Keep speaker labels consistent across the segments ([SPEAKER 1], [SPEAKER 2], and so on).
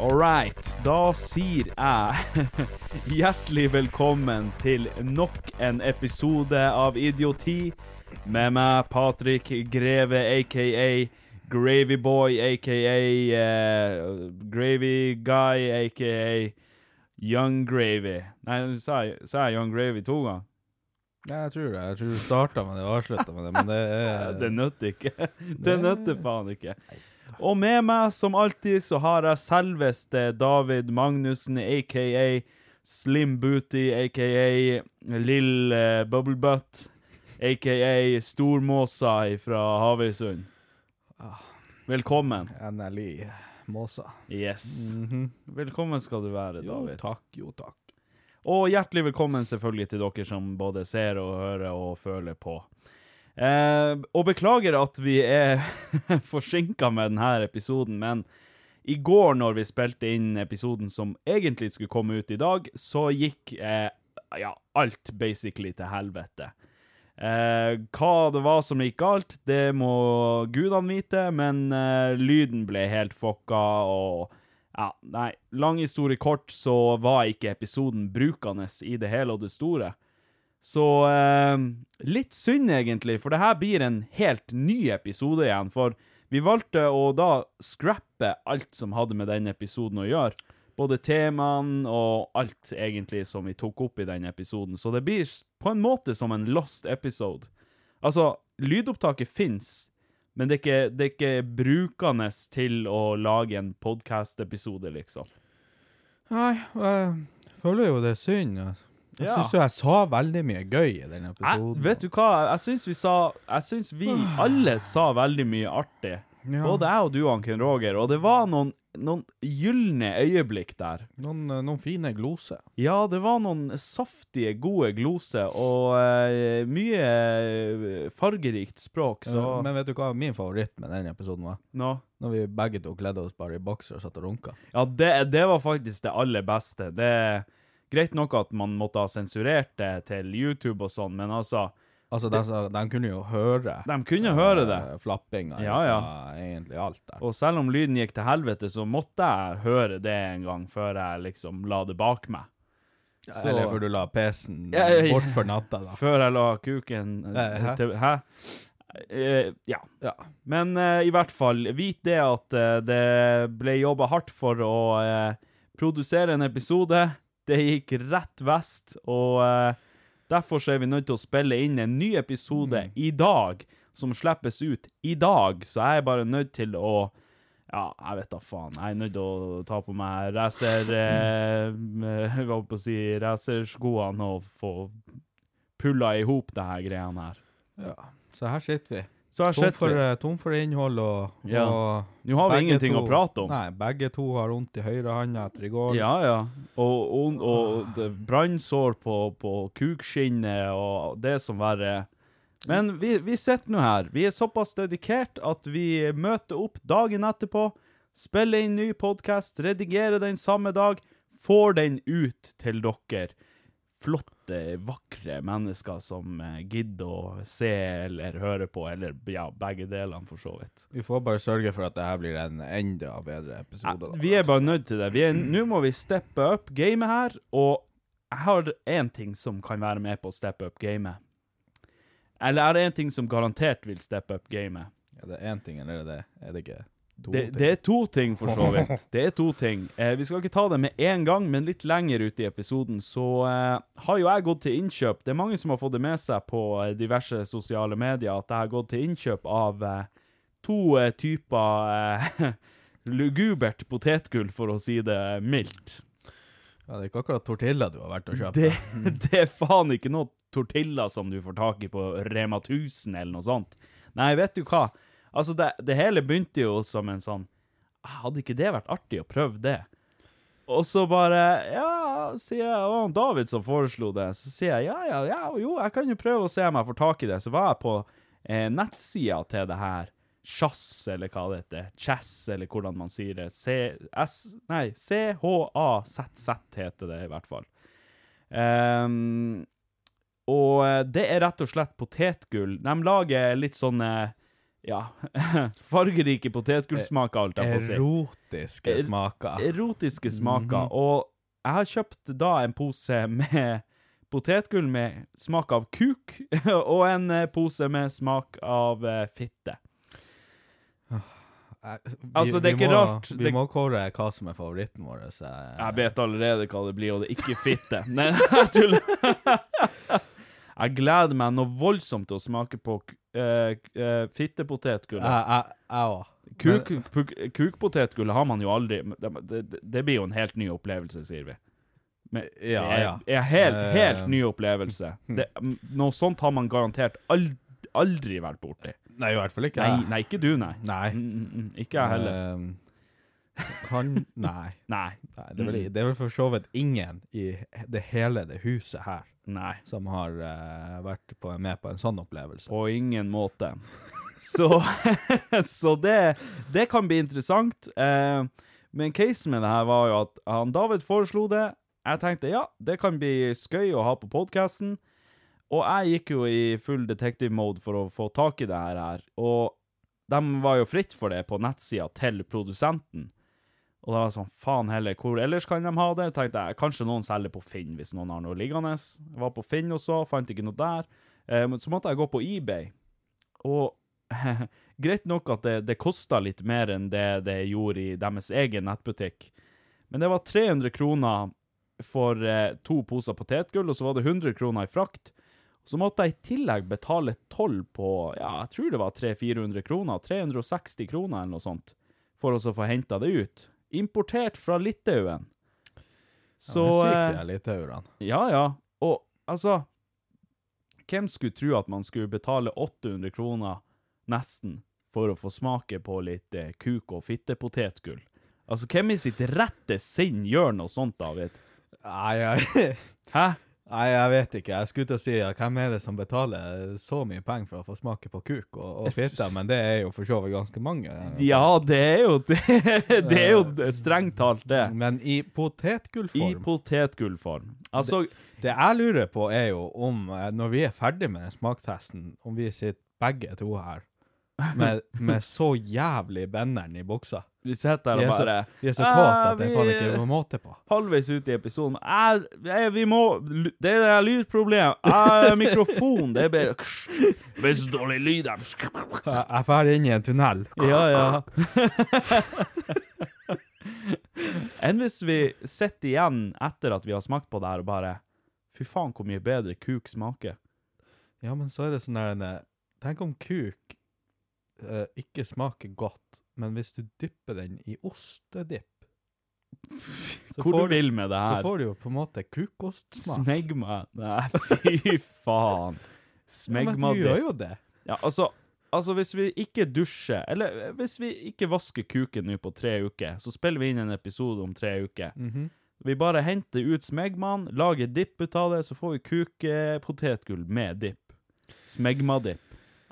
[SPEAKER 1] All right, da sier jeg hjertelig velkommen til nok en episode av Idioti med meg, Patrick Greve, aka Gravyboy, aka eh, Gravy Guy, aka Young Gravy. Nei, sa jeg, sa jeg Young Gravy to ganger?
[SPEAKER 2] Ja, jeg tror det. Jeg tror du starta med det og avslutta med det, men det
[SPEAKER 1] Ja,
[SPEAKER 2] er
[SPEAKER 1] Det nøtter ikke. Det nøtter faen ikke. Og med meg, som alltid, så har jeg selveste David Magnussen, aka Slim Booty, aka Lill eh, Bubblebutt, aka Stormåsa fra Havøysund.
[SPEAKER 2] Ah.
[SPEAKER 1] Velkommen.
[SPEAKER 2] NLI Måsa.
[SPEAKER 1] Yes. Velkommen skal du være,
[SPEAKER 2] Jo
[SPEAKER 1] David.
[SPEAKER 2] takk, jo takk.
[SPEAKER 1] Og hjertelig velkommen selvfølgelig til dere som både ser og hører og føler på. Eh, og beklager at vi er forsinka med denne episoden, men i går når vi spilte inn episoden som egentlig skulle komme ut i dag, så gikk eh, ja, alt basically til helvete. Eh, hva det var som gikk galt, det må gudene vite, men eh, lyden ble helt fucka, og ja, nei, lang historie kort, så var ikke episoden brukende i det hele og det store. Så eh, litt synd egentlig, for det her blir en helt ny episode igjen, for vi valgte å da scrappe alt som hadde med den episoden å gjøre. Både temaene og alt egentlig som vi tok opp i den episoden, så det blir s- på en måte som en lost episode. Altså, lydopptaket fins, men det er ikke, det er ikke brukende til å lage en podkast-episode, liksom.
[SPEAKER 2] Nei, jeg føler jo det er synd. Altså. Jeg
[SPEAKER 1] Ja.
[SPEAKER 2] synes jo jeg sa veldig mye gøy i den
[SPEAKER 1] Jeg,
[SPEAKER 2] episoden.
[SPEAKER 1] vet du hva, jeg syns vi sa Jeg syns vi alle sa veldig mye artig.
[SPEAKER 2] Ja.
[SPEAKER 1] Både jeg og du, Anken Roger, og det var noen, noen gylne øyeblikk der.
[SPEAKER 2] Noen, eh, noen fine gloser.
[SPEAKER 1] Ja, det var noen saftige, gode gloser og eh, mye eh, fargerikt språk, så
[SPEAKER 2] Men vet du hva min favoritt med den episoden var?
[SPEAKER 1] Nå.
[SPEAKER 2] Når vi begge to kledde oss bare i bokser og satt og runka.
[SPEAKER 1] Ja, det, det var faktisk det aller beste. Det er greit nok at man måtte ha sensurert det til YouTube og sånn, men altså
[SPEAKER 2] Altså, de, sa- de kunne jo høre
[SPEAKER 1] De kunne høre det.
[SPEAKER 2] eh, Flappinga
[SPEAKER 1] Ja, ja.
[SPEAKER 2] fra egentlig alt der.
[SPEAKER 1] Og selv om lyden gikk til helvete, så måtte jeg høre det en gang før jeg liksom la det bak meg. så-
[SPEAKER 2] Eller før du la PC-en
[SPEAKER 1] Ja, ja, ja.
[SPEAKER 2] bort for natta, da.
[SPEAKER 1] Før jeg la kuken
[SPEAKER 2] Eh, hæ?
[SPEAKER 1] til Hæ? Eh, ja.
[SPEAKER 2] Ja.
[SPEAKER 1] Men eh, i hvert fall, vit det at eh, det ble jobba hardt for å eh, produsere en episode. Det gikk rett vest, og eh, derfor så er vi nødt til å spille inn en ny episode
[SPEAKER 2] Mm.
[SPEAKER 1] i dag, som slippes ut i dag. Så jeg er bare nødt til å Ja, jeg vet da faen. Jeg er nødt til å ta på meg racer... Eh, hva holdt på å si Racerskoene og få pulla i hop det her greiene her.
[SPEAKER 2] Ja. Så her sitter vi.
[SPEAKER 1] Så jeg
[SPEAKER 2] Tom
[SPEAKER 1] sett
[SPEAKER 2] for, eh, tom for innhold og,
[SPEAKER 1] Ja.
[SPEAKER 2] og
[SPEAKER 1] Nå har vi
[SPEAKER 2] begge
[SPEAKER 1] ingenting
[SPEAKER 2] to,
[SPEAKER 1] å prate om.
[SPEAKER 2] Nei, begge to har vondt i høyrehånda etter i går.
[SPEAKER 1] Ja, ja. Og, og, og det- brannsår på, på kukskinnet og det som verre er. Men vi, vi sitter nå her. Vi er såpass dedikert at vi møter opp dagen etterpå, spiller inn ny podkast, redigerer den samme dag, får den ut til dere. flotte, vakre mennesker som eh, gidder å se eller høre på, eller ja, begge delene, for så vidt.
[SPEAKER 3] Vi får bare sørge for at det her blir en enda bedre episode. da.
[SPEAKER 1] Ah, Vi er bare nødt til det. Vi er- Nå må vi steppe up gamet her, og jeg har én ting som kan være med på å steppe up gamet. Eller jeg har én ting som garantert vil steppe up gamet.
[SPEAKER 3] Er det én ting, eller er det, er det ikke to
[SPEAKER 1] Det,
[SPEAKER 3] ting?
[SPEAKER 1] det er to ting, for så vidt. Det er to ting. Eh, vi skal ikke ta det med en gang, men litt lenger ut i episoden så eh, har jo jeg gått til innkjøp. Det er mange som har fått det med seg på eh, diverse sosiale medier at jeg har gått til innkjøp av eh, to eh, typer eh, lugubert potetgull, for å si det mildt.
[SPEAKER 3] Ja, det er ikke akkurat tortilla du har vært og kjøpt.
[SPEAKER 1] Det, det er faen ikke noe tortilla som du får tak i på Rema 1000 eller noe sånt. Nei, vet du hva? Altså, det, det hele begynte jo som en sånn Hadde ikke det vært artig å prøve det? Og så bare Ja, sier jeg Det var han David som foreslo det. Så sier jeg ja, ja, ja, jo, jeg kan jo prøve å se om jeg får tak i det. Så var jeg på eh, nettsida til det her. Chass, eller hva det heter. Chass, eller hvordan man sier det. C... S... Nei, CHAZZ heter det i hvert fall. Ehm, og eh, det er rett og slett potetgull. De lager litt sånne ja, fargerike potetgullsmaker, alt jeg får si.
[SPEAKER 3] Erotiske
[SPEAKER 1] Er-
[SPEAKER 3] smaker.
[SPEAKER 1] Erotiske smaker. Og jeg har kjøpt da en pose med potetgull med smak av kuk, og en eh, pose med smak av eh, fitte. altså, det er
[SPEAKER 3] vi
[SPEAKER 1] ikke
[SPEAKER 3] må,
[SPEAKER 1] rart.
[SPEAKER 3] Vi
[SPEAKER 1] Det-
[SPEAKER 3] må kåre hva som er favoritten vår. så-
[SPEAKER 1] Jeg vet allerede hva det blir, og det er ikke fitte. Nei, jeg tuller. Jeg gleder meg noe voldsomt til å smake på k- eh, k- eh, fittepotetgull.
[SPEAKER 3] Jeg- jeg- jeg òg.
[SPEAKER 1] Kuk- puk- Kukpotetgull har man jo aldri det, det, det blir jo en helt ny opplevelse, sier vi. Men
[SPEAKER 3] Ja,
[SPEAKER 1] det er,
[SPEAKER 3] ja.
[SPEAKER 1] er helt,
[SPEAKER 3] Eh. hm.
[SPEAKER 1] helt ny opplevelse. Det, m- noe sånt har man garantert aldri, aldri vært borti.
[SPEAKER 3] Nei, i hvert fall ikke
[SPEAKER 1] Nei,
[SPEAKER 3] jeg.
[SPEAKER 1] nei, ikke du, nei.
[SPEAKER 3] Nei.
[SPEAKER 1] Mm, mm, mm, ikke jeg heller.
[SPEAKER 3] Ehm, kan Nei.
[SPEAKER 1] Nei.
[SPEAKER 3] nei det, er vel, det er vel for så vidt ingen i det hele det huset her
[SPEAKER 1] Nei.
[SPEAKER 3] som har eh, vært på, med på en sånn opplevelse.
[SPEAKER 1] På ingen måte. Så, så det, det kan bli interessant. Eh, men casen med det her var jo at han David foreslo det. Jeg tenkte ja, det kan bli skøy å ha på podkasten. Og jeg gikk jo i full detective mode for å få tak i det her. her. Og de var jo fritt for det på nettsida til produsenten. Og da var jeg sånn, faen heller, hvor ellers kan de ha det? Tenkte jeg, kanskje noen selger på Finn hvis noen har noe liggende. Jeg var på Finn og så, fant ikke noe der. Eh, men så måtte jeg gå på eBay. Og greit nok at det, det kosta litt mer enn det det gjorde i deres egen nettbutikk. Men det var 300 kroner for eh, to poser potetgull, og så var det 100 kroner i frakt. Så måtte jeg i tillegg betale toll på ja, jeg tror det var 300-400 kroner, 360 kroner eller noe sånt, for å så få henta det ut. Importert fra Litauen. Så
[SPEAKER 3] ja,
[SPEAKER 1] eh,
[SPEAKER 3] det er sykt, de her litauerne.
[SPEAKER 1] ja, ja. Og altså Hvem skulle tro at man skulle betale 800 kroner, nesten, for å få smake på litt eh, kuk- og fittepotetgull? Altså, hvem i sitt rette sinn gjør noe sånt, David?
[SPEAKER 3] Nei, jeg,
[SPEAKER 1] Hæ?
[SPEAKER 3] nei, jeg vet ikke. Jeg skulle til å si ja, hvem er det som betaler så mye penger for å få smake på kuk og, og fitte, men det er jo for så vidt ganske mange.
[SPEAKER 1] Ja, det er jo Det, det er
[SPEAKER 3] Eh,
[SPEAKER 1] jo strengt talt det.
[SPEAKER 3] Men i
[SPEAKER 1] I
[SPEAKER 3] potetgullform
[SPEAKER 1] potetgullform. Altså,
[SPEAKER 3] Det jeg lurer på, er jo om eh, når vi er ferdig med den smaktesten, om vi sitter begge to her med, med så jævlig benderen i buksa.
[SPEAKER 1] vi sitter
[SPEAKER 3] Vi
[SPEAKER 1] her og bare
[SPEAKER 3] er så, vi er så
[SPEAKER 1] «Ah,
[SPEAKER 3] kåte at det
[SPEAKER 1] vi-
[SPEAKER 3] er faen ikke noe måte på.
[SPEAKER 1] halvveis ut i episoden. Jeg, jeg, vi må Det er lydproblem. Jeg, mikrofon, det er bedre. Det blir så dårlig lyd her.
[SPEAKER 3] Jeg jeg drar inn i en tunnel.
[SPEAKER 1] Ja, ja. Enn hvis vi sitter igjen etter at vi har smakt på det her og bare Fy faen, hvor mye bedre kuk smaker.
[SPEAKER 3] Ja, men så er det sånn der en, eh, Tenk om kuk eh, ikke smaker godt, men hvis du dypper den i ostedipp, så
[SPEAKER 1] Hvor
[SPEAKER 3] får,
[SPEAKER 1] du
[SPEAKER 3] du,
[SPEAKER 1] vil med det
[SPEAKER 3] så
[SPEAKER 1] her?
[SPEAKER 3] får du jo på en måte kukostsmak.
[SPEAKER 1] Smegma. Nei, fy faen.
[SPEAKER 3] Ja, men
[SPEAKER 1] Smegma
[SPEAKER 3] du gjør jo det.
[SPEAKER 1] Ja, altså, altså hvis vi ikke dusjer, eller eh, hvis vi ikke vasker kuken nå på tre uker, så spiller vi inn en episode om tre uker. Vi bare henter ut smegmaen, lager dipp ut av det, så får vi kukepotetgull med dipp. Smegmadipp.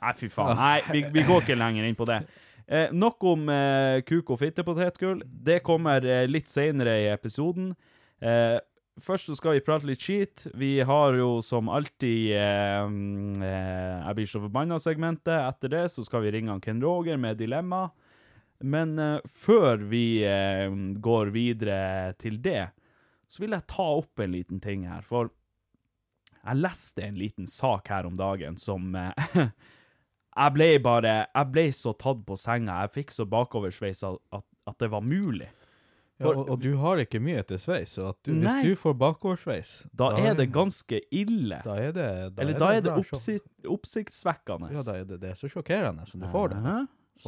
[SPEAKER 1] Nei, fy faen. Nei, vi, vi går ikke lenger inn på det. Eh, nok om eh, kuk- og fittepotetgull. Det kommer eh, litt senere i episoden. Eh, først så skal vi prate litt skit. Vi har jo som alltid eh, mm, eh, Jeg blir så forbanna-segmentet. Etter det så skal vi ringe han Ken Roger med dilemma. Men eh, før vi eh, går videre til det, så vil jeg ta opp en liten ting her. For jeg leste en liten sak her om dagen som eh, Jeg ble bare Jeg ble så tatt på senga. Jeg fikk så bakoversveis at, at, at det var mulig.
[SPEAKER 3] Ja, og, og du har ikke mye til sveis, så at du,
[SPEAKER 1] Nei.
[SPEAKER 3] hvis du får bakoversveis
[SPEAKER 1] Da er det ganske ille.
[SPEAKER 3] Da er det da
[SPEAKER 1] Eller da er det
[SPEAKER 3] bra sjokk.
[SPEAKER 1] oppsikt, oppsiktsvekkende.
[SPEAKER 3] Ja, da er det, det er så sjokkerende som du får det.
[SPEAKER 1] Hæ?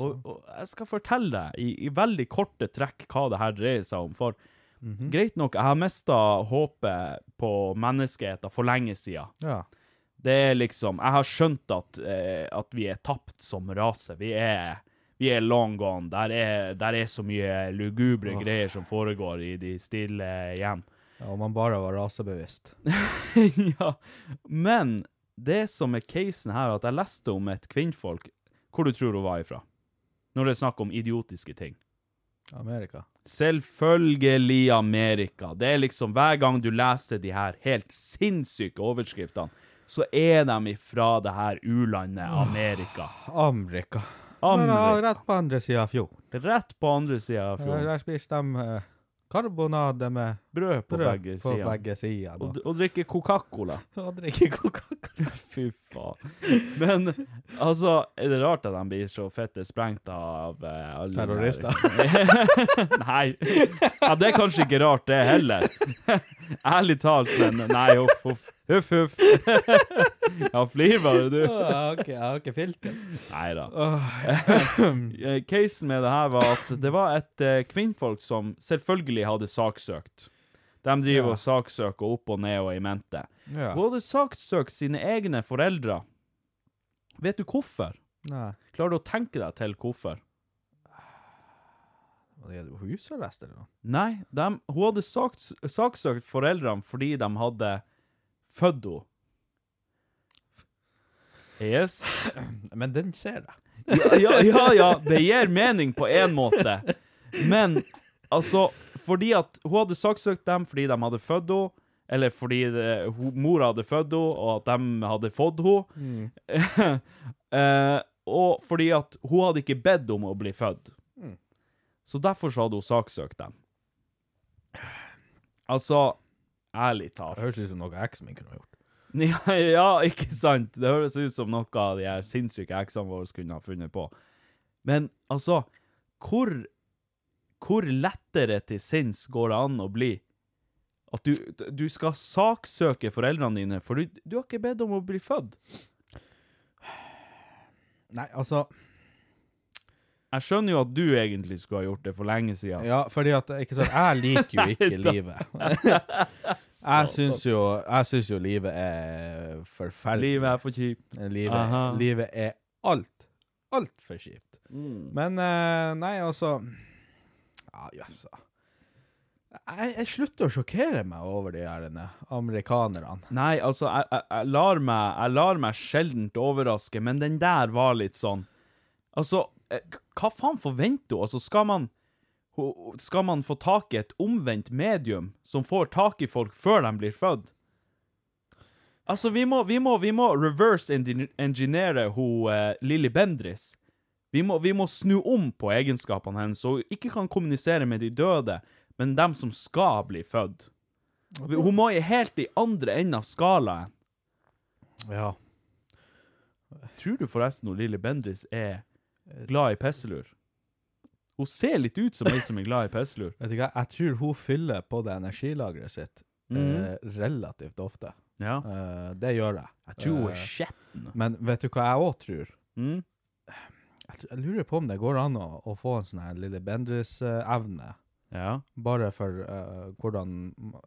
[SPEAKER 1] Og, og jeg skal fortelle deg i, i veldig korte trekk hva det her dreier seg om. For
[SPEAKER 3] Mhm.
[SPEAKER 1] greit nok, jeg har mista håpet på menneskeheten for lenge sida.
[SPEAKER 3] Ja.
[SPEAKER 1] Det er liksom Jeg har skjønt at, eh, at vi er tapt som rase. Vi er, vi er long gone. Der er, der er så mye lugubre greier som foregår i de stille hjem.
[SPEAKER 3] ja, Om man bare var rasebevisst.
[SPEAKER 1] ja, men det som er casen her, at jeg leste om et kvinnfolk Hvor du tror hun var ifra? Når det er snakk om idiotiske ting.
[SPEAKER 3] Amerika.
[SPEAKER 1] Selvfølgelig Amerika. Det er liksom hver gang du leser de her helt sinnssyke overskriftene, så er de ifra det her u-landet Amerika.
[SPEAKER 3] Amerika. Bare
[SPEAKER 1] Amerika.
[SPEAKER 3] Rett på andre sida av fjorden.
[SPEAKER 1] Rett på andre sida av
[SPEAKER 3] Der,
[SPEAKER 1] fjorden.
[SPEAKER 3] der spiser de eh, karbonade med
[SPEAKER 1] Brød på
[SPEAKER 3] brød
[SPEAKER 1] begge
[SPEAKER 3] på
[SPEAKER 1] sider.
[SPEAKER 3] begge sider.
[SPEAKER 1] Og,
[SPEAKER 3] da.
[SPEAKER 1] og drikke Coca-Cola.
[SPEAKER 3] Og drikker Coca-Cola.
[SPEAKER 1] Fy faen. Men altså, er det rart at de blir så fette sprengt av eh, alle de her- nei. Ja, det er kanskje ikke rart, det heller. Ærlig talt, men nei, huff, huff. Huff, huff. ja, flir bare, du.
[SPEAKER 3] Jeg har ikke, jeg har ikke filter.
[SPEAKER 1] Nei da. Eh, Casen med det her var at det var et eh, kvinnfolk som selvfølgelig hadde saksøkt. De driver og saksøker opp og ned og i mente.
[SPEAKER 3] Ja.
[SPEAKER 1] Hun hadde saksøkt sine egne foreldre. Vet du hvorfor?
[SPEAKER 3] Nei.
[SPEAKER 1] Klarer du å tenke deg til hvorfor?
[SPEAKER 3] Var det husarrest eller noe?
[SPEAKER 1] Nei, dem- hun hadde saks, saksøkt foreldrene fordi de hadde født henne. Yes.
[SPEAKER 3] Men den ser jeg.
[SPEAKER 1] Ja, ja, ja, ja, det gir mening på én måte. Men altså, fordi at hun hadde saksøkt dem fordi de hadde født henne, eller fordi det, hun, mora hadde født henne, og at de hadde fått henne. eh, og fordi at hun hadde ikke bedt om å bli født. Så derfor så hadde hun saksøkt dem. Altså, ærlig talt.
[SPEAKER 3] Det høres ut som noe eksen min kunne ha gjort.
[SPEAKER 1] Ja, ja, ikke sant? Det høres ut som noe av de her sinnssyke eksene våre kunne ha funnet på. Men altså, hvor, hvor lettere til sinns går det an å bli? At du, du skal saksøke foreldrene dine, for du, du har ikke bedt om å bli født.
[SPEAKER 3] Nei, altså
[SPEAKER 1] Jeg skjønner jo at du egentlig skulle ha gjort det for lenge siden.
[SPEAKER 3] Ja, fordi at ikke sant, jeg liker jo ikke
[SPEAKER 1] da.
[SPEAKER 3] livet. jeg syns jo, jeg synes jo livet er forferdelig.
[SPEAKER 1] Livet er for kjipt. Aha.
[SPEAKER 3] Livet, livet er alt. Altfor kjipt.
[SPEAKER 1] Mm.
[SPEAKER 3] Men eh, nei, altså Ja, jøssa. Jeg, jeg slutter å sjokkere meg over de her denne amerikanerne.
[SPEAKER 1] Nei, altså, jeg, jeg, jeg lar meg, jeg lar meg sjeldent overraske, men den der var litt sånn Altså, eh, k- hva faen forventer hun? Altså, skal man ho- Skal man få tak i et omvendt medium som får tak i folk før de blir født? Altså, vi må, vi må, vi må reverse engi- engineere hun eh, Lilly Bendris. Vi må, vi må snu om på egenskapene hennes, og ikke kan kommunisere med de døde, men dem som skal bli født. Hun må i helt i andre enden av skalaen.
[SPEAKER 3] Ja.
[SPEAKER 1] Tror du forresten hun Lilly Bendriss er glad i pesselur? Hun ser litt ut som ei som er glad i pesselur.
[SPEAKER 3] Vet du hva, jeg tror hun fyller på det energilageret sitt eh, relativt ofte.
[SPEAKER 1] Ja.
[SPEAKER 3] Eh, det gjør jeg.
[SPEAKER 1] Mm. Jeg tror hun
[SPEAKER 3] Eh,
[SPEAKER 1] er skjetten.
[SPEAKER 3] Men vet du hva jeg òg tror?
[SPEAKER 1] Mm.
[SPEAKER 3] Jeg, tr- jeg lurer på om det går an å, å få en sånn her lille eh, Bendris-evne.
[SPEAKER 1] Ja.
[SPEAKER 3] Bare for eh, hvordan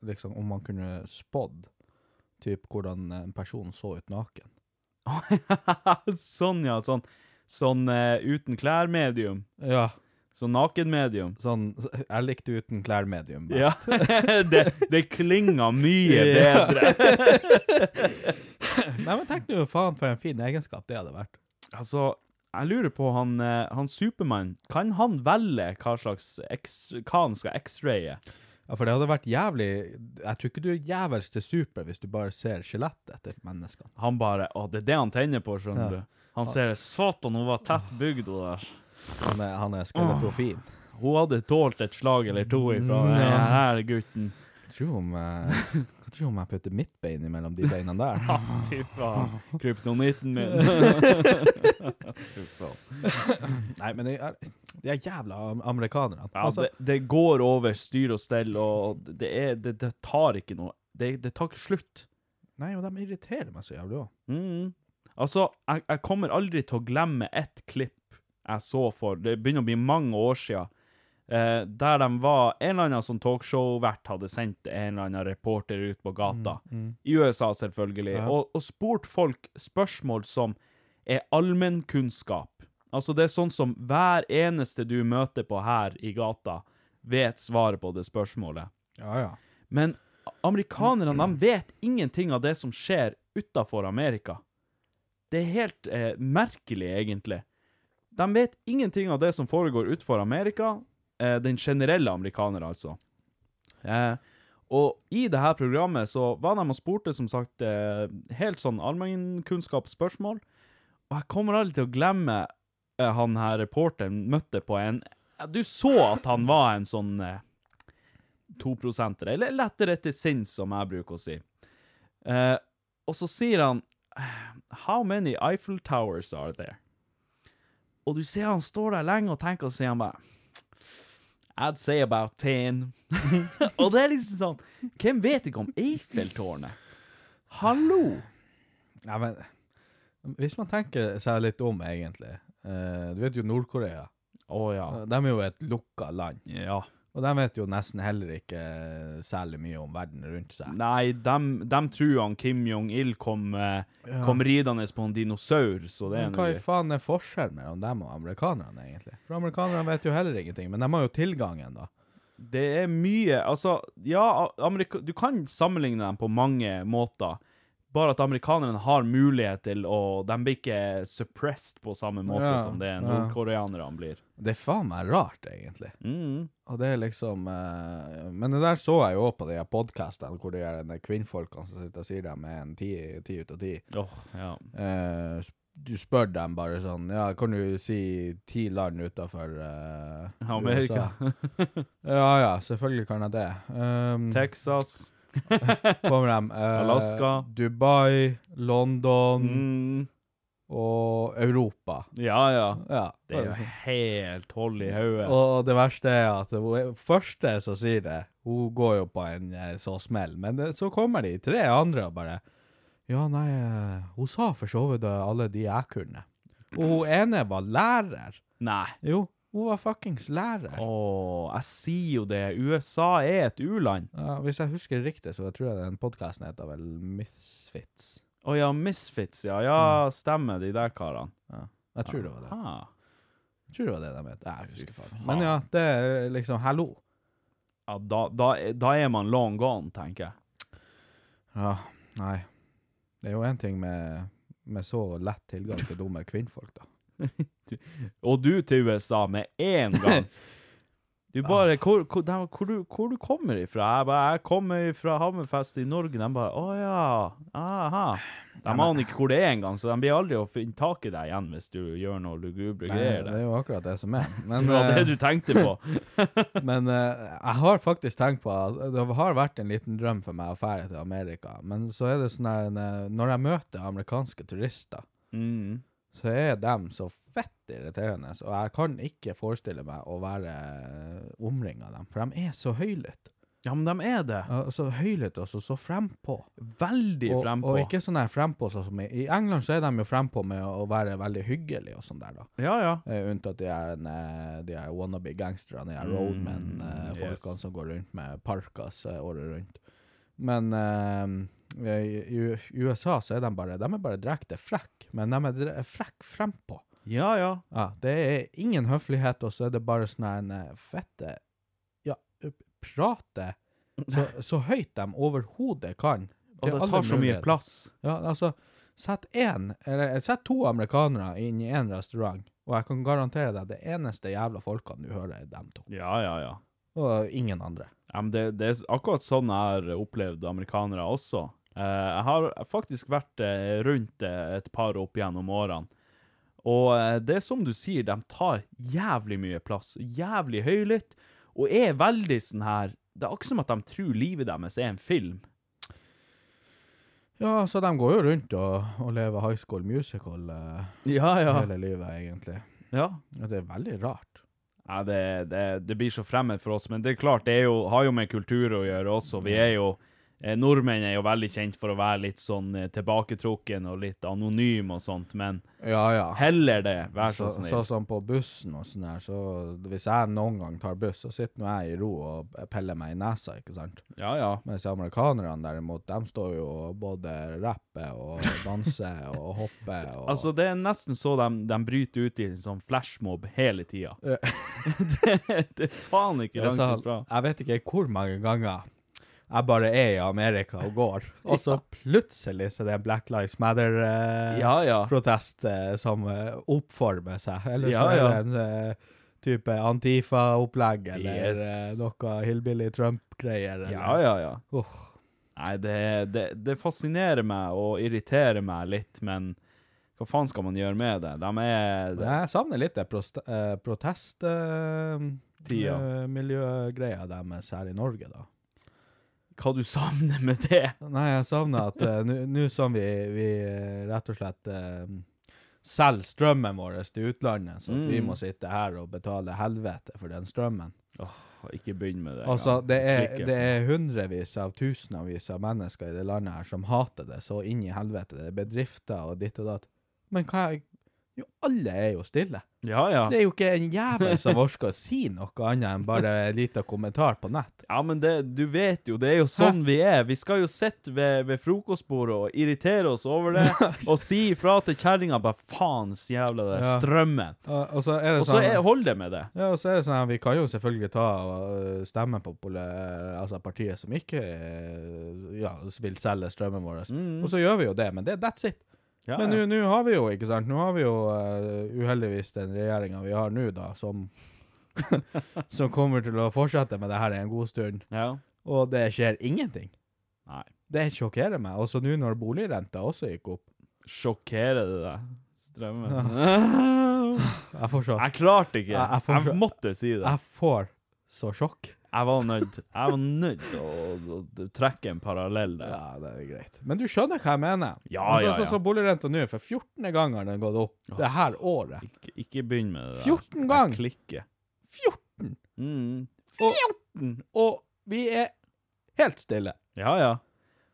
[SPEAKER 3] Liksom om man kunne spådd typ hvordan en person så ut naken.
[SPEAKER 1] sånn, ja. Sånn, sånn eh, uten klær-medium.
[SPEAKER 3] Ja.
[SPEAKER 1] Sånn naken-medium.
[SPEAKER 3] Sånn Jeg likte uten klær-medium. best.
[SPEAKER 1] Ja. det, det klinger mye bedre.
[SPEAKER 3] Nei, men tenk nå faen for en fin egenskap det hadde vært.
[SPEAKER 1] Altså, jeg lurer på han, eh, han Supermann. Kan han velge hva slags X, hva han skal x-raye?
[SPEAKER 3] Ja, for det hadde vært jævlig Jeg tror ikke du er jævels til super hvis du bare ser skjelettet til menneskene.
[SPEAKER 1] Han bare Å, det er det han tenner på, skjønner du. Han ser Satan, hun var tett bygd, hun der.
[SPEAKER 3] Han er, han er skelettofin.
[SPEAKER 1] Hun hadde tålt et slag eller to ifra den her gutten.
[SPEAKER 3] Jeg tror om jeg, jeg, tror om jeg putter mitt bein imellom de beina der.
[SPEAKER 1] Fy faen. Kryptonitten min. Fy faen.
[SPEAKER 3] Nei, men de er, de er jævla am- amerikanere.
[SPEAKER 1] Ja,
[SPEAKER 3] altså,
[SPEAKER 1] det, det går over styr og stell, og det, er, det, det tar ikke noe Det, det tar ikke slutt.
[SPEAKER 3] Nei, og de irriterer meg så jævlig òg.
[SPEAKER 1] Mm. Altså, jeg, jeg kommer aldri til å glemme ett klipp jeg så for Det begynner å bli mange år sia. Eh, der de var En eller annen sånn talkshow-vert hadde sendt en eller annen reporter ut på gata. I USA, selvfølgelig. Og, og spurt folk spørsmål som er allmennkunnskap. Altså, det er sånn som hver eneste du møter på her i gata, vet svaret på det spørsmålet.
[SPEAKER 3] Ja, ja.
[SPEAKER 1] Men amerikanerne de vet ingenting av det som skjer utafor Amerika. Det er helt eh, merkelig, egentlig. De vet ingenting av det som foregår utenfor Amerika. Eh, den generelle amerikaner, altså. Eh, og i det her programmet så var de og spurte, som sagt, eh, helt sånn allmennkunnskapsspørsmål. Og jeg kommer aldri til å glemme eh, han her reporteren møtte på en Du så at han var en sånn eh, toprosentere, eller lettere til sinns, som jeg bruker å si. Eh, og så sier han "Eh, How many Eiffel Towers are there? Og du ser han står der lenge og tenker, og så sier han bare I'd say about 10. og det er liksom sånn Hvem vet ikke om Eiffeltårnet? Hallo!
[SPEAKER 3] Nei, men hvis man tenker seg litt om, egentlig eh, Du vet jo Nord-Korea.
[SPEAKER 1] Å ja.
[SPEAKER 3] De er jo et lukka land.
[SPEAKER 1] Ja.
[SPEAKER 3] Og de vet jo nesten heller ikke eh, særlig mye om verden rundt seg.
[SPEAKER 1] Nei, dem, dem tror han Kim Jong-il kom, eh, kom ridende på en dinosaur, så det er
[SPEAKER 3] Men
[SPEAKER 1] noe
[SPEAKER 3] hva i faen er forskjellen mellom dem og amerikanerne, egentlig? For amerikanerne vet jo heller ingenting, men de har jo tilgangen, da.
[SPEAKER 1] Det er mye Altså, ja, Amerika du kan sammenligne dem på mange måter. Bare at amerikanerne har mulighet til å De blir ikke suppressed på samme måte
[SPEAKER 3] Ja,
[SPEAKER 1] som det
[SPEAKER 3] ja.
[SPEAKER 1] nordkoreanerne blir.
[SPEAKER 3] Det er faen meg rart, egentlig.
[SPEAKER 1] Mm.
[SPEAKER 3] Og det er liksom eh, Men det der så jeg jo også på de her podkastene hvor de her kvinnfolkene som sitter og sier de er en ti, ti ut av ti.
[SPEAKER 1] Åh, ja.
[SPEAKER 3] Eh, sp- du spør dem bare sånn Ja, kan du si ti land utafor
[SPEAKER 1] Amerika.
[SPEAKER 3] ja ja, selvfølgelig kan jeg det. Um,
[SPEAKER 1] Texas.
[SPEAKER 3] kommer de eh,
[SPEAKER 1] Alaska.
[SPEAKER 3] Dubai, London
[SPEAKER 1] Mm.
[SPEAKER 3] og Europa.
[SPEAKER 1] Ja, ja.
[SPEAKER 3] Ja.
[SPEAKER 1] Det er jo helt hold i hodet.
[SPEAKER 3] Og det verste er at hun første som sier det, hun går jo på en eh, så smell, men det, så kommer de tre andre og bare Ja, nei, eh, hun sa for så vidt eh, alle de jeg kunne. Og hun ene var lærer.
[SPEAKER 1] Nei.
[SPEAKER 3] Jo, hun var fuckings lærer.
[SPEAKER 1] Åh, jeg sier jo det. USA er et u-land.
[SPEAKER 3] Ja, hvis jeg husker riktig, så tror jeg den podkasten heter vel Misfits.
[SPEAKER 1] Å ja, Misfits, ja. Ja,
[SPEAKER 3] Mm.
[SPEAKER 1] stemmer, de der karene.
[SPEAKER 3] Jeg tror det var det.
[SPEAKER 1] Ah.
[SPEAKER 3] Jeg tror det var det de het. Jeg husker faen.
[SPEAKER 1] faen.
[SPEAKER 3] Men ja, det er liksom Hallo.
[SPEAKER 1] Ja, da, da, er- da er man long gone, tenker jeg.
[SPEAKER 3] Ja, nei. Det er jo én ting med, med så lett tilgang til dumme kvinnfolk, da.
[SPEAKER 1] Og du til USA med én gang. Du bare hvor, hvor, de, hvor, du, hvor du kommer ifra? Jeg bare Jeg kommer fra Hammerfest i Norge. De bare Å ja. Aha. De aner ikke hvor det er engang, så de blir aldri å finne tak i deg igjen hvis du gjør noe lugubre greier.
[SPEAKER 3] det er
[SPEAKER 1] der.
[SPEAKER 3] jo akkurat det som er. Men,
[SPEAKER 1] Det var det
[SPEAKER 3] eh,
[SPEAKER 1] du tenkte på.
[SPEAKER 3] men eh, jeg har faktisk tenkt på at det har vært en liten drøm for meg å dra til Amerika. Men så er det sånn her eh, Når jeg møter amerikanske turister,
[SPEAKER 1] Mm.
[SPEAKER 3] så er dem så fett irriterende. Og jeg kan ikke forestille meg å være omringa av dem, for de er så høylytte.
[SPEAKER 1] Ja, men de er det.
[SPEAKER 3] Ja, Så høylytte og så- så frempå.
[SPEAKER 1] Veldig
[SPEAKER 3] Og,
[SPEAKER 1] frempå.
[SPEAKER 3] og ikke sånn her frempå sånn som i, I England så er de jo frempå med å være veldig hyggelige og sånn der, da.
[SPEAKER 1] Ja, ja.
[SPEAKER 3] Eh, unntatt de her, eh, de her wannabe gangsterne, de
[SPEAKER 1] Mm,
[SPEAKER 3] her roadmen-folkene som går rundt med parkas eh, året rundt. Men eh, i, i i USA så er de bare De er bare direkte frekke, men de er dre- frekk frempå.
[SPEAKER 1] Ja, ja.
[SPEAKER 3] Ja, det er ingen høflighet, og så er det bare sånn her en eh, fette Ja, prate så, så høyt de overhodet kan.
[SPEAKER 1] Og
[SPEAKER 3] Til
[SPEAKER 1] det
[SPEAKER 3] alle
[SPEAKER 1] tar så mye
[SPEAKER 3] muligheter.
[SPEAKER 1] plass.
[SPEAKER 3] Ja, altså, sett en, eller sett to amerikanere inn i en restaurant, og jeg kan garantere deg det eneste jævla folkene du hører, er dem to.
[SPEAKER 1] Ja, ja, ja.
[SPEAKER 3] Og ingen andre.
[SPEAKER 1] Ja, men det, det er akkurat sånn jeg har opplevd amerikanere også. Eh, jeg har faktisk vært eh, rundt eh, et par opp gjennom årene. Og eh, det er som du sier, de tar jævlig mye plass, jævlig høylytt, og er veldig sånn her Det er akkurat som at de tror livet deres er en film.
[SPEAKER 3] Ja, så de går jo rundt og, og lever High School Musical eh,
[SPEAKER 1] Ja,
[SPEAKER 3] hele livet, egentlig.
[SPEAKER 1] ja.
[SPEAKER 3] Og det er veldig rart.
[SPEAKER 1] Ja, det, det, det blir så fremmed for oss, men det er klart, det er jo, har jo med kultur å gjøre også. Vi er jo eh, Nordmenn er jo veldig kjent for å være litt sånn eh, tilbaketrukken og litt anonym og sånt, men
[SPEAKER 3] Ja, ja.
[SPEAKER 1] Heller det, vær så
[SPEAKER 3] Så,
[SPEAKER 1] snill.
[SPEAKER 3] så sånn på bussen og sånn her, så hvis jeg noen gang tar buss, så sitter nå jeg i ro og peller meg i nesa, ikke sant?
[SPEAKER 1] Ja, ja.
[SPEAKER 3] Mens amerikanerne derimot, de står jo og både rapper og danser og hopper og
[SPEAKER 1] Altså, det er nesten så de, de bryter ut i sånn flashmob hele tida.
[SPEAKER 3] Ja.
[SPEAKER 1] det, det er faen ikke
[SPEAKER 3] jeg,
[SPEAKER 1] langt
[SPEAKER 3] sa,
[SPEAKER 1] ifra.
[SPEAKER 3] jeg vet ikke hvor mange ganger jeg bare er i Amerika og går, og så plutselig så det er en Black Lives
[SPEAKER 1] Ja, ja.
[SPEAKER 3] Matter-protest som eh, oppformer seg, eller så
[SPEAKER 1] Ja, ja.
[SPEAKER 3] er det en eh, type Antifa-opplegg, eller
[SPEAKER 1] Yes.
[SPEAKER 3] eh, noe Hillbilly Trump-greier. eller-
[SPEAKER 1] Ja, ja, ja.
[SPEAKER 3] Åh.
[SPEAKER 1] Nei, det, det, det fascinerer meg og irriterer meg litt, men hva faen skal man gjøre med det? De er
[SPEAKER 3] Men Jeg savner litt det prost- eh, protest... eh,
[SPEAKER 1] Tida.
[SPEAKER 3] eh, miljøgreia deres her i Norge, da.
[SPEAKER 1] Hva du savner med det?
[SPEAKER 3] Nei, jeg savner at eh, nå nå som vi, vi eh, rett og slett eh, selger strømmen vår til utlandet, så at vi
[SPEAKER 1] Mm.
[SPEAKER 3] må sitte her og betale helvete for den strømmen.
[SPEAKER 1] Ikke begynn med det.
[SPEAKER 3] Altså,
[SPEAKER 1] engang.
[SPEAKER 3] det er,
[SPEAKER 1] Klikke.
[SPEAKER 3] det er hundrevis av tusenvis av mennesker i det landet her som hater det så inn i helvete. Det er bedrifter og ditt og datt. Men hva Jo, alle er jo stille.
[SPEAKER 1] Ja, ja.
[SPEAKER 3] Det er jo ikke en jævel som orker å si noe annet enn bare en liten kommentar på nett.
[SPEAKER 1] Ja, men det, du vet jo, det er jo sånn vi er. Vi skal jo sitte ved, ved frokostbordet og irritere oss over det, og si ifra til kjerringa bare faens jævla det,
[SPEAKER 3] Ja.
[SPEAKER 1] strømmen.
[SPEAKER 3] Og og så er det
[SPEAKER 1] Og så
[SPEAKER 3] sånn
[SPEAKER 1] er- hold det med det.
[SPEAKER 3] Ja, og så er det sånn, her, Vi kan jo selvfølgelig ta og stemme på pole- altså partiet som ikke eh, ja, vil selge strømmen vår, og så gjør vi jo det, men det, that's it.
[SPEAKER 1] Mm. Ja,
[SPEAKER 3] men
[SPEAKER 1] ja.
[SPEAKER 3] nå- nå har vi jo ikke sant, nå har vi jo eh, uheldigvis den regjeringa vi har nå, da, som, som kommer til å fortsette med det her en god stund,
[SPEAKER 1] ja.
[SPEAKER 3] og det skjer ingenting.
[SPEAKER 1] Nei.
[SPEAKER 3] Det sjokkerer meg. Og så nå når boligrenta også gikk opp
[SPEAKER 1] Sjokkerer det deg? Strømmen.
[SPEAKER 3] Jeg får så,
[SPEAKER 1] Jeg klarte ikke.
[SPEAKER 3] Jeg- jeg
[SPEAKER 1] Jeg,
[SPEAKER 3] får-
[SPEAKER 1] måtte si det.
[SPEAKER 3] jeg får så sjokk.
[SPEAKER 1] Jeg var nødt Jeg var nødt til å, å, å trekke en parallell der.
[SPEAKER 3] Ja, det er greit. Men du skjønner hva jeg mener.
[SPEAKER 1] Ja,
[SPEAKER 3] altså,
[SPEAKER 1] ja,
[SPEAKER 3] Så,
[SPEAKER 1] ja.
[SPEAKER 3] så boligrenta nå, for 14. gang har den gått opp det her året.
[SPEAKER 1] Ikke, ikke begynn med det der.
[SPEAKER 3] 14 gang.
[SPEAKER 1] Jeg klikker.
[SPEAKER 3] 14!
[SPEAKER 1] Mm.
[SPEAKER 3] Og vi er helt stille.
[SPEAKER 1] Ja, ja.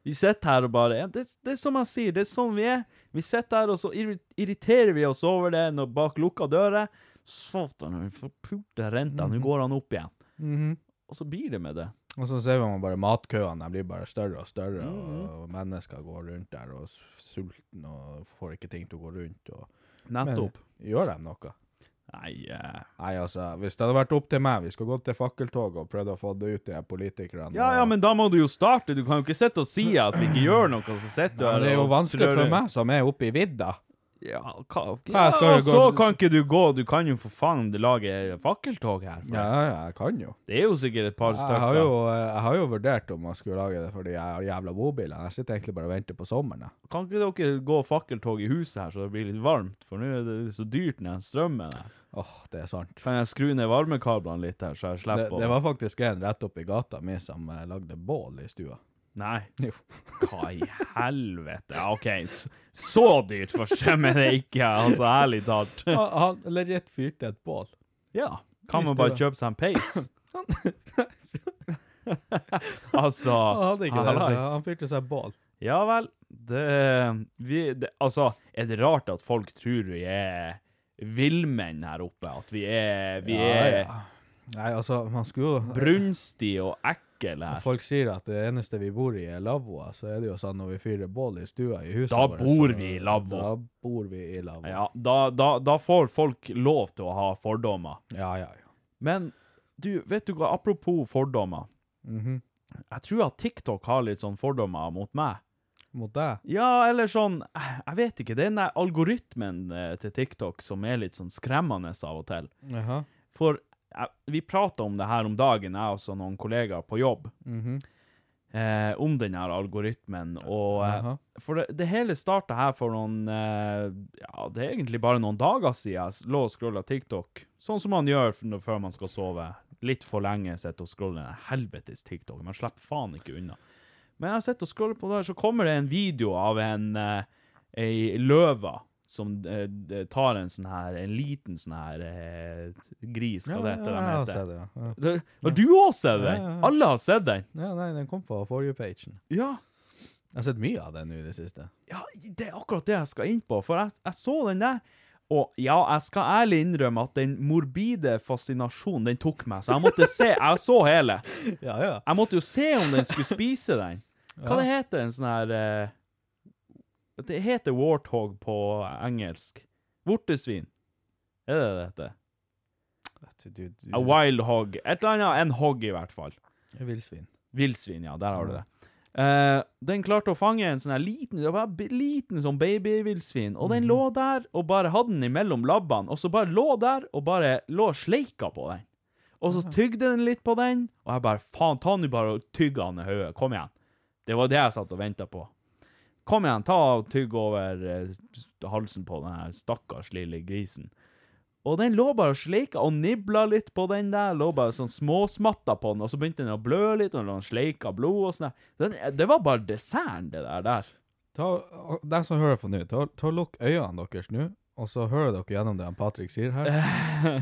[SPEAKER 1] Vi sitter her og bare ja, det, det er som jeg sier, det er sånn vi er. Vi sitter her, og så irri- irriterer vi oss over det når bak lukka dører. Satan, vi får pulte renta, nå går han opp igjen. Og så blir det med det.
[SPEAKER 3] Og så ser man bare matkøene, de blir bare større og større,
[SPEAKER 1] Mhm.
[SPEAKER 3] og mennesker går rundt der og s- sulten og får ikke ting til å gå rundt. Og...
[SPEAKER 1] Nettopp.
[SPEAKER 3] gjør de noe?
[SPEAKER 1] Nei, eh,
[SPEAKER 3] Nei, altså, hvis det hadde vært opp til meg, vi skulle gått til fakkeltoget og prøvd å få det ut til politikerne.
[SPEAKER 1] Ja, ja,
[SPEAKER 3] og-
[SPEAKER 1] men da må du jo starte. Du kan jo ikke sitte og si at vi ikke gjør noe, så sitter du
[SPEAKER 3] Ja,
[SPEAKER 1] her
[SPEAKER 3] men det er jo
[SPEAKER 1] og
[SPEAKER 3] vanskelig
[SPEAKER 1] trør-
[SPEAKER 3] for meg som er oppe i vidda.
[SPEAKER 1] Ja, hva,
[SPEAKER 3] jeg skal
[SPEAKER 1] ja,
[SPEAKER 3] jo gå-
[SPEAKER 1] så kan ikke du gå. Du kan jo for faen lage fakkeltog her. for
[SPEAKER 3] Ja, ja, jeg kan jo.
[SPEAKER 1] Det er jo sikkert et par
[SPEAKER 3] Jeg-
[SPEAKER 1] stykker.
[SPEAKER 3] Jeg har, jo, jeg har jo vurdert om jeg skulle lage det for de jæv- jævla bobilene. Jeg sitter egentlig bare og venter på sommeren. jeg.
[SPEAKER 1] Kan ikke dere gå fakkeltog i huset her, så det blir litt varmt? For nå er det så dyrt når strømmen er.
[SPEAKER 3] Åh, det er sant.
[SPEAKER 1] Kan jeg skru ned varmekablene litt her, så jeg
[SPEAKER 3] Det,
[SPEAKER 1] slipper å
[SPEAKER 3] det var faktisk en rett oppi gata mi som eh, lagde bål i stua.
[SPEAKER 1] Nei.
[SPEAKER 3] Jo.
[SPEAKER 1] Hva i helvete? Ja, OK, så, så dyrt for strømmen er ikke, altså, ærlig talt.
[SPEAKER 3] Han, han legit fyrte et bål.
[SPEAKER 1] Ja. Kan man
[SPEAKER 3] Hvis det
[SPEAKER 1] bare
[SPEAKER 3] var-
[SPEAKER 1] kjøpe seg en peis? Altså
[SPEAKER 3] Han hadde ikke det,
[SPEAKER 1] hallais.
[SPEAKER 3] så han fyrte seg bål.
[SPEAKER 1] Ja vel. Det, vi, det Altså, er det rart at folk tror vi er villmenn her oppe? At vi er, vi er
[SPEAKER 3] Nei, altså, man skulle jo
[SPEAKER 1] brunstige og ekle her?
[SPEAKER 3] Folk sier at det eneste vi bor i, er lavvoa, så er det jo sånn når vi fyrer bål i stua i huset
[SPEAKER 1] Da
[SPEAKER 3] vårt,
[SPEAKER 1] bor
[SPEAKER 3] så-
[SPEAKER 1] vi i lavvo.
[SPEAKER 3] Da bor vi i lavvo.
[SPEAKER 1] Ja, da, da, da får folk lov til å ha fordommer.
[SPEAKER 3] ja, ja. ja.
[SPEAKER 1] Men du, vet du hva, apropos fordommer.
[SPEAKER 3] Mhm.
[SPEAKER 1] Jeg tror at TikTok har litt sånn fordommer mot meg.
[SPEAKER 3] Mot deg?
[SPEAKER 1] Ja, eller sånn eh, Jeg vet ikke. Det er den der algoritmen eh, til TikTok som er litt sånn skremmende av og til.
[SPEAKER 3] Jaha.
[SPEAKER 1] For jeg, Vi prata om det her om dagen, jeg og så noen kollegaer på jobb, eh, om den her algoritmen. Og eh,
[SPEAKER 3] Aha.
[SPEAKER 1] For det, det hele starta her for noen eh, Ja, det er egentlig bare noen dager siden jeg s- lå og scrolla TikTok. Sånn som man gjør f- når- før man skal sove. Litt for lenge sitter og scroller den helvetes TikTok. Man slipper faen ikke unna. Men jeg sitter og scroller på der, så kommer det en video av en eh, ei løve som eh, d- tar en sånn her En liten sånn her eh, gris, hva det heter
[SPEAKER 3] ja,
[SPEAKER 1] de
[SPEAKER 3] jeg har
[SPEAKER 1] heter.
[SPEAKER 3] sett det, ja. Ja.
[SPEAKER 1] Det- Og du òg ser den!
[SPEAKER 3] Ja, ja, ja.
[SPEAKER 1] Alle har sett den.
[SPEAKER 3] ja, nei, den kom på for you-pagen.
[SPEAKER 1] Ja.
[SPEAKER 3] Jeg har sett mye av den nå i det siste.
[SPEAKER 1] Ja, det er akkurat det jeg skal inn på, for jeg, jeg så den der. Og ja, jeg skal ærlig innrømme at den morbide fascinasjonen, den tok meg, så jeg måtte se. Jeg så hele.
[SPEAKER 3] Ja, ja.
[SPEAKER 1] Jeg måtte jo se om den skulle spise den. Hva det heter en sånn her eh, Det heter warthog på engelsk. Vortesvin. Er det det heter?
[SPEAKER 3] Du, du, du.
[SPEAKER 1] A wild hog. Et eller annet. En hog, i hvert fall.
[SPEAKER 3] Villsvin.
[SPEAKER 1] Villsvin, ja. Der har du det. Eh, den klarte å fange en sånn her liten det var en bi- liten sånn babyvillsvin, og den lå der og bare hadde den imellom labbene, og så bare lå der og bare lå og sleika på den. Og så tygde den litt på den, og jeg bare faen, ta nå bare og tygg han i hodet. Kom igjen. Det var det jeg satt og venta på. Kom igjen, ta og tygg over eh, s- halsen på den her stakkars lille grisen. Og den lå bare og sleika og nibla litt på den der. Lå bare sånn småsmatta på den, og så begynte den å blø litt, og den sleika blod og sånn. der. Den, det var bare desserten, det der. der.
[SPEAKER 3] Ta, og de som hører på nå, ta, ta lukk øynene deres nå, og så hører dere gjennom det han Patrick sier her.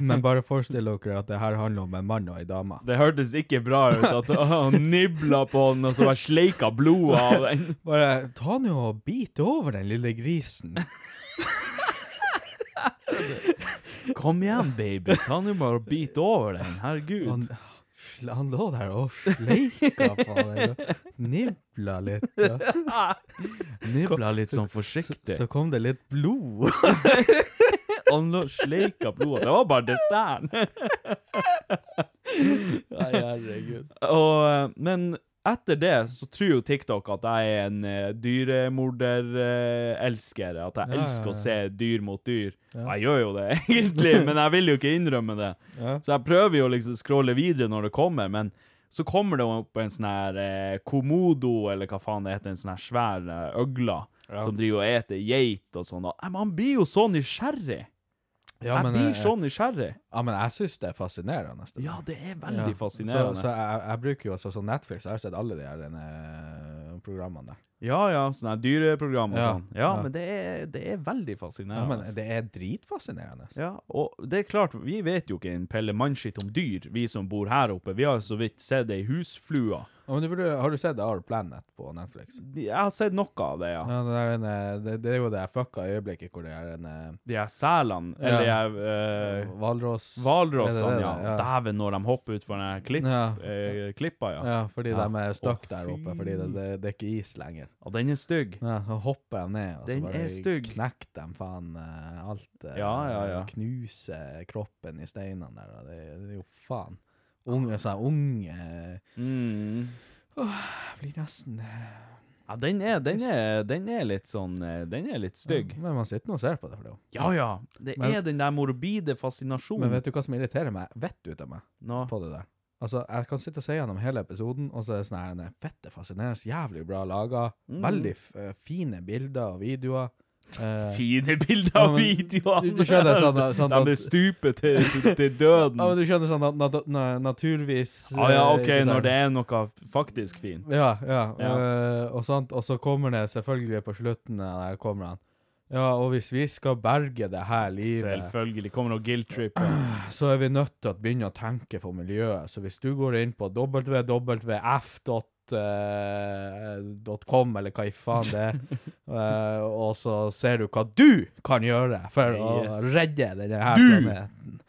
[SPEAKER 3] Men bare forestill dere at det her handler om en mann og ei dame.
[SPEAKER 1] Det hørtes ikke bra ut at han nibla på den, og så bare sleika blodet av den.
[SPEAKER 3] Bare ta nå og bit over den lille grisen.
[SPEAKER 1] Kom igjen, baby. Ta nå bare og bit over den.
[SPEAKER 3] Han,
[SPEAKER 1] Herregud.
[SPEAKER 3] sl- han lå der og sleika på den. og Nibla litt. Ja.
[SPEAKER 1] Nibla litt sånn
[SPEAKER 3] Så,
[SPEAKER 1] forsiktig.
[SPEAKER 3] så kom det litt blod.
[SPEAKER 1] Han lå og sleika blodet. Det var bare desserten.
[SPEAKER 3] Nei, herregud.
[SPEAKER 1] Og, men etter det så tror jo TikTok at jeg er en uh, dyremorderelsker. at jeg
[SPEAKER 3] Ja, ja,
[SPEAKER 1] elsker
[SPEAKER 3] ja.
[SPEAKER 1] å se dyr mot dyr. Og jeg gjør jo det, egentlig, men jeg vil jo ikke innrømme det.
[SPEAKER 3] Ja.
[SPEAKER 1] Så jeg prøver jo liksom å scrolle videre når det kommer, men så kommer det opp en sånn her eh, komodo, eller hva faen det heter, en sånn her svær eh, øgle. Som driver og eter geit og sånn. og- Nei, men Han blir jo så nysgjerrig!
[SPEAKER 3] Ja,
[SPEAKER 1] jeg
[SPEAKER 3] men,
[SPEAKER 1] blir sånn-
[SPEAKER 3] eh,
[SPEAKER 1] så nysgjerrig!
[SPEAKER 3] ja, men jeg syns det er fascinerende. det
[SPEAKER 1] Ja, det er
[SPEAKER 3] Ja,
[SPEAKER 1] veldig fascinerende.
[SPEAKER 3] Så, så jeg, jeg bruker jo også sånn Netflix, jeg har sett alle de her eh, programmene der.
[SPEAKER 1] Ja, ja, sånne her dyreprogram og
[SPEAKER 3] Ja,
[SPEAKER 1] sånn. Ja,
[SPEAKER 3] ja.
[SPEAKER 1] men det er, det er veldig
[SPEAKER 3] Ja,
[SPEAKER 1] fascinerende. altså.
[SPEAKER 3] men det er dritfascinerende.
[SPEAKER 1] Ja, og det er klart, vi vet jo ikke en pelle mannskitt om dyr, vi som bor her oppe. Vi har så vidt sett ei husflue.
[SPEAKER 3] Ja, men du burde, har du sett Our Planet på Netflix?
[SPEAKER 1] Jeg har sett noe av det, ja.
[SPEAKER 3] Ja, det, er en, eh, det, det er jo det jeg fucka øyeblikket hvor det er en eh,
[SPEAKER 1] De her selene,
[SPEAKER 3] Ja.
[SPEAKER 1] eller de her eh,
[SPEAKER 3] hvalross
[SPEAKER 1] hvalrossene,
[SPEAKER 3] Er det det
[SPEAKER 1] ja.
[SPEAKER 3] det? Ja.
[SPEAKER 1] Dæven, når de hopper utfor den her klipp,
[SPEAKER 3] Ja.
[SPEAKER 1] eh, klippa, ja.
[SPEAKER 3] ja, fordi
[SPEAKER 1] Ja.
[SPEAKER 3] de er
[SPEAKER 1] Å,
[SPEAKER 3] stuck
[SPEAKER 1] fy.
[SPEAKER 3] der oppe, fordi det, det, det er ikke is lenger.
[SPEAKER 1] Og den er stygg.
[SPEAKER 3] Ja, så hopper de ned, og så
[SPEAKER 1] Den er
[SPEAKER 3] bare
[SPEAKER 1] stygg.
[SPEAKER 3] knekker de faen eh, alt. eh,
[SPEAKER 1] Ja, ja, ja.
[SPEAKER 3] Knuser kroppen i steinene der, og det, det er jo faen. Unge, sånn unge
[SPEAKER 1] Mm.
[SPEAKER 3] blir nesten eh,
[SPEAKER 1] Ja, den er, den, er, den er litt sånn eh, Den er litt stygg.
[SPEAKER 3] Men man sitter nå og ser på det. for det. jo.
[SPEAKER 1] Ja ja. Det
[SPEAKER 3] Men-
[SPEAKER 1] er den der morbide
[SPEAKER 3] Men
[SPEAKER 1] fascinasjonen.
[SPEAKER 3] vet du hva som irriterer meg? Vet du til meg
[SPEAKER 1] Nå.
[SPEAKER 3] på det der? Altså, Jeg kan sitte og se gjennom hele episoden, og så er det sånn her den er fette fascinerende, jævlig bra laga,
[SPEAKER 1] Mm.
[SPEAKER 3] veldig f- eh, fine bilder og videoer. Eh,
[SPEAKER 1] fine bilder
[SPEAKER 3] Ja,
[SPEAKER 1] av
[SPEAKER 3] men
[SPEAKER 1] videoene.
[SPEAKER 3] du- du skjønner sånn- sånn at-
[SPEAKER 1] De er stupet til, til, til døden.
[SPEAKER 3] ja, men du skjønner sånn nat nat na- naturvis
[SPEAKER 1] ah, ja, OK,
[SPEAKER 3] eh, ikke sant?
[SPEAKER 1] når det er noe faktisk fint.
[SPEAKER 3] Ja, ja,
[SPEAKER 1] Ja.
[SPEAKER 3] eh, og sånt. Og så kommer det selvfølgelig på slutten eh, der kommer han. Ja, og hvis vi skal berge det her livet
[SPEAKER 1] Selvfølgelig. Kommer noe guilt-trip.
[SPEAKER 3] så er vi nødt til å begynne å tenke på miljøet. Så hvis du går inn på www.f.com, eh, eller hva i faen det er, eh, og så ser du hva du kan gjøre for å
[SPEAKER 1] Yes.
[SPEAKER 3] redde denne her planeten.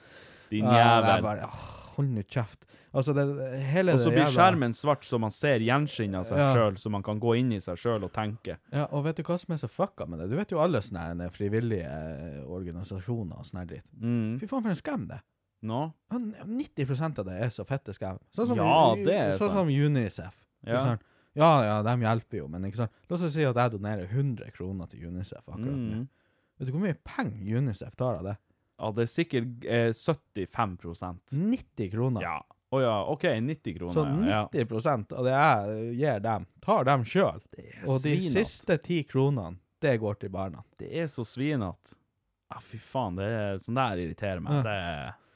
[SPEAKER 1] Din
[SPEAKER 3] Ja, jeg
[SPEAKER 1] jævel.
[SPEAKER 3] bare, «Åh, Hold nå kjeft. Altså, det, hele
[SPEAKER 1] Og så
[SPEAKER 3] det
[SPEAKER 1] blir
[SPEAKER 3] jævla-
[SPEAKER 1] skjermen svart, så man ser gjenskinn av seg
[SPEAKER 3] Ja.
[SPEAKER 1] sjøl, så man kan gå inn i seg sjøl og tenke.
[SPEAKER 3] Ja, og vet du hva som er så fucka med det? Du vet jo alle sånne her, eh, frivillige eh, organisasjoner og sånn her dritt.
[SPEAKER 1] Mm.
[SPEAKER 3] Fy faen, for en skam det er.
[SPEAKER 1] Nå?
[SPEAKER 3] Ja, 90 av det er så fette skam. Sånn som,
[SPEAKER 1] Ja, det er
[SPEAKER 3] sånn
[SPEAKER 1] sant.
[SPEAKER 3] som Unicef.
[SPEAKER 1] Ja.
[SPEAKER 3] Ikke sant? Ja, ja, de hjelper jo, men ikke sant? La oss si at jeg donerer 100 kroner til Unicef akkurat nå.
[SPEAKER 1] Mm.
[SPEAKER 3] Vet du hvor mye penger Unicef tar av det?
[SPEAKER 1] Ja, det er sikkert eh, 75
[SPEAKER 3] 90 kroner.
[SPEAKER 1] Ja. Å ja, OK, 90 kroner.
[SPEAKER 3] Så
[SPEAKER 1] ja, ja.
[SPEAKER 3] 90 av det jeg gir dem, tar dem sjøl. Og de
[SPEAKER 1] svinete.
[SPEAKER 3] siste ti kronene, det går til barna.
[SPEAKER 1] Det er så svinete. Ja, fy faen, det er, sånn der irriterer meg. Det,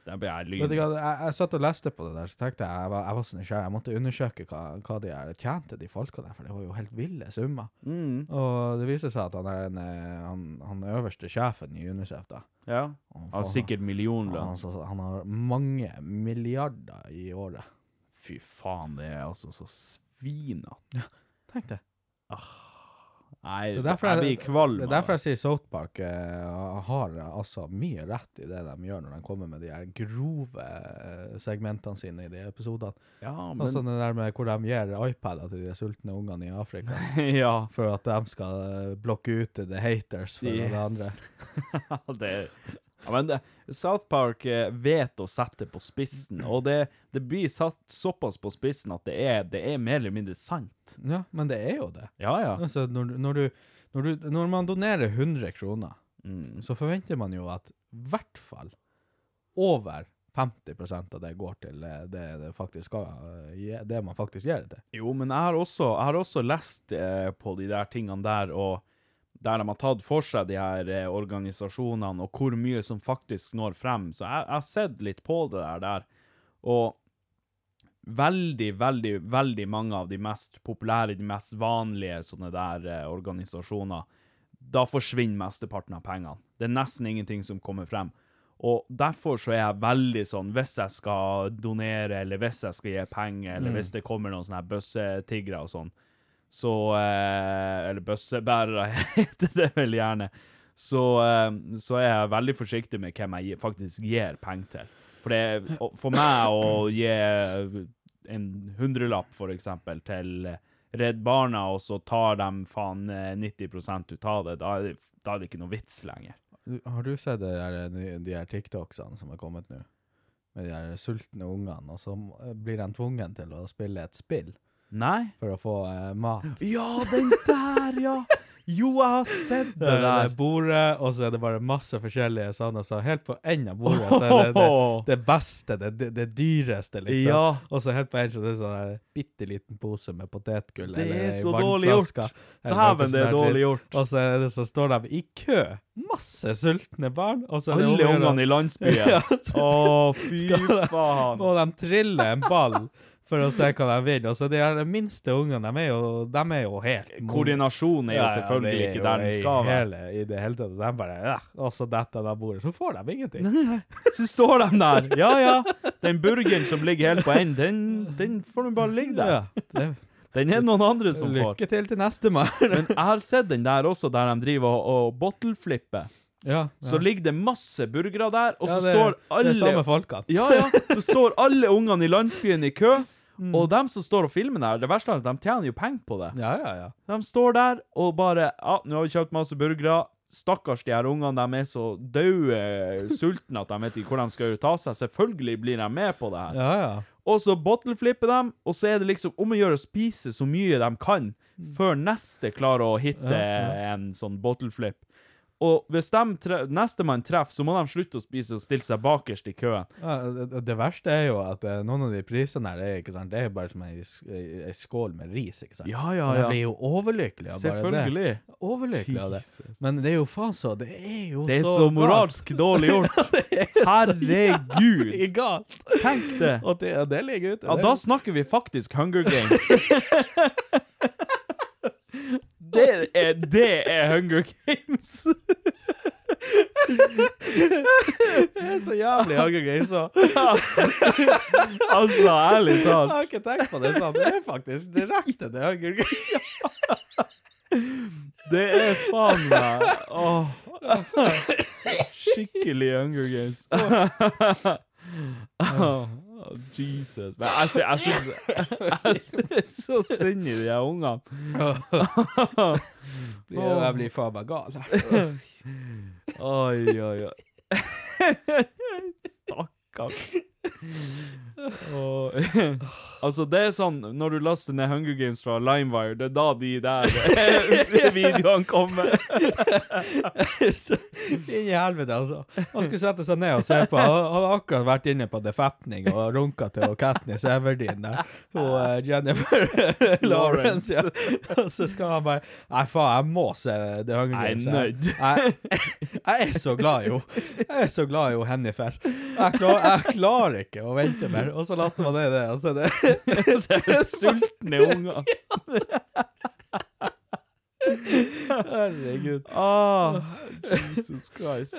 [SPEAKER 1] der blir jeg
[SPEAKER 3] Vet du hva,
[SPEAKER 1] lynrask.
[SPEAKER 3] jeg, jeg satt og leste på det der, så tenkte jeg jeg var, jeg var så nysgjerrig. Jeg måtte undersøke hva, hva de her tjente, de folka der, for det var jo helt ville summer.
[SPEAKER 1] Mm,
[SPEAKER 3] Og det viser seg at han er en, eh, han, han øverste sjefen i Unicef, da.
[SPEAKER 1] ja. Mm,
[SPEAKER 3] Han
[SPEAKER 1] ja,
[SPEAKER 3] får-
[SPEAKER 1] sikkert millionlønn.
[SPEAKER 3] Han, han, han har mange milliarder i året.
[SPEAKER 1] Fy faen, det er altså så svinete.
[SPEAKER 3] Tenk det.
[SPEAKER 1] Nei,
[SPEAKER 3] Det er
[SPEAKER 1] jeg
[SPEAKER 3] derfor jeg,
[SPEAKER 1] blir kvalm.
[SPEAKER 3] det er derfor jeg sier South Park eh, har altså mye rett i det de gjør når de kommer med de her grove eh, segmentene sine i de episodene.
[SPEAKER 1] Ja, men
[SPEAKER 3] Altså det der med hvor de gir iPader til de sultne ungene i Afrika.
[SPEAKER 1] Ja.
[SPEAKER 3] For at de skal eh, blokke ut the haters for
[SPEAKER 1] Yes.
[SPEAKER 3] det andre.
[SPEAKER 1] Ja, det ja, men det, South Park eh, vet å sette på spissen, og det, det blir satt såpass på spissen at det er, det er mer eller mindre sant.
[SPEAKER 3] Ja, men det er jo det.
[SPEAKER 1] Ja, ja.
[SPEAKER 3] Altså, når, når, du, når, du, når man donerer 100 kroner,
[SPEAKER 1] Mm.
[SPEAKER 3] så forventer man jo at i hvert fall over 50 av det går til eh, det, det, faktisk skal, eh, gi- det man faktisk gir det til.
[SPEAKER 1] Jo, men jeg har også, jeg har også lest eh, på de der tingene der, og der de har tatt for seg de her eh, organisasjonene, og hvor mye som faktisk når frem. Så jeg, jeg har sett litt på det der, der. Og veldig, veldig, veldig mange av de mest populære, de mest vanlige sånne der eh, organisasjoner, da forsvinner mesteparten av pengene. Det er nesten ingenting som kommer frem. Og derfor så er jeg veldig sånn, hvis jeg skal donere, eller hvis jeg skal gi penger, eller hvis det kommer noen sånne her bøssetiggere og sånn, så eh, Eller bøssebærere heter det vel gjerne. Så, eh, så er jeg veldig forsiktig med hvem jeg gi- faktisk gir penger til. For, det, og for meg å gi en hundrelapp, for eksempel, til Redd Barna, og så tar de faen eh, 90 ut av det, da er det, da er det ikke noe vits lenger.
[SPEAKER 3] Du- Har du sett det der, de, de her TikToksene som er kommet nå? Med de her sultne ungene, og så eh, blir de tvungen til å spille et spill
[SPEAKER 1] Nei?
[SPEAKER 3] for å få eh, mat.
[SPEAKER 1] Ja, den der, ja! Jo, jeg har sett
[SPEAKER 3] Det
[SPEAKER 1] det
[SPEAKER 3] er det
[SPEAKER 1] der.
[SPEAKER 3] bordet, og så er det bare masse forskjellige sånne, så helt på enden av bordet så er det det, det beste, det, det, det dyreste, liksom.
[SPEAKER 1] Ja.
[SPEAKER 3] Og så helt på enden så er det sånn der bitte liten pose med potetgull.
[SPEAKER 1] Det
[SPEAKER 3] eller
[SPEAKER 1] er
[SPEAKER 3] ei
[SPEAKER 1] så dårlig gjort.
[SPEAKER 3] vannflaske, eller noe
[SPEAKER 1] Dæven, det
[SPEAKER 3] sånt
[SPEAKER 1] er
[SPEAKER 3] der
[SPEAKER 1] dårlig
[SPEAKER 3] dritt.
[SPEAKER 1] gjort.
[SPEAKER 3] Og så, er det, så står de i kø, masse sultne barn, og så er det
[SPEAKER 1] Alle
[SPEAKER 3] om å gjøre-
[SPEAKER 1] ungene i landsbyen.
[SPEAKER 3] Ja,
[SPEAKER 1] Å, fy faen.
[SPEAKER 3] og de triller en ball for å se hva de vil. Og så de her minste ungene, de er jo, de er jo helt
[SPEAKER 1] Koordinasjonen er jo
[SPEAKER 3] Ja, ja,
[SPEAKER 1] selvfølgelig
[SPEAKER 3] det er
[SPEAKER 1] ikke
[SPEAKER 3] jo
[SPEAKER 1] der den
[SPEAKER 3] i
[SPEAKER 1] skal være.
[SPEAKER 3] Hele, I det hele tatt. De bare ja, Og så detter de av bordet. Så får de ingenting.
[SPEAKER 1] Så står de der. Ja, ja. Den burgeren som ligger helt på enden, den, den får nå bare ligge der.
[SPEAKER 3] Ja, det,
[SPEAKER 1] Den er noen andre som får.
[SPEAKER 3] lykke til til neste mann.
[SPEAKER 1] Men jeg har sett den der også, der de driver og, og bottleflipper.
[SPEAKER 3] Ja,
[SPEAKER 1] Så ligger det masse burgere der, og så
[SPEAKER 3] Ja, det-
[SPEAKER 1] står alle
[SPEAKER 3] Det er samme folka.
[SPEAKER 1] Ja, ja. Så står alle ungene i landsbyen i kø. Og dem som står og filmer der, det verste er at de tjener jo penger på det.
[SPEAKER 3] Ja, ja, ja.
[SPEAKER 1] De står der og bare Ja, nå har vi kjøpt masse burgere. Stakkars de her ungene, de er så daue sultne at de vet ikke hvor de skal ta seg. Selvfølgelig blir de med på det her.
[SPEAKER 3] Ja, ja.
[SPEAKER 1] Og så bottleflipper dem, og så er det liksom om å gjøre å spise så mye de kan, før neste klarer å hitte en sånn bottleflip. Og hvis de tre nestemann treffer, så må de slutte å spise og stille seg bakerst i køen.
[SPEAKER 3] Ja, det- Det verste er jo at eh, noen av de prisene her, det er, ikke sant? Det er jo bare som ei sk- ei- ei skål med ris, ikke sant?
[SPEAKER 1] Ja, ja,
[SPEAKER 3] Men
[SPEAKER 1] ja.
[SPEAKER 3] Jeg blir jo overlykkelig av bare det.
[SPEAKER 1] Selvfølgelig.
[SPEAKER 3] Overlykkelig av det.
[SPEAKER 1] Jesus.
[SPEAKER 3] Men det er jo faen så Det er jo
[SPEAKER 1] Det er så,
[SPEAKER 3] galt.
[SPEAKER 1] moralsk dårlig gjort. Herregud.
[SPEAKER 3] Det er galt.
[SPEAKER 1] Tenk det.
[SPEAKER 3] Og det, og det ligger ute.
[SPEAKER 1] Ja,
[SPEAKER 3] Det-
[SPEAKER 1] da snakker vi faktisk Hunger Games. Det er, det er Hunger Games.
[SPEAKER 3] det er så jævlig Hunger Games òg.
[SPEAKER 1] Altså, ærlig
[SPEAKER 3] Jeg
[SPEAKER 1] talt.
[SPEAKER 3] har ikke tenkt på det sånn. Det er faktisk direkte til Hunger Games.
[SPEAKER 1] Det er faen meg Åh. Skikkelig Hunger Games. Åh, Jesus. Men jeg sy- jeg syns Jeg syns så synd i de her ungene.
[SPEAKER 3] Jeg blir faen meg gal.
[SPEAKER 1] Oi, oi, oi. Stakkars. Og, altså, det er sånn Når du laster ned Hunger Games fra Limewire, det er da de der videoene kommer.
[SPEAKER 3] Så, Inn i helvete, altså. Han skulle sette seg ned og se på. Han han hadde akkurat vært inne på Defapning og runka til Katniss Everdeen der. Og eh, Jennifer Lawrence. Ja. Og så skal han bare Nei, faen, jeg må se The
[SPEAKER 1] Jeg
[SPEAKER 3] Hunger
[SPEAKER 1] er
[SPEAKER 3] Games.
[SPEAKER 1] nødt.
[SPEAKER 3] Jeg, jeg er så glad i henne. Jeg er så glad i henne Hennifer. Jeg, klar, jeg klarer ikke å vente mer. Og så laster man ned det, og så er det
[SPEAKER 1] Det er sultne unger.
[SPEAKER 3] Herregud.
[SPEAKER 1] Ah, Jesus Christ.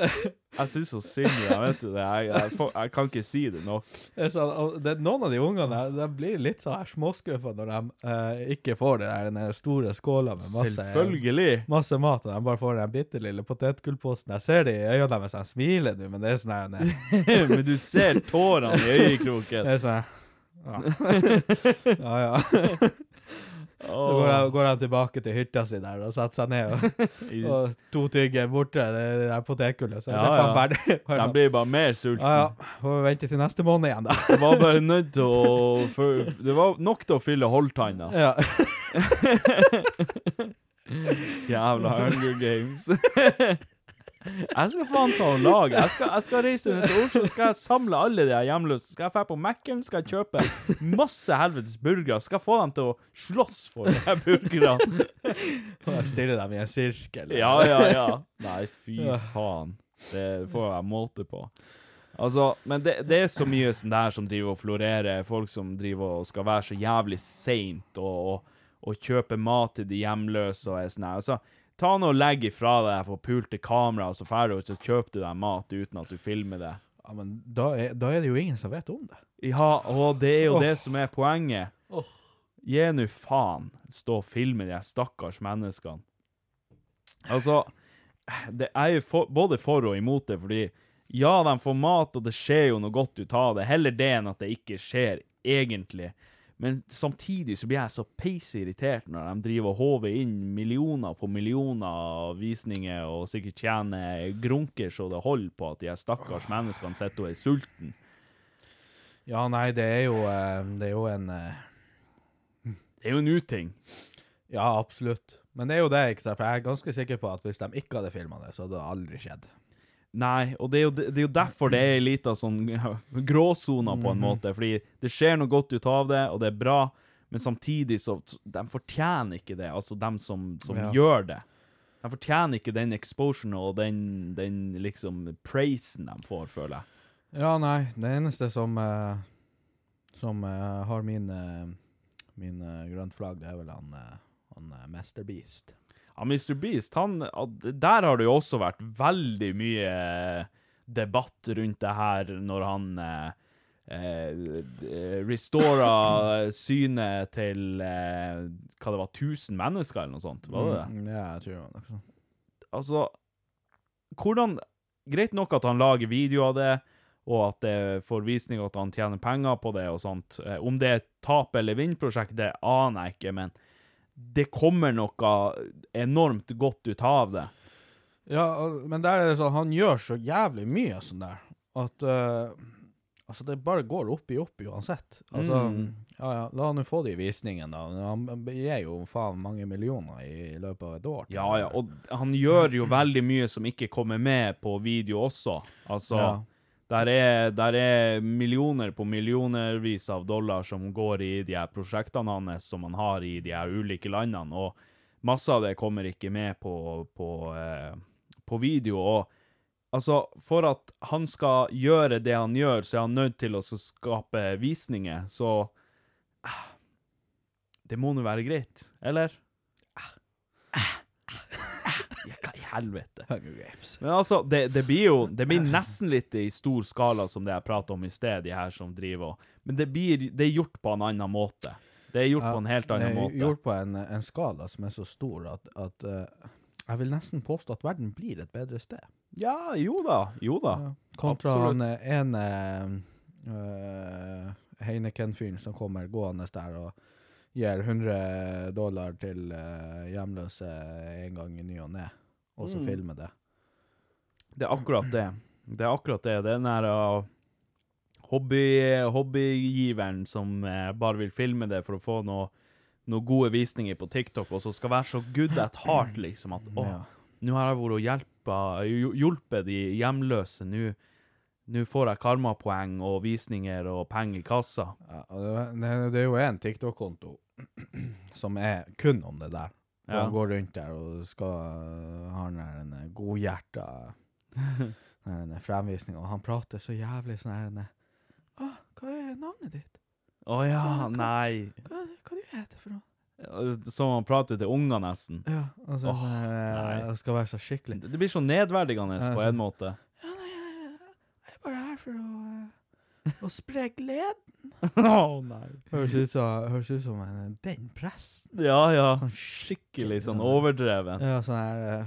[SPEAKER 1] Jeg syns så synd i deg, vet du det. Jeg, jeg, får- jeg kan ikke si det nok.
[SPEAKER 3] Det er sånn, og det, noen av de ungene der, de blir litt sånn her småskuffa når de eh, ikke får det der, den der store skåla med masse,
[SPEAKER 1] Selvfølgelig.
[SPEAKER 3] masse mat, og de bare får den bitte lille potetgullposen. Jeg ser det i øynene deres, de smiler nå, men det er sånn her nei,
[SPEAKER 1] Men du ser tårene i
[SPEAKER 3] Det
[SPEAKER 1] øyekroken.
[SPEAKER 3] er sånn her, ja. ja, ja. Så går han, går han tilbake til hytta si der og setter seg ned, og,
[SPEAKER 1] De
[SPEAKER 3] og to tygger borte det, det der potetgullet. Så
[SPEAKER 1] Ja,
[SPEAKER 3] det er faen
[SPEAKER 1] ja.
[SPEAKER 3] ferdig. Bare,
[SPEAKER 1] blir bare mer
[SPEAKER 3] Ja,
[SPEAKER 1] sultne.
[SPEAKER 3] ja. Får vi vente til neste måned igjen, da.
[SPEAKER 1] Det var bare nødt til å fø- Det var nok til å fylle holdtanna.
[SPEAKER 3] Ja.
[SPEAKER 1] Jævla Hunger Games. Jeg skal faen ta og lage. Jeg skal, jeg skal reise ned til Oslo, skal jeg samle alle de her hjemløse. Skal jeg dra på Mækkern, skal jeg kjøpe masse helvetes burgere. Skal jeg få dem til å slåss for de her burgerne.
[SPEAKER 3] Og jeg stiller dem i en sirkel.
[SPEAKER 1] Ja, ja, ja. Nei, fy faen. Det får jeg måte på. Altså, men det, det er så mye sånn der som driver og florerer. Folk som driver og skal være så jævlig seint og, og, og kjøpe mat til de hjemløse og er sånn her. Altså, ta nå og legg ifra deg forpulte kamera, og så ferdig, og så kjøper du deg mat uten at du filmer det.
[SPEAKER 3] Ja, men da er, da er det jo ingen som vet om det.
[SPEAKER 1] Ja, og det er jo det som er poenget. Gi nå faen. Stå og filme de her stakkars menneskene. Altså, det er jo for, både for og imot det, fordi ja, de får mat, og det skjer jo noe godt ut av det. Heller det enn at det ikke skjer, egentlig. Men samtidig så blir jeg så peiseirritert når de driver og håver inn millioner på millioner av visninger, og sikkert tjener grunker så det holder på at de her stakkars menneskene sitter og er sultne.
[SPEAKER 3] Ja, nei, det er jo, eh, det er jo en eh,
[SPEAKER 1] Det er jo en uting.
[SPEAKER 3] Ja, absolutt. Men det er jo det, ikke sant? For jeg er ganske sikker på at hvis de ikke hadde filma det, så hadde det aldri skjedd.
[SPEAKER 1] Nei, og det er jo, det er jo derfor det er ei lita sånn gråsone, på en måte. Fordi det skjer noe godt ut av det, og det er bra, men samtidig så De fortjener ikke det, altså dem som, som
[SPEAKER 3] Ja.
[SPEAKER 1] gjør det. De fortjener ikke den exposuren og den, den liksom praisen de får, føler jeg.
[SPEAKER 3] Ja, nei, det eneste som eh, Som eh, har min eh, Min eh, grønt flagg, det er vel han, eh, han eh, Mr. Beast.
[SPEAKER 1] Ja, Mr. Beast, han, ja, der har det jo også vært veldig mye eh, debatt rundt det her når han eh, eh, restora synet til eh, hva det var, 1000 mennesker eller noe sånt, var det det?
[SPEAKER 3] Mm, Ja, jeg tror det var noe sånt.
[SPEAKER 1] Altså, hvordan Greit nok at han lager video av det, og at det får visning, og at han tjener penger på det og sånt. Eh, Om det er et tap- eller vinn-prosjekt, det aner jeg ikke, men det kommer noe enormt godt ut av det.
[SPEAKER 3] Ja, og- men der er det sånn, han gjør så jævlig mye sånn der, at eh, altså det bare går opp i opp uansett. Altså,
[SPEAKER 1] Mm.
[SPEAKER 3] ja, ja, la han jo få de visningene da. Han gir jo faen mange millioner i løpet av et år.
[SPEAKER 1] Ja, ja, og han gjør jo veldig mye som ikke kommer med på video også. Altså,
[SPEAKER 3] Ja.
[SPEAKER 1] der, er, der er millioner på millionervis av dollar som går i de her prosjektene hans som han har i de her ulike landene, og masse av det kommer ikke med på, på, eh, på video. Og altså, for at han skal gjøre det han gjør, så er han nødt til å så skape visninger, så ah, det må nå være greit, eller? Ja, hva i helvete?
[SPEAKER 3] Hunger Games.
[SPEAKER 1] Men altså, det, det blir jo Det blir nesten litt i stor skala som det jeg prater om i sted, de her som driver og Men det blir det er gjort på en annen måte. Det er gjort på en helt annen
[SPEAKER 3] Det er
[SPEAKER 1] måte.
[SPEAKER 3] Gjort på en, en skala som er så stor at, at eh, jeg vil nesten påstå at verden blir et bedre sted.
[SPEAKER 1] Ja, jo da. Jo da.
[SPEAKER 3] Kontra
[SPEAKER 1] Absolutt.
[SPEAKER 3] han eh, ene eh, Heineken-fyren som kommer gående der og gir 100 dollar til eh, hjemløse en gang i ny og ne, og
[SPEAKER 1] Mm.
[SPEAKER 3] så filmer det.
[SPEAKER 1] Det er akkurat det. Det er akkurat det. Det er den der uh, hobby, hobbygiveren som eh, bare vil filme det for å få noe, noen gode visninger på TikTok, og som skal være så good at heart, liksom. At å, nå har jeg vært og hjelpa- hj- hjulpet de hjemløse. Nå nå får jeg karmapoeng og visninger og penger i kassa.
[SPEAKER 3] Ja, og det, det, det er jo en TikTok-konto som er kun om det der. Og
[SPEAKER 1] Ja.
[SPEAKER 3] Han går rundt der og skal øh, ha den der denne godhjerta den der denne fremvisningen, og han prater så jævlig sånn her denne, ah, Hva er navnet ditt?
[SPEAKER 1] Å ja, nei.
[SPEAKER 3] Hva, hva du heter for noe?
[SPEAKER 1] Som han prater til unger, nesten.
[SPEAKER 3] Ja, altså,
[SPEAKER 1] Åh,
[SPEAKER 3] sånn her, øh,
[SPEAKER 1] nei.
[SPEAKER 3] skal være så skikkelig.
[SPEAKER 1] Det blir så nedverdigende
[SPEAKER 3] Ja,
[SPEAKER 1] på
[SPEAKER 3] sant.
[SPEAKER 1] en måte.
[SPEAKER 3] Ja, nei, jeg, jeg er bare her for å, øh, å spre glede.
[SPEAKER 1] Å nei.
[SPEAKER 3] Høres ut som, høres ut som en, eh, den presten.
[SPEAKER 1] Ja, ja.
[SPEAKER 3] Sånn
[SPEAKER 1] Skikkelig sånn
[SPEAKER 3] sånn-
[SPEAKER 1] overdreven.
[SPEAKER 3] Ja, sånn her eh,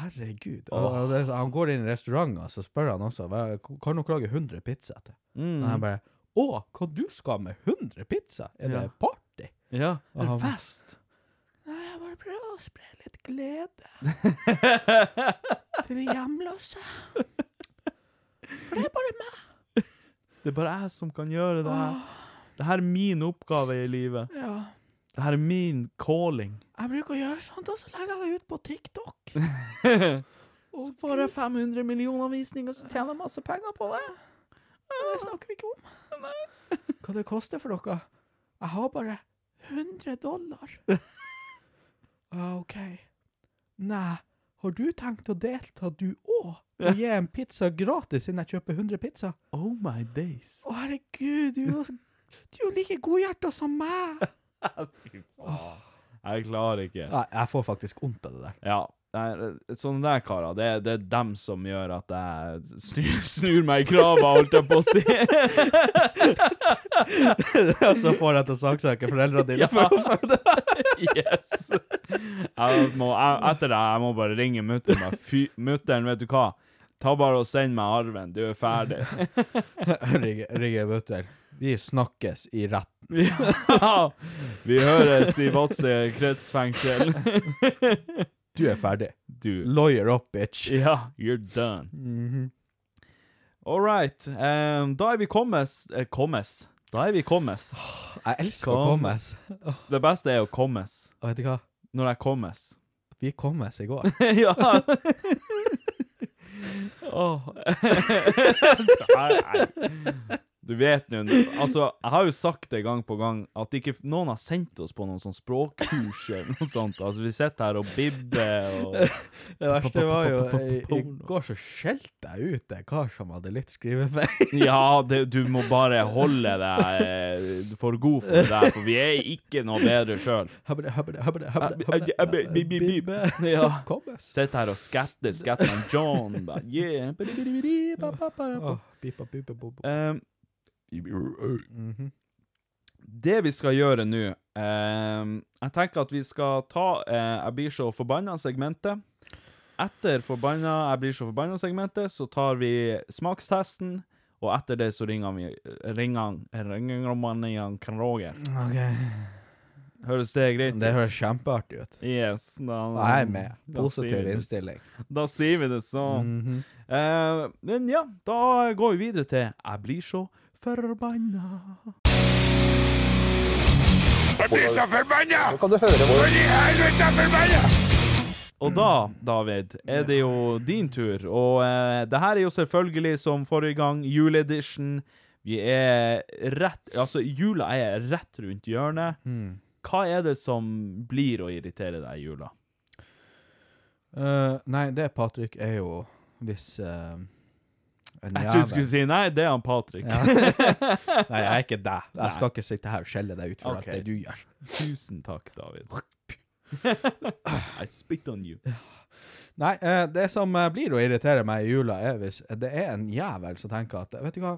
[SPEAKER 3] Herregud.
[SPEAKER 1] Åh.
[SPEAKER 3] Og- og det, er så- han går inn i restauranten, så spør han også hva, Kan dere lage 100 pizza til. Og han
[SPEAKER 1] Mm.
[SPEAKER 3] bare Å, hva du skal med 100 pizza? Er
[SPEAKER 1] Ja.
[SPEAKER 3] det party?
[SPEAKER 1] Ja.
[SPEAKER 3] Og han-
[SPEAKER 1] fest.
[SPEAKER 3] Nei, jeg bare prøver å spre litt glede til de hjemløse. For det er bare meg.
[SPEAKER 1] Det er bare jeg som kan gjøre det her. Det her er min oppgave i livet.
[SPEAKER 3] Ja.
[SPEAKER 1] Det her er min calling.
[SPEAKER 3] Jeg bruker å gjøre sånt, og så legger jeg det ut på TikTok.
[SPEAKER 1] Så får jeg 500 millioner visninger, så tjener jeg masse penger på det.
[SPEAKER 3] Det snakker vi ikke om. Hva det koster for dere? Jeg har bare 100 dollar. ah, ok. Nei, har du tenkt å delta du òg? Og gi en pizza gratis siden jeg kjøper 100 pizza? Å,
[SPEAKER 1] Oh my days.
[SPEAKER 3] herregud, du er jo- du er jo like godhjerta som meg!
[SPEAKER 1] Jeg klarer ikke.
[SPEAKER 3] Nei, jeg får faktisk vondt av det der.
[SPEAKER 1] Ja. Nei, sånne der karer, det, er- det er dem som gjør at jeg snur, snur meg i krava, holdt jeg på å si.
[SPEAKER 3] Og så får jeg til å saksøke foreldrene dine.
[SPEAKER 1] Yes! Jeg må, jeg, etter det jeg må bare ringe mutter'n. bare, Fy, mutter'n, vet du hva? Ta bare og send meg arven, du er ferdig.
[SPEAKER 3] Rigge Butter, vi snakkes i rett.
[SPEAKER 1] Ja. Vi høres i Vadsø kretsfengsel.
[SPEAKER 3] Du er ferdig.
[SPEAKER 1] Du.
[SPEAKER 3] Lawyer up, bitch.
[SPEAKER 1] Ja, you're done. All right. em, da er vi kommes eh, Kommes? Da er vi kommes.
[SPEAKER 3] Jeg elsker å
[SPEAKER 1] Kom.
[SPEAKER 3] kommes.
[SPEAKER 1] Det beste er å kommes.
[SPEAKER 3] Og vet du hva?
[SPEAKER 1] Når jeg kommes.
[SPEAKER 3] Vi kommes i går.
[SPEAKER 1] ja. Nei, nei. Du vet nå Altså, jeg har jo sagt det gang på gang at ikke noen har sendt oss på noen sånn språkkurs eller noe sånt. Altså, vi sitter her og bibber og
[SPEAKER 3] Det verste var jo I, i går så skjelte jeg ut en kar som hadde litt skrivefeil.
[SPEAKER 1] Ja, det, du må bare holde deg eh, for god for det der, for vi er ikke noe bedre sjøl.
[SPEAKER 3] Habbe, habbe, habbe, habbe, habbe, habbe, bibbe.
[SPEAKER 1] Ja.
[SPEAKER 3] Kommes.
[SPEAKER 1] Sitter her og skatter, skatter han John, bare yeah.
[SPEAKER 3] Åh, bipa, bipa, bo, bo.
[SPEAKER 1] Um,
[SPEAKER 3] Mhm.
[SPEAKER 1] det vi skal gjøre nå um, Jeg tenker at vi skal ta eh, Jeg blir så forbanna segmentet. Etter forbanna Jeg blir så forbanna segmentet, så tar vi smakstesten. Og etter det så ringer vi Ringer, ringer man igjen Kan Roger.
[SPEAKER 3] Ok.
[SPEAKER 1] Høres det greit
[SPEAKER 3] Det høres kjempeartig ut.
[SPEAKER 1] Yes. Da,
[SPEAKER 3] Jeg er med.
[SPEAKER 1] da sier vi
[SPEAKER 3] Positiv
[SPEAKER 1] det-
[SPEAKER 3] innstilling.
[SPEAKER 1] Da sier vi det sånn.
[SPEAKER 3] Mhm.
[SPEAKER 1] Eh, men ja, da går vi videre til Jeg blir så forbanna. Og da, David, er det jo din tur. Og eh, det her er jo selvfølgelig som forrige gang, juleedition. Vi er rett Altså, jula er rett rundt hjørnet.
[SPEAKER 3] Hmm.
[SPEAKER 1] Hva er det som blir å irritere deg i jula?
[SPEAKER 3] Eh, nei, det, Patrick, er jo hvis eh, en
[SPEAKER 1] Jeg trodde du
[SPEAKER 3] jævel-
[SPEAKER 1] skulle si nei, det er han Patrick.
[SPEAKER 3] Nei, jeg er ikke deg. Jeg skal ikke sitte her og skjelle deg ut for
[SPEAKER 1] Ok.
[SPEAKER 3] alt det du gjør.
[SPEAKER 1] Tusen takk, David. I spit on you.
[SPEAKER 3] Nei, eh, det som eh, blir å irritere meg i jula, er hvis eh, det er en jævel som tenker at Vet du hva,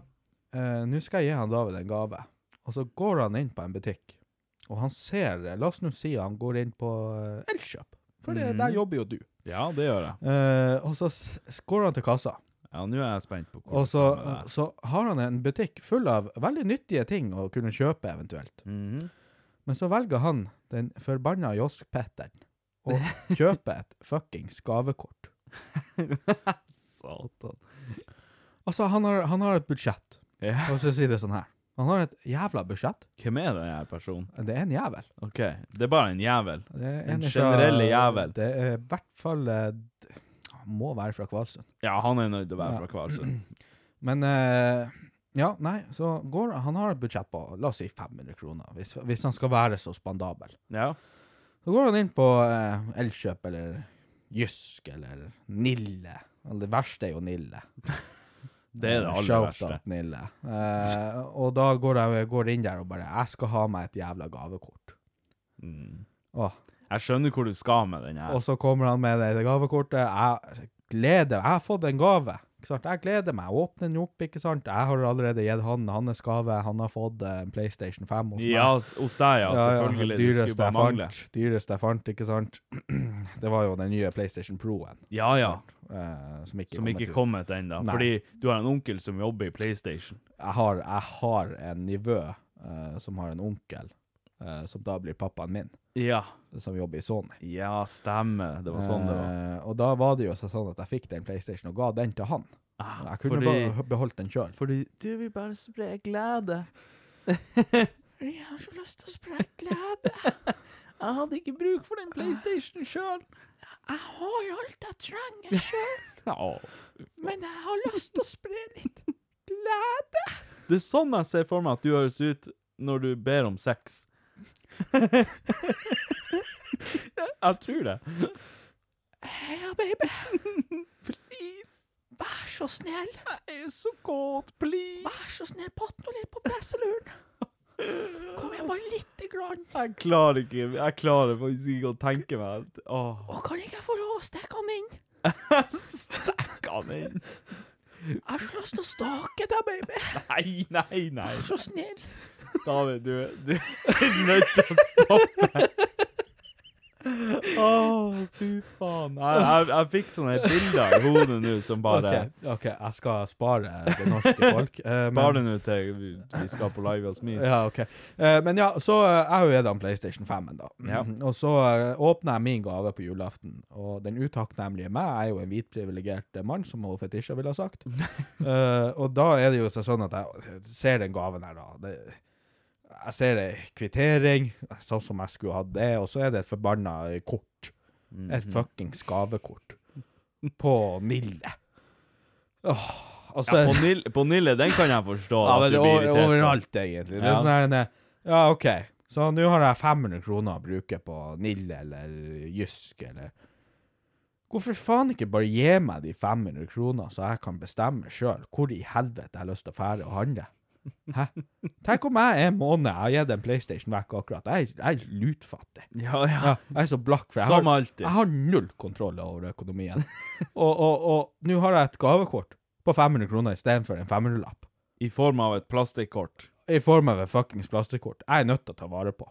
[SPEAKER 3] eh, nå skal jeg gi han David en gave. Og så går han inn på en butikk, og han ser eh, La oss nå si han går inn på eh, Elkjøp, for det,
[SPEAKER 1] Mhm.
[SPEAKER 3] der jobber jo du.
[SPEAKER 1] Ja, det gjør jeg.
[SPEAKER 3] Eh, og så s- s- går han til kassa,
[SPEAKER 1] Ja, nå er jeg spent på
[SPEAKER 3] og så,
[SPEAKER 1] det kommer der.
[SPEAKER 3] så har han en butikk full av veldig nyttige ting å kunne kjøpe, eventuelt.
[SPEAKER 1] Mhm.
[SPEAKER 3] Men så velger han den forbanna Josk Petteren å kjøpe et fuckings gavekort.
[SPEAKER 1] Satan.
[SPEAKER 3] Altså, han har, han har et budsjett.
[SPEAKER 1] Ja.
[SPEAKER 3] Og så sier det sånn her. Han har et jævla budsjett.
[SPEAKER 1] Hvem er denne personen?
[SPEAKER 3] Det er en jævel.
[SPEAKER 1] Ok, det er bare en jævel.
[SPEAKER 3] Det er
[SPEAKER 1] Den
[SPEAKER 3] en
[SPEAKER 1] generelle jævel.
[SPEAKER 3] Det er i hvert fall eh, d- Han må være fra Kvalsund.
[SPEAKER 1] Ja, han er nødt til å være
[SPEAKER 3] Ja.
[SPEAKER 1] fra Kvalsund.
[SPEAKER 3] Men eh, ja, nei, så går Han har et budsjett på la oss si 500 kroner, hvis, hvis han skal være så spandabel.
[SPEAKER 1] Ja.
[SPEAKER 3] Så går han inn på eh, Elkjøp eller Jysk eller Nille. Og Det verste er jo Nille.
[SPEAKER 1] Det er det aller
[SPEAKER 3] Shout
[SPEAKER 1] verste.
[SPEAKER 3] out Nille. Eh, og da går jeg går inn der og bare Jeg skal ha meg et jævla gavekort.
[SPEAKER 1] Mm.
[SPEAKER 3] Åh.
[SPEAKER 1] Jeg skjønner hvor du skal med den her.
[SPEAKER 3] Og så kommer han med det gavekortet. Jeg gleder Jeg har fått en gave. Ikke sant? Jeg gleder meg. Jeg åpner den opp, ikke sant. Jeg har allerede gitt han hans gave. Han har fått eh, en PlayStation 5 hos meg.
[SPEAKER 1] Ja, s- hos deg, ja. Selvfølgelig. det skulle
[SPEAKER 3] Dyreste
[SPEAKER 1] bare
[SPEAKER 3] jeg
[SPEAKER 1] mangle.
[SPEAKER 3] fant. Dyreste jeg fant, ikke sant. Det var jo den nye PlayStation Pro-en.
[SPEAKER 1] Ja, ja.
[SPEAKER 3] eh, som ikke,
[SPEAKER 1] Som
[SPEAKER 3] kommet
[SPEAKER 1] ikke
[SPEAKER 3] ut.
[SPEAKER 1] kommet ennå.
[SPEAKER 3] Nei.
[SPEAKER 1] Fordi du har en onkel som jobber i PlayStation.
[SPEAKER 3] Jeg har, jeg har en nivå eh, som har en onkel, eh, som da blir pappaen min,
[SPEAKER 1] Ja.
[SPEAKER 3] som jobber i Sony.
[SPEAKER 1] Ja, stemmer. Det var sånn det var.
[SPEAKER 3] Eh, og da var det jo så sånn at jeg fikk den PlayStation og ga den til han. Jeg kunne
[SPEAKER 1] Ah, fordi-
[SPEAKER 3] bare beholdt den sjøl.
[SPEAKER 1] Fordi du vil bare spre glede.
[SPEAKER 3] Jeg har så lyst til å spre glede.
[SPEAKER 1] Jeg hadde ikke bruk for den PlayStation sjøl.
[SPEAKER 3] Jeg har jo alt jeg trenger sjøl, men jeg har lyst til å spre litt glede.
[SPEAKER 1] Det er sånn jeg ser for meg at du høres ut når du ber om sex. jeg tror det.
[SPEAKER 3] Ja, baby.
[SPEAKER 1] Please,
[SPEAKER 3] Vær så snill.
[SPEAKER 1] jeg er så godt, please.
[SPEAKER 3] Vær så snill, patt nå litt på presseluren. Kom igjen, bare lite grann.
[SPEAKER 1] Jeg klarer ikke Jeg klarer faktisk ikke å tenke meg at Åh,
[SPEAKER 3] Og kan ikke jeg få lov å stikke han inn?
[SPEAKER 1] stakk han inn.
[SPEAKER 3] Jeg har så lyst til å stake deg, baby.
[SPEAKER 1] Nei, nei, nei.
[SPEAKER 3] Vær så snill.
[SPEAKER 1] David, du, du er nødt til å stoppe. Å, fy faen. Jeg, jeg, jeg fikk sånne bilder i hodet nå som bare
[SPEAKER 3] ok, jeg skal spare det norske folk. eh, men-
[SPEAKER 1] Spar det nå til vi vi skal på live hos meg.
[SPEAKER 3] Ja, ok. Eh, men ja, så eh, jeg har jo gitt han PlayStation 5-en, da.
[SPEAKER 1] Ja.
[SPEAKER 3] Og så uh, åpner jeg min gave på julaften, og den utakknemlige meg er jo en hvit privilegert eh, mann, som hun fetisja ville ha sagt. Eh, og da er det jo så sånn at jeg ser den gaven her, da. Det, jeg ser ei kvittering, sånn som jeg skulle hatt det, og så er det et forbanna eh, kort.
[SPEAKER 1] Mhm.
[SPEAKER 3] Et fuckings gavekort. På Nille. Åh, altså,
[SPEAKER 1] Ja, på, Nil, på Nille, den kan jeg forstå.
[SPEAKER 3] ja,
[SPEAKER 1] at
[SPEAKER 3] men
[SPEAKER 1] du
[SPEAKER 3] det
[SPEAKER 1] blir
[SPEAKER 3] er
[SPEAKER 1] irritert.
[SPEAKER 3] over-
[SPEAKER 1] på.
[SPEAKER 3] overalt, egentlig. Det er
[SPEAKER 1] Ja.
[SPEAKER 3] sånn her en, eh, Ja, OK. Så nå har jeg 500 kroner å bruke på Nille eller Jysk eller Hvorfor faen ikke bare gi meg de 500 kroner, så jeg kan bestemme sjøl hvor i helvete jeg har lyst til å fære og handle? Hæ? Tenk om jeg en måned jeg har gitt en PlayStation vekk akkurat. Jeg, er- jeg er lutfattig.
[SPEAKER 1] Ja, ja.
[SPEAKER 3] Ja, jeg er så blakk, for jeg
[SPEAKER 1] Som
[SPEAKER 3] har,
[SPEAKER 1] alltid.
[SPEAKER 3] jeg har null kontroll over økonomien. og og, og nå har jeg et gavekort på 500 kroner istedenfor en 500-lapp
[SPEAKER 1] I form av et plastikkort.
[SPEAKER 3] i form av et fuckings plastikkort jeg er nødt til å ta vare på.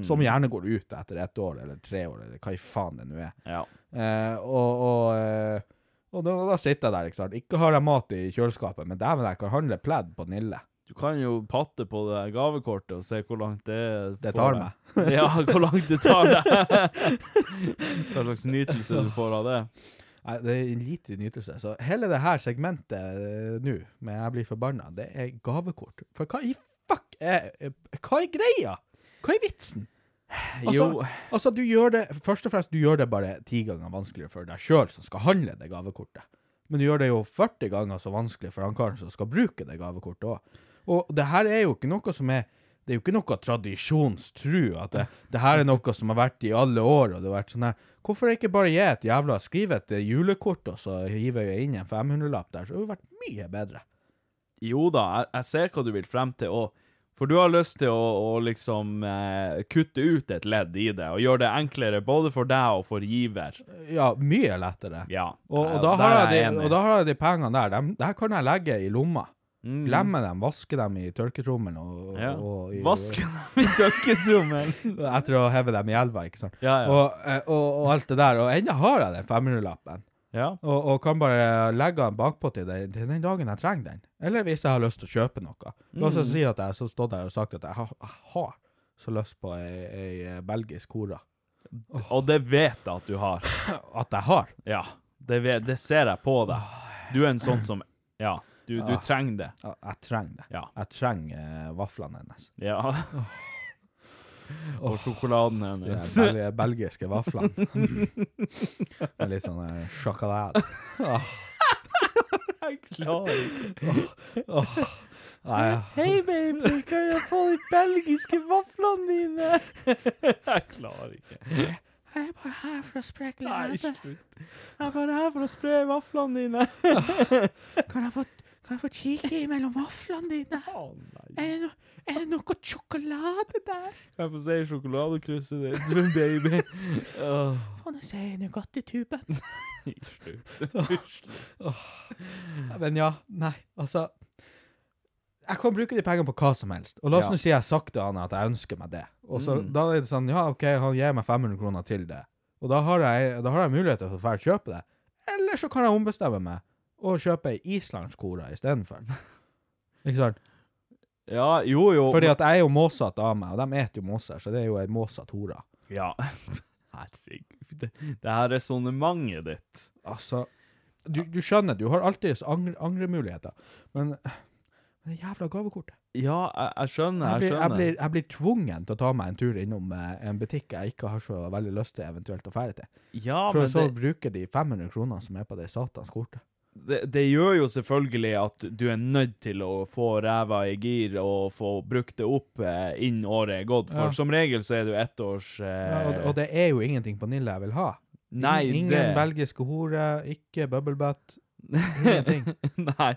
[SPEAKER 3] Som gjerne går ut etter ett år eller tre år, eller hva i faen det nå er.
[SPEAKER 1] Ja.
[SPEAKER 3] Eh, og og, eh, og da, da sitter jeg der, ikke sant. Ikke har jeg mat i kjøleskapet, men dæven, jeg kan handle pledd på Nille.
[SPEAKER 1] Du kan jo patte på det gavekortet og se hvor langt det
[SPEAKER 3] Det
[SPEAKER 1] får
[SPEAKER 3] tar
[SPEAKER 1] deg.
[SPEAKER 3] meg.
[SPEAKER 1] ja, hvor langt det tar deg. Hva slags nytelse du får av det.
[SPEAKER 3] Nei, det er en liten nytelse. Så hele det her segmentet eh, nå, med jeg blir forbanna, det er gavekort. For hva i fuck er Hva er greia? Hva er vitsen? Altså,
[SPEAKER 1] Jo.
[SPEAKER 3] altså, du gjør det Først og fremst, du gjør det bare ti ganger vanskeligere for deg sjøl som skal handle det gavekortet. Men du gjør det jo 40 ganger så vanskelig for han karen som skal bruke det gavekortet òg. Og det her er jo ikke noe som er Det er jo ikke noe tradisjonstru. At det, det her er noe som har vært i alle år, og det har vært sånn her Hvorfor ikke bare gi et jævla Skriv et eh, julekort, og så hiver jeg inn en 500-lapp der, så hadde det vært mye bedre.
[SPEAKER 1] Jo da, jeg, jeg ser hva du vil frem til òg. For du har lyst til å, å liksom eh, kutte ut et ledd i det, og gjøre det enklere både for deg og for giver.
[SPEAKER 3] Ja, mye lettere.
[SPEAKER 1] Ja.
[SPEAKER 3] Og, og,
[SPEAKER 1] eh,
[SPEAKER 3] da
[SPEAKER 1] der
[SPEAKER 3] har
[SPEAKER 1] er
[SPEAKER 3] jeg de,
[SPEAKER 1] enig.
[SPEAKER 3] og da har jeg de pengene der. Dem, der kan jeg legge i lomma. Glemme dem, vaske dem i tørketrommelen og,
[SPEAKER 1] Mm. ja.
[SPEAKER 3] og i,
[SPEAKER 1] Vask dem i tørketrommelen!
[SPEAKER 3] Etter å heve dem i elva, ikke sant.
[SPEAKER 1] Ja, ja.
[SPEAKER 3] Og, eh, og, og alt det der. Og ennå har jeg den 500-lappen.
[SPEAKER 1] ja.
[SPEAKER 3] Og, og kan bare legge den bakpå til den, til den dagen jeg trenger den. Eller hvis jeg har lyst til å kjøpe noe.
[SPEAKER 1] Mm.
[SPEAKER 3] La oss si at jeg har så stått der og sagt at jeg har, jeg har så lyst på ei, ei eh, belgisk hore.
[SPEAKER 1] Og det vet jeg at du har.
[SPEAKER 3] At jeg har.
[SPEAKER 1] Ja. Det, vet, det ser jeg på deg. Du er en sånn som Ja. Du, du trenger det.
[SPEAKER 3] Ja, Jeg trenger det.
[SPEAKER 1] Ja.
[SPEAKER 3] Jeg trenger eh, vaflene hennes.
[SPEAKER 1] Ja. Og sjokoladen
[SPEAKER 3] De
[SPEAKER 1] hennes.
[SPEAKER 3] her bel belgiske vaflene. Med litt sånn eh, sjokolade.
[SPEAKER 1] Jeg klarer ikke.
[SPEAKER 3] Nei, ja.
[SPEAKER 1] Hei, baby, kan jeg få de belgiske vaflene dine? Jeg klarer ikke.
[SPEAKER 3] Jeg er bare her for å sprekle
[SPEAKER 1] Nei, slutt. Jeg er bare her for å spre vaflene dine.
[SPEAKER 3] Kan jeg få, kan jeg få kikke mellom vaflene dine?
[SPEAKER 1] Å, nei.
[SPEAKER 3] det, no, er det noe sjokolade der?
[SPEAKER 1] Kan jeg få si sjokoladekrysset ditt, du baby? Åh,
[SPEAKER 3] Faen, jeg ser Nugatti-tuben.
[SPEAKER 1] slutt. Slutt.
[SPEAKER 3] Men ja, nei, altså Jeg kan bruke de pengene på hva som helst. Og la oss
[SPEAKER 1] Ja.
[SPEAKER 3] nå si jeg sagt til han at jeg ønsker meg det. Og så
[SPEAKER 1] Mm.
[SPEAKER 3] da er det sånn, ja, OK, han gir meg 500 kroner til det. Og da har jeg, da har jeg mulighet til å få ferdig kjøpe det. Eller så kan jeg ombestemme meg og kjøpe ei islandsk kora istedenfor. Ikke sant?
[SPEAKER 1] Ja, jo, jo.
[SPEAKER 3] Fordi at jeg er jo måsete av meg, og de eter jo måser, så det er jo ei måsete hora.
[SPEAKER 1] Ja. Herregud. Det, det her resonnementet ditt.
[SPEAKER 3] Altså, du, du skjønner, du har alltid angre, angremuligheter, men men det jævla gavekortet.
[SPEAKER 1] Ja, jeg, jeg skjønner,
[SPEAKER 3] Jeg
[SPEAKER 1] jeg
[SPEAKER 3] blir, jeg,
[SPEAKER 1] skjønner.
[SPEAKER 3] blir, jeg blir tvungen til å ta meg en tur innom eh, en butikk jeg ikke har så veldig lyst til eventuelt å fære til,
[SPEAKER 1] ja,
[SPEAKER 3] for
[SPEAKER 1] men
[SPEAKER 3] å så
[SPEAKER 1] det,
[SPEAKER 3] bruke de 500 kronene som er på det satans kortet.
[SPEAKER 1] det, det gjør jo selvfølgelig at du er nødt til å få ræva i gir og få brukt det opp eh, innen året er gått, for
[SPEAKER 3] Ja.
[SPEAKER 1] som regel så er du ett års eh,
[SPEAKER 3] og, og det er jo ingenting på Nille jeg vil ha. Ing-
[SPEAKER 1] Nei,
[SPEAKER 3] Ingen
[SPEAKER 1] det
[SPEAKER 3] belgiske hore, ikke bubblebutt, ingenting.
[SPEAKER 1] Nei.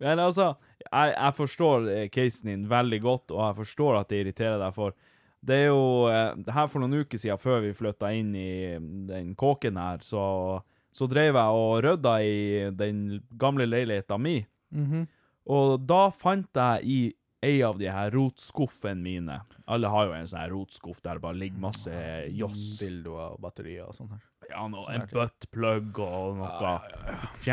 [SPEAKER 1] Men altså, jeg, jeg forstår eh, casen din veldig godt, og jeg forstår at det irriterer deg for Det er jo eh, det Her for noen uker siden, før vi flytta inn i mm, den kåken her, så, så drev jeg og rydda i den gamle leiligheta mi.
[SPEAKER 3] Mhm.
[SPEAKER 1] Og da fant jeg i ei av de her rotskuffene mine Alle har jo en sånn her rotskuff der det bare ligger masse joss.
[SPEAKER 3] Sånn Dildoer og batterier og sånn her.
[SPEAKER 1] Ja, no, en buttplug og noe.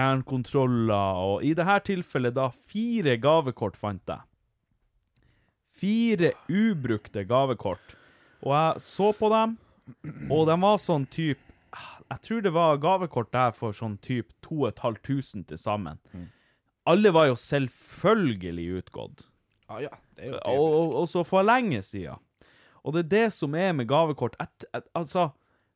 [SPEAKER 1] Fjernkontroller og I dette tilfellet da fire gavekort fant jeg. Fire ubrukte gavekort. Og jeg så på dem, og de var sånn type Jeg tror det var gavekort der for sånn type 2500 til sammen. Alle var jo selvfølgelig utgått
[SPEAKER 3] Ja, ja, det er
[SPEAKER 1] og, og, og så for lenge siden. Og det er det som er med gavekort. Et, et, altså,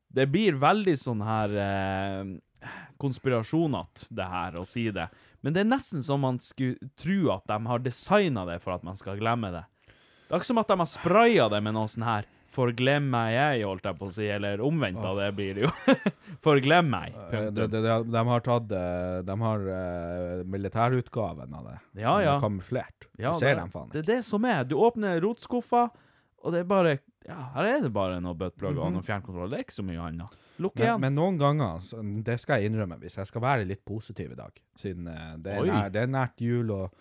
[SPEAKER 1] det blir veldig sånn her eh, konspirasjonat, det her, å si det. Men det er nesten som man skulle tro at de har designa det for at man skal glemme det. Det er ikke som at de har spraya det med noe sånn her 'Forglem meg jeg', holdt jeg på å si, eller omvendt av det blir det jo. 'Forglem meg'.
[SPEAKER 3] Eh, De, de, de, de har tatt eh, De har eh, militærutgaven av det.
[SPEAKER 1] Ja, ja.
[SPEAKER 3] De er kamuflert.
[SPEAKER 1] Ja,
[SPEAKER 3] du
[SPEAKER 1] det,
[SPEAKER 3] ser dem faen
[SPEAKER 1] Det
[SPEAKER 3] ikke.
[SPEAKER 1] er det som er. Du åpner rotskuffa, og det er bare Ja, her er det bare noen buttplugger og noen fjernkontroll. Det er ikke så mye annet. Lukk
[SPEAKER 3] Mhm. Men,
[SPEAKER 1] igjen.
[SPEAKER 3] men noen ganger, så- det skal jeg innrømme, hvis jeg skal være litt positiv i dag, siden eh, det
[SPEAKER 1] Oi.
[SPEAKER 3] er, nær, det er nært jul og,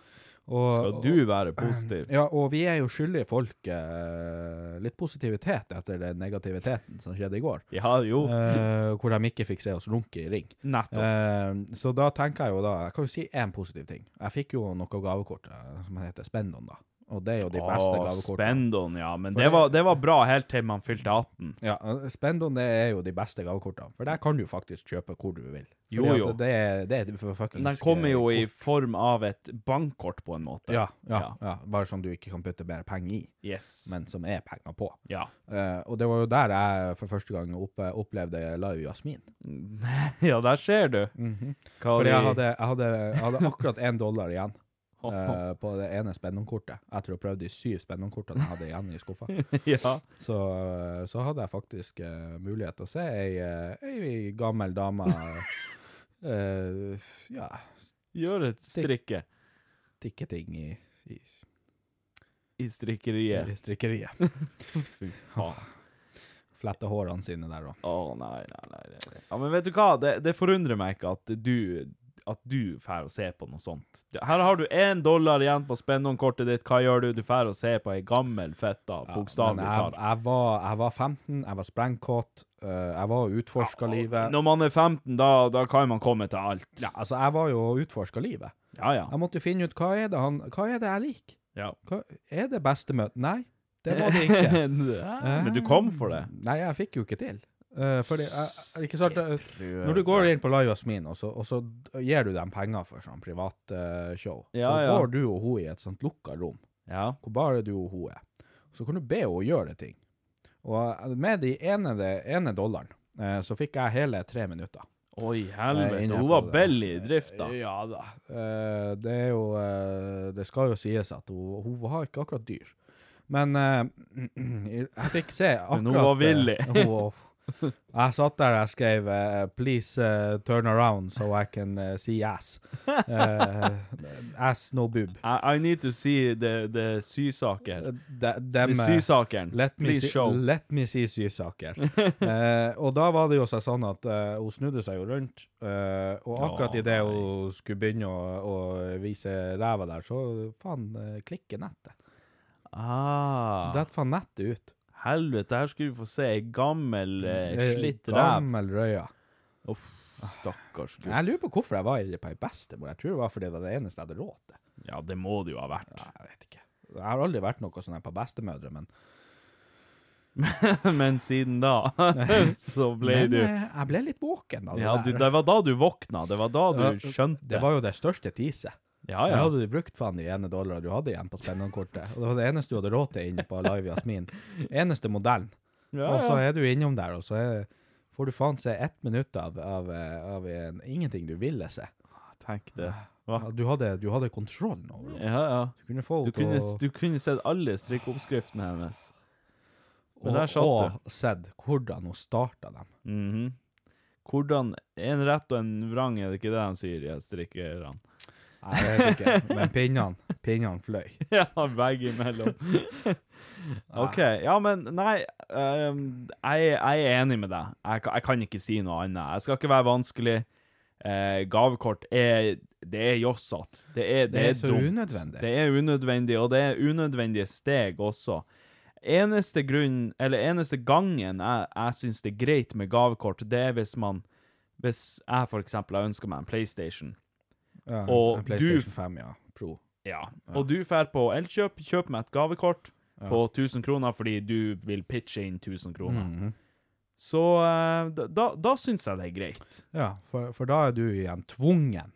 [SPEAKER 3] og
[SPEAKER 1] Skal du være positiv?
[SPEAKER 3] Ja, og vi er jo skyldige folk eh, litt positivitet etter den negativiteten som skjedde i går.
[SPEAKER 1] Ja, jo.
[SPEAKER 3] Eh, hvor de ikke fikk se oss runke i ring.
[SPEAKER 1] Nettopp.
[SPEAKER 3] Eh, så da tenker jeg jo da Jeg kan jo si én positiv ting. Jeg fikk jo noe gavekort eh, som heter Spendon, da. Og det er jo de beste
[SPEAKER 1] Å,
[SPEAKER 3] gavekortene.
[SPEAKER 1] Spendon, ja. Men det var, det var bra helt til man fylte 18.
[SPEAKER 3] Ja, eh, Spendon det er jo de beste gavekortene, for der kan du faktisk kjøpe hvor du vil. Fordi
[SPEAKER 1] Jo,
[SPEAKER 3] at
[SPEAKER 1] jo.
[SPEAKER 3] Det, er- det er for fuckings
[SPEAKER 1] Den kommer jo
[SPEAKER 3] eh,
[SPEAKER 1] i form av et bankkort, på en måte.
[SPEAKER 3] ja, ja,
[SPEAKER 1] Ja.
[SPEAKER 3] ja, bare som du ikke kan putte mer penger i,
[SPEAKER 1] Yes.
[SPEAKER 3] men som er penger på.
[SPEAKER 1] Ja.
[SPEAKER 3] Eh, og det var jo der jeg for første gang oppe, opplevde Live Jasmin.
[SPEAKER 1] ja, der ser du. Hva
[SPEAKER 3] Mhm. Fordi
[SPEAKER 1] de-
[SPEAKER 3] jeg hadde, jeg hadde, jeg hadde akkurat én dollar igjen
[SPEAKER 1] Ho, ho.
[SPEAKER 3] eh, på det ene spennonkortet. Etter å ha prøvd de syv spennonkortene jeg hadde igjen i skuffa,
[SPEAKER 1] Ja.
[SPEAKER 3] så, så hadde jeg faktisk eh, mulighet til å se ei, eh, ei gammel dame eh, ja,
[SPEAKER 1] Gjør et
[SPEAKER 3] Stikk.
[SPEAKER 1] strikke
[SPEAKER 3] stikke ting i, i,
[SPEAKER 1] i strikkeriet.
[SPEAKER 3] i strikkeriet.
[SPEAKER 1] Fy faen.
[SPEAKER 3] Flette hårene sine der òg.
[SPEAKER 1] Å, nei, nei, nei, nei, nei. Ja, men vet du hva? Det, det forundrer meg ikke at du at du fær å se på noe sånt. Her har du én dollar igjen på spennonkortet ditt. Hva gjør du? Du fær å se på ei gammel fetta, bokstavelig
[SPEAKER 3] jeg,
[SPEAKER 1] talt.
[SPEAKER 3] jeg, var, jeg var 15, jeg var sprengkåt, eh, jeg var og utforska livet.
[SPEAKER 1] Når man er 15, da, da kan man komme til alt.
[SPEAKER 3] Ja, altså, jeg var jo og utforska livet.
[SPEAKER 1] ja. ja.
[SPEAKER 3] Jeg måtte finne ut hva er det, han, hva er det jeg liker.
[SPEAKER 1] ja.
[SPEAKER 3] Hva, er det bestemøte? Nei, det var det ikke.
[SPEAKER 1] Men du kom for det?
[SPEAKER 3] Nei, jeg fikk jo ikke til. Eh, fordi, jeg- jeg- ikke sant, eh, når du går inn på Live Jasmin, og så, og så gir du dem penger for sånn privatshow,
[SPEAKER 1] Ja,
[SPEAKER 3] så
[SPEAKER 1] ja.
[SPEAKER 3] går du og hun i et sånt lukka rom,
[SPEAKER 1] Ja.
[SPEAKER 3] hvor bare du og hun er. Så kan du be henne gjøre ting. Og eh, med de ene, det ene dollaren, eh, så fikk jeg hele tre minutter.
[SPEAKER 1] Oi,
[SPEAKER 3] Jeg er
[SPEAKER 1] helvete.
[SPEAKER 3] inne
[SPEAKER 1] Hun
[SPEAKER 3] på
[SPEAKER 1] var
[SPEAKER 3] det.
[SPEAKER 1] bell i drifta.
[SPEAKER 3] Ja da. Eh, det er jo eh, Det skal jo sies at hun, hun var ikke akkurat dyr. Men eh, jeg fikk se akkurat
[SPEAKER 1] Men hun var villig.
[SPEAKER 3] eh, hun- jeg satt der og skrev eh, 'Please eh, turn around so I can eh, see ass'. Eh, ass, no boob.
[SPEAKER 1] I, I need to see the, the sysaker.
[SPEAKER 3] De, dem,
[SPEAKER 1] The
[SPEAKER 3] eh,
[SPEAKER 1] sysakeren.
[SPEAKER 3] Let me,
[SPEAKER 1] Please
[SPEAKER 3] si,
[SPEAKER 1] show.
[SPEAKER 3] let me si sysaker. Eh, og da var det jo seg sånn at eh, hun snudde seg jo rundt, eh, og
[SPEAKER 1] Ja,
[SPEAKER 3] akkurat i idet
[SPEAKER 1] nei.
[SPEAKER 3] hun skulle begynne å, å vise ræva der, så faen eh, klikker nettet.
[SPEAKER 1] Ah,
[SPEAKER 3] Det faen nettet ut.
[SPEAKER 1] helvete, her skulle vi få se ei gammel, eh,
[SPEAKER 3] Eh,
[SPEAKER 1] slitt ræv.
[SPEAKER 3] Gammel røya.
[SPEAKER 1] Uff, stakkars gutt.
[SPEAKER 3] Jeg lurer på hvorfor jeg var i- på ei bestemor. Jeg tror det var fordi det var det eneste jeg hadde råd til.
[SPEAKER 1] Ja, det må det jo ha vært.
[SPEAKER 3] Nei, Jeg vet ikke. Jeg har aldri vært noe sånn her på bestemødre, men
[SPEAKER 1] Men siden da, så ble
[SPEAKER 3] Men
[SPEAKER 1] du
[SPEAKER 3] eh, jeg ble litt våken av det
[SPEAKER 1] Ja, du,
[SPEAKER 3] der.
[SPEAKER 1] det var da du våkna. Det var da
[SPEAKER 3] Ja,
[SPEAKER 1] du skjønte.
[SPEAKER 3] Det var jo det største teaset.
[SPEAKER 1] Ja,
[SPEAKER 3] Her
[SPEAKER 1] ja.
[SPEAKER 3] hadde du brukt faen de ene dollarene du hadde igjen på Spennon-kortet. Og det var det eneste du hadde råd til inne på Live Jasmin. Eneste modellen.
[SPEAKER 1] ja,
[SPEAKER 3] Og så
[SPEAKER 1] ja.
[SPEAKER 3] er du innom der, og så er, får du faen se ett minutt av, av, eh, av en, ingenting du ville se.
[SPEAKER 1] Tenk det.
[SPEAKER 3] Ja, Du hadde, du hadde kontrollen over henne.
[SPEAKER 1] Ja, ja.
[SPEAKER 3] Du kunne få
[SPEAKER 1] Du
[SPEAKER 3] henne
[SPEAKER 1] kunne,
[SPEAKER 3] til å
[SPEAKER 1] du kunne sett alle strikkeoppskriftene hennes. Men
[SPEAKER 3] og-
[SPEAKER 1] der satt du.
[SPEAKER 3] Og sett hvordan hun starta dem.
[SPEAKER 1] Mhm. Hvordan En rett og en vrang, er det ikke det de sier, de her strikkerne?
[SPEAKER 3] Nei, Jeg vet ikke, men pinnene, pinnene fløy.
[SPEAKER 1] ja, begge imellom. OK. Ja, men nei ehm, jeg, jeg er enig med deg. Jeg, ka- jeg kan ikke si noe annet. Jeg skal ikke være vanskelig. Eh, gavekort er Det er jossete. Det er, det
[SPEAKER 3] Det er
[SPEAKER 1] er
[SPEAKER 3] så
[SPEAKER 1] dumt.
[SPEAKER 3] unødvendig.
[SPEAKER 1] Det er unødvendig, og det er unødvendige steg også. Eneste grunn, eller eneste gangen jeg, jeg syns det er greit med gavekort, det er hvis man Hvis jeg for eksempel har ønska meg en PlayStation,
[SPEAKER 3] Ja,
[SPEAKER 1] Og du-
[SPEAKER 3] en PlayStation 5, ja. Pro.
[SPEAKER 1] ja. Og du drar på Elkjøp, kjøper meg et gavekort på 1000 kroner fordi du vil pitche inn 1000 kroner.
[SPEAKER 3] Mhm.
[SPEAKER 1] Så eh, da, da, da syns jeg det er greit.
[SPEAKER 3] Ja, for, for da er du igjen tvungen.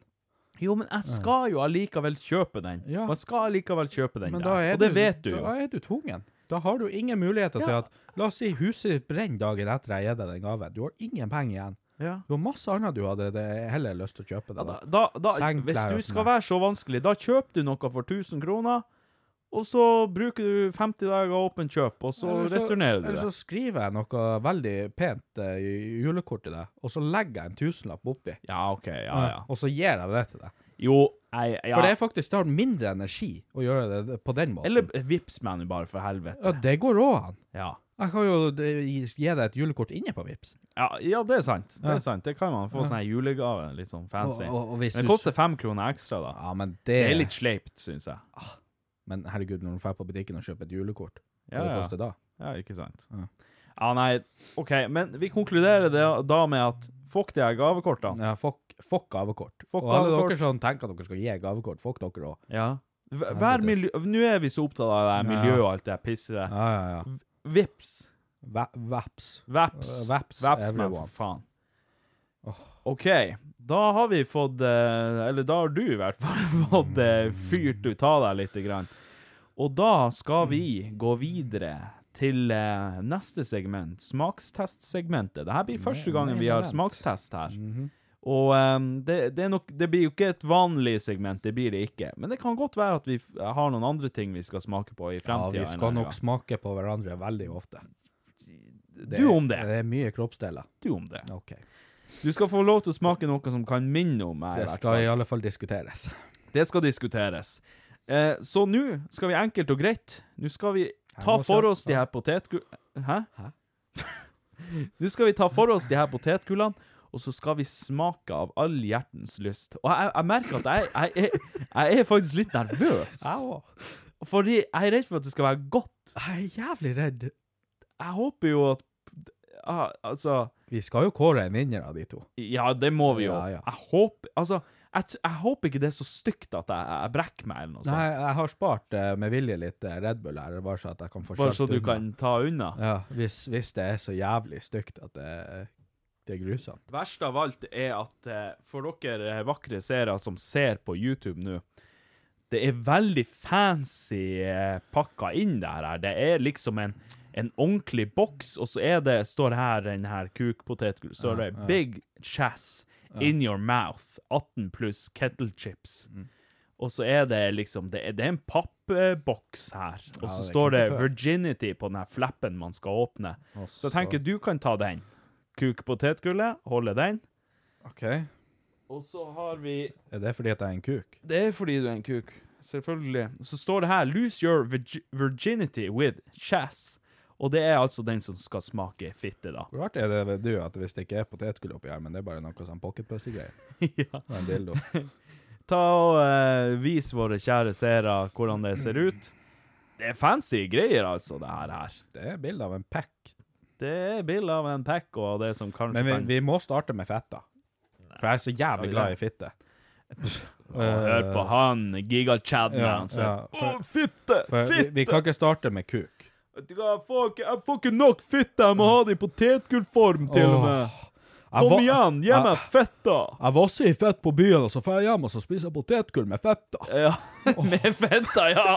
[SPEAKER 1] Jo, men jeg skal jo allikevel kjøpe den.
[SPEAKER 3] Ja.
[SPEAKER 1] Og jeg skal allikevel kjøpe den
[SPEAKER 3] Men da
[SPEAKER 1] der.
[SPEAKER 3] er
[SPEAKER 1] Og det vet du jo.
[SPEAKER 3] Da er du tvungen. Da har du ingen muligheter til at La oss si huset ditt brenner dagen etter jeg gir deg den gaven. Du har ingen penger igjen.
[SPEAKER 1] Ja.
[SPEAKER 3] Du har masse annet du hadde det heller lyst til å kjøpe
[SPEAKER 1] Ja,
[SPEAKER 3] deg.
[SPEAKER 1] da,
[SPEAKER 3] da.
[SPEAKER 1] da, da,
[SPEAKER 3] Sengklær
[SPEAKER 1] hvis
[SPEAKER 3] og
[SPEAKER 1] du
[SPEAKER 3] sånn
[SPEAKER 1] skal
[SPEAKER 3] der.
[SPEAKER 1] være så vanskelig, da kjøper du noe for 1000 kroner, og så bruker du 50 dager åpen kjøp, og så
[SPEAKER 3] Eller
[SPEAKER 1] returnerer du
[SPEAKER 3] Eller
[SPEAKER 1] det.
[SPEAKER 3] så skriver jeg noe veldig pent eh, i julekort til deg, og så legger jeg en tusenlapp oppi,
[SPEAKER 1] Ja, OK. Ja, ja.
[SPEAKER 3] og så gir jeg det til deg.
[SPEAKER 1] Jo, jeg ja.
[SPEAKER 3] For det er faktisk det har mindre energi å gjøre det på den måten.
[SPEAKER 1] Eller vips meg nå bare, for helvete.
[SPEAKER 3] Ja, det går òg an.
[SPEAKER 1] Ja.
[SPEAKER 3] Jeg kan jo eh, gi gi deg et julekort inne på Vipps.
[SPEAKER 1] Ja, ja, det er sant. Det er sant. Det kan man få sånn her julegave, litt sånn fancy.
[SPEAKER 3] Og- og- og hvis
[SPEAKER 1] Men det
[SPEAKER 3] du-
[SPEAKER 1] koster fem kroner ekstra, da.
[SPEAKER 3] Ja, men
[SPEAKER 1] Det er litt sleipt, syns jeg.
[SPEAKER 3] Men herregud, når du drar på butikken og kjøper et julekort, hva
[SPEAKER 1] Ja,
[SPEAKER 3] det
[SPEAKER 1] ja.
[SPEAKER 3] koster da?
[SPEAKER 1] Ja, ikke sant.
[SPEAKER 3] Ja.
[SPEAKER 1] Ja, nei, OK, men vi konkluderer det da med at fuck de her gavekortene.
[SPEAKER 3] Ja, fuck, fuck gavekort.
[SPEAKER 1] Fuck
[SPEAKER 3] og alle
[SPEAKER 1] gavekort.
[SPEAKER 3] dere som tenker at dere skal gi gavekort, fuck dere òg.
[SPEAKER 1] Ja. V- Vær miljø... Nå er vi så opptatt av det her
[SPEAKER 3] Ja.
[SPEAKER 1] miljøet og alt det her pisset der.
[SPEAKER 3] Ja, ja, ja.
[SPEAKER 1] Vips.
[SPEAKER 3] Va- Vaps.
[SPEAKER 1] Vaps.
[SPEAKER 3] Uh, vaps,
[SPEAKER 1] meg,
[SPEAKER 3] everyone.
[SPEAKER 1] for faen. OK, da har vi fått eh, Eller da har du i hvert fall fått eh, fyrt ut av deg lite grann. Og da skal vi gå videre til eh, neste segment, smakstestsegmentet. Dette blir første gangen vi har smakstest her.
[SPEAKER 3] Mhm.
[SPEAKER 1] Og eh, det, det, er nok, det blir jo ikke et vanlig segment, det blir det ikke. Men det kan godt være at vi f- har noen andre ting vi skal smake på i
[SPEAKER 3] Ja,
[SPEAKER 1] fremtiden.
[SPEAKER 3] vi
[SPEAKER 1] en
[SPEAKER 3] skal
[SPEAKER 1] eller
[SPEAKER 3] nok
[SPEAKER 1] annen
[SPEAKER 3] smake på hverandre veldig ofte.
[SPEAKER 1] gang. Du om det.
[SPEAKER 3] Det er mye kroppsdeler.
[SPEAKER 1] Du om det.
[SPEAKER 3] Ok.
[SPEAKER 1] Du skal få lov til å smake noe som kan minne om meg. i
[SPEAKER 3] Det
[SPEAKER 1] hvert
[SPEAKER 3] skal
[SPEAKER 1] fall.
[SPEAKER 3] i alle fall diskuteres.
[SPEAKER 1] Det skal diskuteres. Eh, så nå skal vi enkelt og greit Nå skal vi ta
[SPEAKER 3] må
[SPEAKER 1] for
[SPEAKER 3] kjøpe-
[SPEAKER 1] oss de her potetgull... Hæ? nå skal vi ta for oss de her potetgullene, og så skal vi smake av all hjertens lyst. Og jeg, jeg merker at jeg, jeg, er, jeg er faktisk litt nervøs.
[SPEAKER 3] òg.
[SPEAKER 1] Fordi jeg er redd for at det skal være godt.
[SPEAKER 3] Jeg er jævlig redd.
[SPEAKER 1] Jeg håper jo at ah, Altså
[SPEAKER 3] Vi skal jo kåre en vinner av de to.
[SPEAKER 1] Ja, det må vi jo.
[SPEAKER 3] Ja, ja.
[SPEAKER 1] Jeg håper Altså, Jeg, t- jeg håper ikke det er så stygt at jeg, jeg brekker meg, eller noe
[SPEAKER 3] Nei,
[SPEAKER 1] sånt.
[SPEAKER 3] jeg har spart eh, med vilje litt eh, Red Bull her, bare så at jeg kan få
[SPEAKER 1] Bare
[SPEAKER 3] skjønt
[SPEAKER 1] så du
[SPEAKER 3] unna.
[SPEAKER 1] kan ta unna.
[SPEAKER 3] Ja, hvis, hvis det er så jævlig stygt at det, det er grusomt.
[SPEAKER 1] Det verste av alt er at eh, for dere eh, vakre seere som ser på YouTube nå, det er veldig fancy eh, pakka inn det her. Det er liksom en, en ordentlig boks, og så er det, står her den her kukpotetgull, står det 'Big Chass in your mouth', 18 pluss kettle chips.
[SPEAKER 3] Mm.
[SPEAKER 1] Og så er det liksom Det er, det er en pappboks her, og så
[SPEAKER 3] det er
[SPEAKER 1] står det
[SPEAKER 3] kukpotet.
[SPEAKER 1] 'virginity' på den her flappen man skal åpne. Så
[SPEAKER 3] så-
[SPEAKER 1] jeg tenker du kan ta den. Kuk potetgullet, holde den.
[SPEAKER 3] Ok. Er
[SPEAKER 1] Og så har vi
[SPEAKER 3] det fordi at jeg er en kuk?
[SPEAKER 1] Det er fordi du er en kuk. Selvfølgelig. Så står det her 'Lose your virgi- virginity with chass'. Og det er altså den som skal smake fitte, da.
[SPEAKER 3] Hvor artig er det ved du at hvis det ikke er potetgull oppi her, men det er bare noe sånn pocketpussy-greier?
[SPEAKER 1] ja.
[SPEAKER 3] Og en dildo.
[SPEAKER 1] Ta og eh, vis våre kjære seere hvordan det ser ut. Det er fancy greier, altså, det her. her.
[SPEAKER 3] Det er bilde av en pack.
[SPEAKER 1] Det er bilde av en pack og det som kanskje
[SPEAKER 3] Men vi,
[SPEAKER 1] kan-
[SPEAKER 3] vi må starte med fetta. For jeg er så
[SPEAKER 1] vi
[SPEAKER 3] jævlig glad i
[SPEAKER 1] det?
[SPEAKER 3] fitte.
[SPEAKER 1] Å, Hør på han, giga-chaden
[SPEAKER 3] Eh, ja,
[SPEAKER 1] hans.
[SPEAKER 3] ja, for-
[SPEAKER 1] Å, fitte!
[SPEAKER 3] For vi,
[SPEAKER 1] Fitte!
[SPEAKER 3] vi kan ikke starte med kuk.
[SPEAKER 1] Vet du hva, Jeg får ikke, jeg får ikke nok fitte, jeg må ha det i potetgullform til og med. Kom
[SPEAKER 3] Jeg var-
[SPEAKER 1] igjen, gi meg fetta!
[SPEAKER 3] Jeg vasser i fett på byen, og så drar jeg hjem og så spiser jeg potetgull med fetta.
[SPEAKER 1] Ja, med fetta, ja.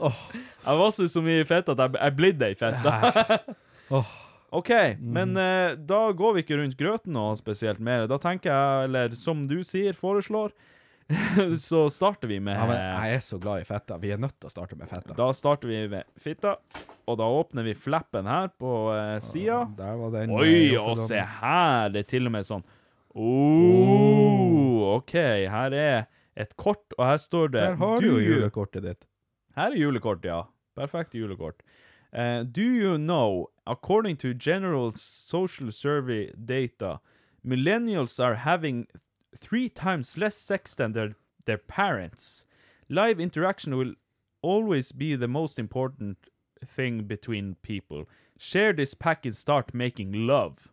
[SPEAKER 1] Jeg var så så mye i fetta at jeg, jeg blidde i fetta. OK,
[SPEAKER 3] Mm.
[SPEAKER 1] men eh, da går vi ikke rundt grøten noe spesielt mer. Da tenker jeg, eller som du sier, foreslår, så starter vi med
[SPEAKER 3] Ja, men jeg er så glad i fetta. Vi er nødt til å starte med fetta.
[SPEAKER 1] Da starter vi med fitta, og da åpner vi flappen her på uh, sida.
[SPEAKER 3] Der var den.
[SPEAKER 1] Oi,
[SPEAKER 3] eh,
[SPEAKER 1] og
[SPEAKER 3] jomfrudommen.
[SPEAKER 1] se her! Det er til og med sånn oh, OK, her er et kort, og her står det
[SPEAKER 3] Der har du jo julekortet ditt.
[SPEAKER 1] Her er julekort, ja. Perfekt julekort. Eh, do you know, according to general social survey data, millennials are having three times less sex than their, their parents. Live interaction will always be the most important thing between people. Share this pack and start making love.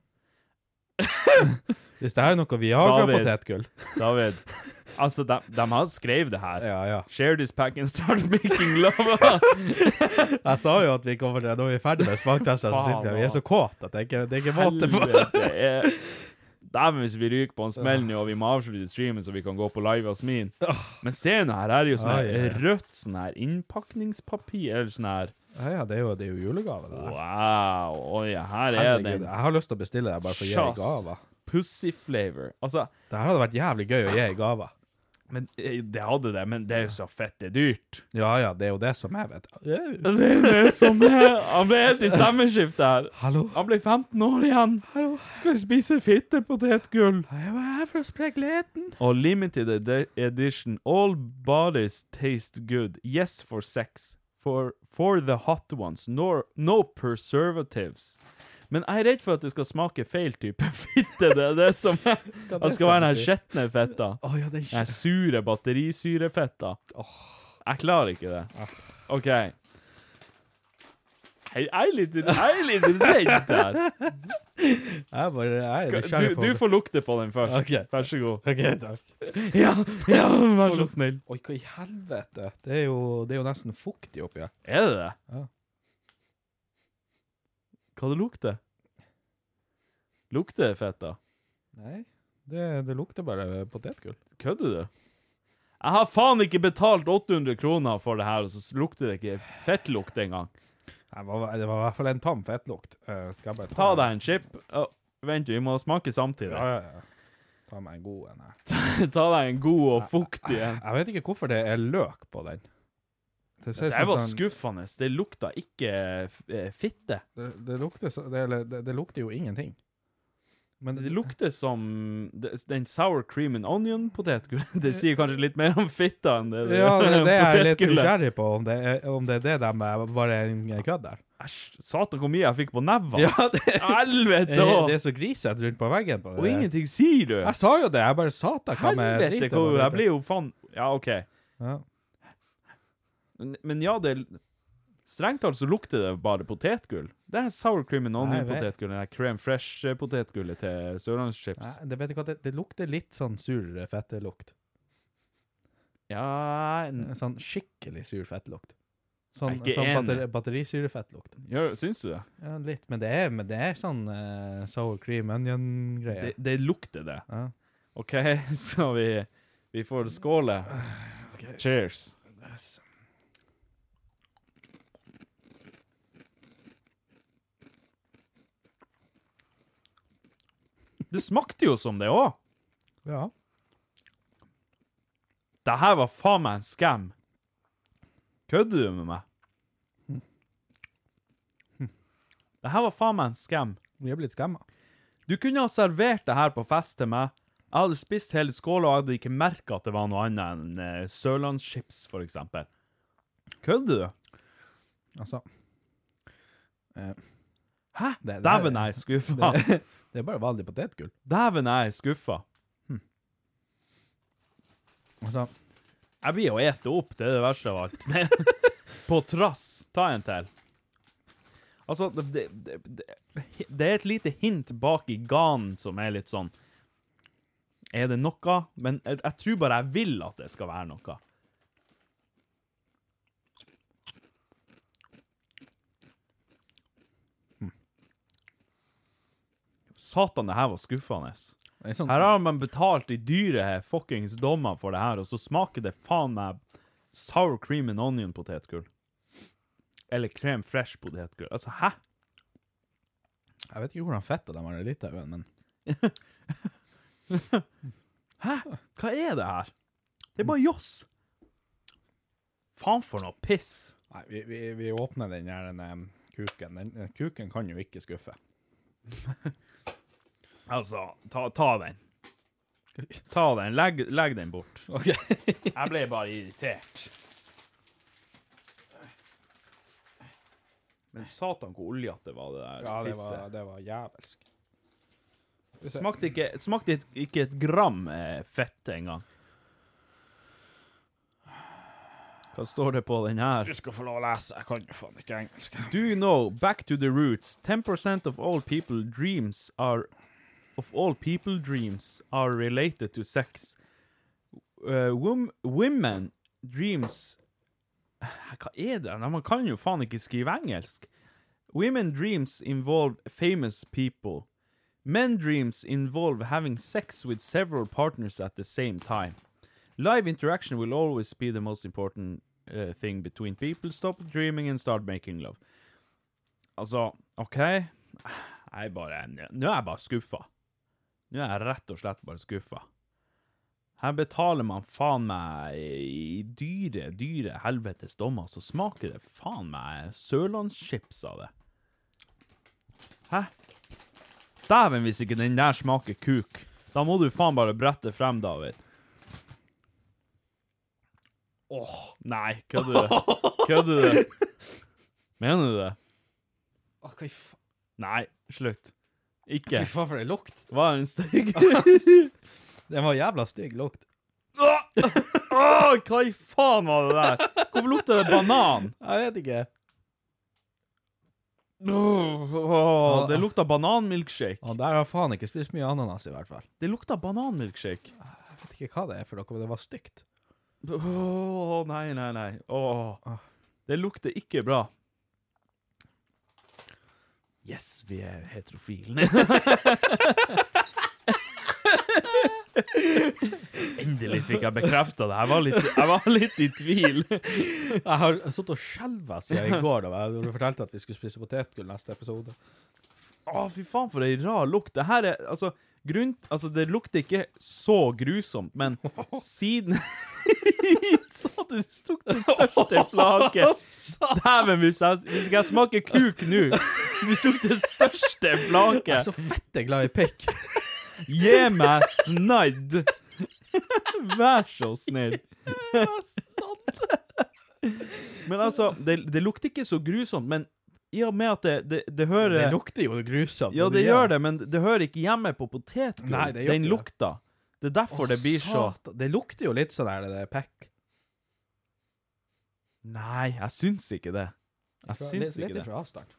[SPEAKER 3] Hvis det her er noe Viagra-potetgull
[SPEAKER 1] David. David, altså, de, de har skrevet det her.
[SPEAKER 3] Ja, ja.
[SPEAKER 1] Share this pack and start making love.
[SPEAKER 3] Jeg sa jo at vi kommer til Når vi er ferdig med smaktesten, så sitter vi her. Vi er så kåte at det ikke det er ikke måte på.
[SPEAKER 1] Helvete er Dæven, hvis vi ryker på en smell nå, og vi må avslutte streamen så vi kan gå på live hos min. Men se nå her, her er jo sånn
[SPEAKER 3] Ai, ai,
[SPEAKER 1] her
[SPEAKER 3] ai.
[SPEAKER 1] rødt sånn her innpakningspapir, eller sånn her.
[SPEAKER 3] Ja, ja, det er jo, det er jo julegave, det der.
[SPEAKER 1] Wow. Oi, her er
[SPEAKER 3] Herregud, altså
[SPEAKER 1] den.
[SPEAKER 3] jeg har lyst til å bestille det bare for å gi
[SPEAKER 1] Sjass.
[SPEAKER 3] gaver.
[SPEAKER 1] Pussy flavor. Altså,
[SPEAKER 3] Det her hadde vært jævlig gøy å gi gaver.
[SPEAKER 1] men eh, det hadde det, men det er jo så fett det er dyrt.
[SPEAKER 3] Ja ja, det er jo det som er, vet du.
[SPEAKER 1] Det er det som er Han ble helt i stemmeskiftet her.
[SPEAKER 3] Hallo?
[SPEAKER 1] Han ble 15 år igjen. Skal spise fittepotetgull.
[SPEAKER 3] Jeg var her for å spre gleden.
[SPEAKER 1] Og limited edi- edition All bodies taste good Yes for sex For, for the hot ones Nor, No preservatives Men jeg er redd for at det skal smake feil type fitte Det er det som er Det skal være den her skjetne fetta
[SPEAKER 3] Å ja, det er
[SPEAKER 1] Den sure batterisyrefetta Jeg klarer ikke det Ok Jeg jeg er litt, jeg er litt redd her
[SPEAKER 3] Jeg bare Jeg
[SPEAKER 1] du,
[SPEAKER 3] er nysgjerrig på
[SPEAKER 1] du
[SPEAKER 3] det.
[SPEAKER 1] får lukte på den først
[SPEAKER 3] Ok.
[SPEAKER 1] Vær så god
[SPEAKER 3] OK, takk.
[SPEAKER 1] Ja, ja vær så snill
[SPEAKER 3] Oi, hva i helvete? Det er jo, det er jo nesten fuktig oppi her.
[SPEAKER 1] Er det det?
[SPEAKER 3] Ja.
[SPEAKER 1] Hva det lukter? Lukter det fett, da?
[SPEAKER 3] Nei, det, det lukter bare potetgull.
[SPEAKER 1] Kødder du? Jeg har faen ikke betalt 800 kroner for det her, og så lukter det ikke fettlukt engang.
[SPEAKER 3] Nei, Det var, det var i hvert fall en tam fettlukt. Eh, skal jeg bare
[SPEAKER 1] Ta deg en chip. Å, vent, vi må smake samtidig.
[SPEAKER 3] Ja, ja, ja. Ta meg en god en her.
[SPEAKER 1] Ta deg en god og fuktig en.
[SPEAKER 3] Jeg vet ikke hvorfor det er løk på den. Det, ser
[SPEAKER 1] Det
[SPEAKER 3] ut som
[SPEAKER 1] var
[SPEAKER 3] sånn-
[SPEAKER 1] skuffende. Det lukta ikke eh, fitte.
[SPEAKER 3] Det, det, lukter, så- det, eller det, det lukter jo ingenting. Men
[SPEAKER 1] Det lukter som det- den sour cream and onion-potetgull. Det sier kanskje litt mer om fitta enn det
[SPEAKER 3] Ja, det, det er jeg litt
[SPEAKER 1] potetgullet.
[SPEAKER 3] nysgjerrig på, om det, er, om det er det de er bare er en kødd der.
[SPEAKER 1] Æsj, satan hvor mye jeg fikk på nevene.
[SPEAKER 3] det,
[SPEAKER 1] Helvete!
[SPEAKER 3] det
[SPEAKER 1] og-
[SPEAKER 3] er så grisete rundt på veggen på det.
[SPEAKER 1] Og ingenting sier du.
[SPEAKER 3] Jeg sa jo det, jeg bare sa at jeg kan med
[SPEAKER 1] Helvete,
[SPEAKER 3] drite
[SPEAKER 1] hvor
[SPEAKER 3] på det.
[SPEAKER 1] jeg blir jo faen Ja, OK.
[SPEAKER 3] Ja.
[SPEAKER 1] Men, men ja, det Strengt talt så lukter det bare potetgull. Det er sour cream and
[SPEAKER 3] Nei, jeg vet.
[SPEAKER 1] onion-potetgull, det er creme fresh-potetgullet til
[SPEAKER 3] Nei,
[SPEAKER 1] Sørlandschips.
[SPEAKER 3] det, vet du hva, det, det lukter litt sånn sur eh, fettelukt.
[SPEAKER 1] Ja, n-
[SPEAKER 3] En Sånn skikkelig sur fettelukt.
[SPEAKER 1] Jeg
[SPEAKER 3] Sånn,
[SPEAKER 1] er ikke
[SPEAKER 3] sånn batter,
[SPEAKER 1] enig.
[SPEAKER 3] batterisyrefettlukt.
[SPEAKER 1] gjør, syns du det?
[SPEAKER 3] Ja, litt, men det er, men det er sånn eh, sour cream
[SPEAKER 1] det?
[SPEAKER 3] onion-greie.
[SPEAKER 1] Det lukter det.
[SPEAKER 3] Ja.
[SPEAKER 1] OK, så vi, vi får skåle. Cheers. Det smakte jo som det òg.
[SPEAKER 3] ja.
[SPEAKER 1] Det her var faen meg en scam. Kødder du med meg? Det her var faen meg en scam.
[SPEAKER 3] Vi er blitt skamma.
[SPEAKER 1] Du kunne ha servert det her på fest til meg. Jeg hadde spist hele skåla og hadde ikke merka at det var noe annet enn eh, Sørlandschips, for eksempel. Kødder du?
[SPEAKER 3] Altså eh,
[SPEAKER 1] Hæ?
[SPEAKER 3] Det- det-
[SPEAKER 1] Dæven, jeg er skuffa.
[SPEAKER 3] det, det er bare vanlig potetgull.
[SPEAKER 1] Dæven, jeg er skuffa.
[SPEAKER 3] Altså,
[SPEAKER 1] Jeg blir jo ete opp, det er det verste av alt. Det, på trass. Ta en til. Altså, det, det, det- det, det er et lite hint bak i ganen som er litt sånn Er det noe? Men jeg, jeg tror bare jeg vil at det skal være noe. Hm. Satan, det her var skuffende.
[SPEAKER 3] det er sånn,
[SPEAKER 1] Her har man betalt i dyre fuckings dommer for det her, og så smaker det faen meg sour cream and onion potetgull. Eller krem fresh potetgull. Altså, hæ?
[SPEAKER 3] Jeg vet ikke hvordan fett de har i Litauen, men
[SPEAKER 1] Hæ? Hva er det her? Det er bare joss. Faen for noe piss.
[SPEAKER 3] Nei, vi, vi, vi åpner den her den, em, kuken. Den, eh, kuken kan jo ikke skuffe.
[SPEAKER 1] Altså, ta, ta den. Ta den. Legg, legg den bort.
[SPEAKER 3] OK.
[SPEAKER 1] Jeg ble bare irritert. Men satan hvor oljete var det der
[SPEAKER 3] ja, det
[SPEAKER 1] pisset.
[SPEAKER 3] var, det var jævelsk.
[SPEAKER 1] Smakte ikke, smakte et, ikke et gram eh, fett engang. Hva står det på den her?
[SPEAKER 3] skal få lov å lese. Jeg kan jo faen ikke engelsk.
[SPEAKER 1] Do you know, back to the roots, 10% of all people dreams are of all people dreams are related to sex. Uh, wom, women dreams Hva er det? Nei, Man kan jo faen ikke skrive engelsk. Women dreams involve famous people. Men dreams involve having sex with several partners at the same time. Live interaction will always be the most important uh, thing between people. Stop dreaming and start making love. Altså, OK Jeg er bare Nå er jeg bare skuffa. Nå er jeg rett og slett bare skuffa. Her betaler man faen meg i dyre, dyre helvetes dommer, så smaker det faen meg sørlandschips av det. Hæ? Dæven, hvis ikke den der smaker kuk. Da må du faen bare brette frem, David. Åh, nei, kødder du? Kødder du? Mener du det?
[SPEAKER 3] Hva i faen?
[SPEAKER 1] Nei, slutt.
[SPEAKER 3] Fy
[SPEAKER 1] Ikke.
[SPEAKER 3] faen, for en lukt.
[SPEAKER 1] Var den stygg?
[SPEAKER 3] Den var jævla stygg lukt.
[SPEAKER 1] Åh, hva i faen var det der? Hvorfor lukter det banan?
[SPEAKER 3] Jeg vet ikke.
[SPEAKER 1] Åh, det lukta bananmilkshake.
[SPEAKER 3] Han der har faen ikke spist mye ananas, i hvert fall.
[SPEAKER 1] Det lukta bananmilkshake.
[SPEAKER 3] Jeg vet ikke hva det er for noe, men det var stygt.
[SPEAKER 1] Åh, nei, nei, nei. Åh. Det lukter ikke bra. Yes, vi er heterofile. Endelig fikk jeg bekrefta det. Jeg var, litt, jeg var litt i tvil.
[SPEAKER 3] Jeg har sittet og skjelva siden i går da jeg- da du fortalte at vi skulle spise potetgull neste episode.
[SPEAKER 1] Å, fy faen, for ei rar lukt. Det her er Altså, grunn, altså det lukter ikke så grusomt, men siden Sa du tok den største flaket? Dæven, hvis, jeg- hvis ikke jeg smaker kuk nå Du tok det største
[SPEAKER 3] Jeg er så
[SPEAKER 1] flaket.
[SPEAKER 3] fette glad i pikk.
[SPEAKER 1] Gi meg snadd. Vær så snill. Men altså, det, det lukter ikke så grusomt, men i og med at det, det, det hører
[SPEAKER 3] Det lukter jo grusomt.
[SPEAKER 1] ja, det gjør det, men det hører ikke hjemme på potetgull.
[SPEAKER 3] Nei, det gjør
[SPEAKER 1] Den
[SPEAKER 3] ikke det.
[SPEAKER 1] lukta. Det er derfor det blir så
[SPEAKER 3] Satan, Det lukter jo litt sånn der, det der pekk.
[SPEAKER 1] Nei, jeg syns ikke det. Jeg syns ikke det.
[SPEAKER 3] fra avstand.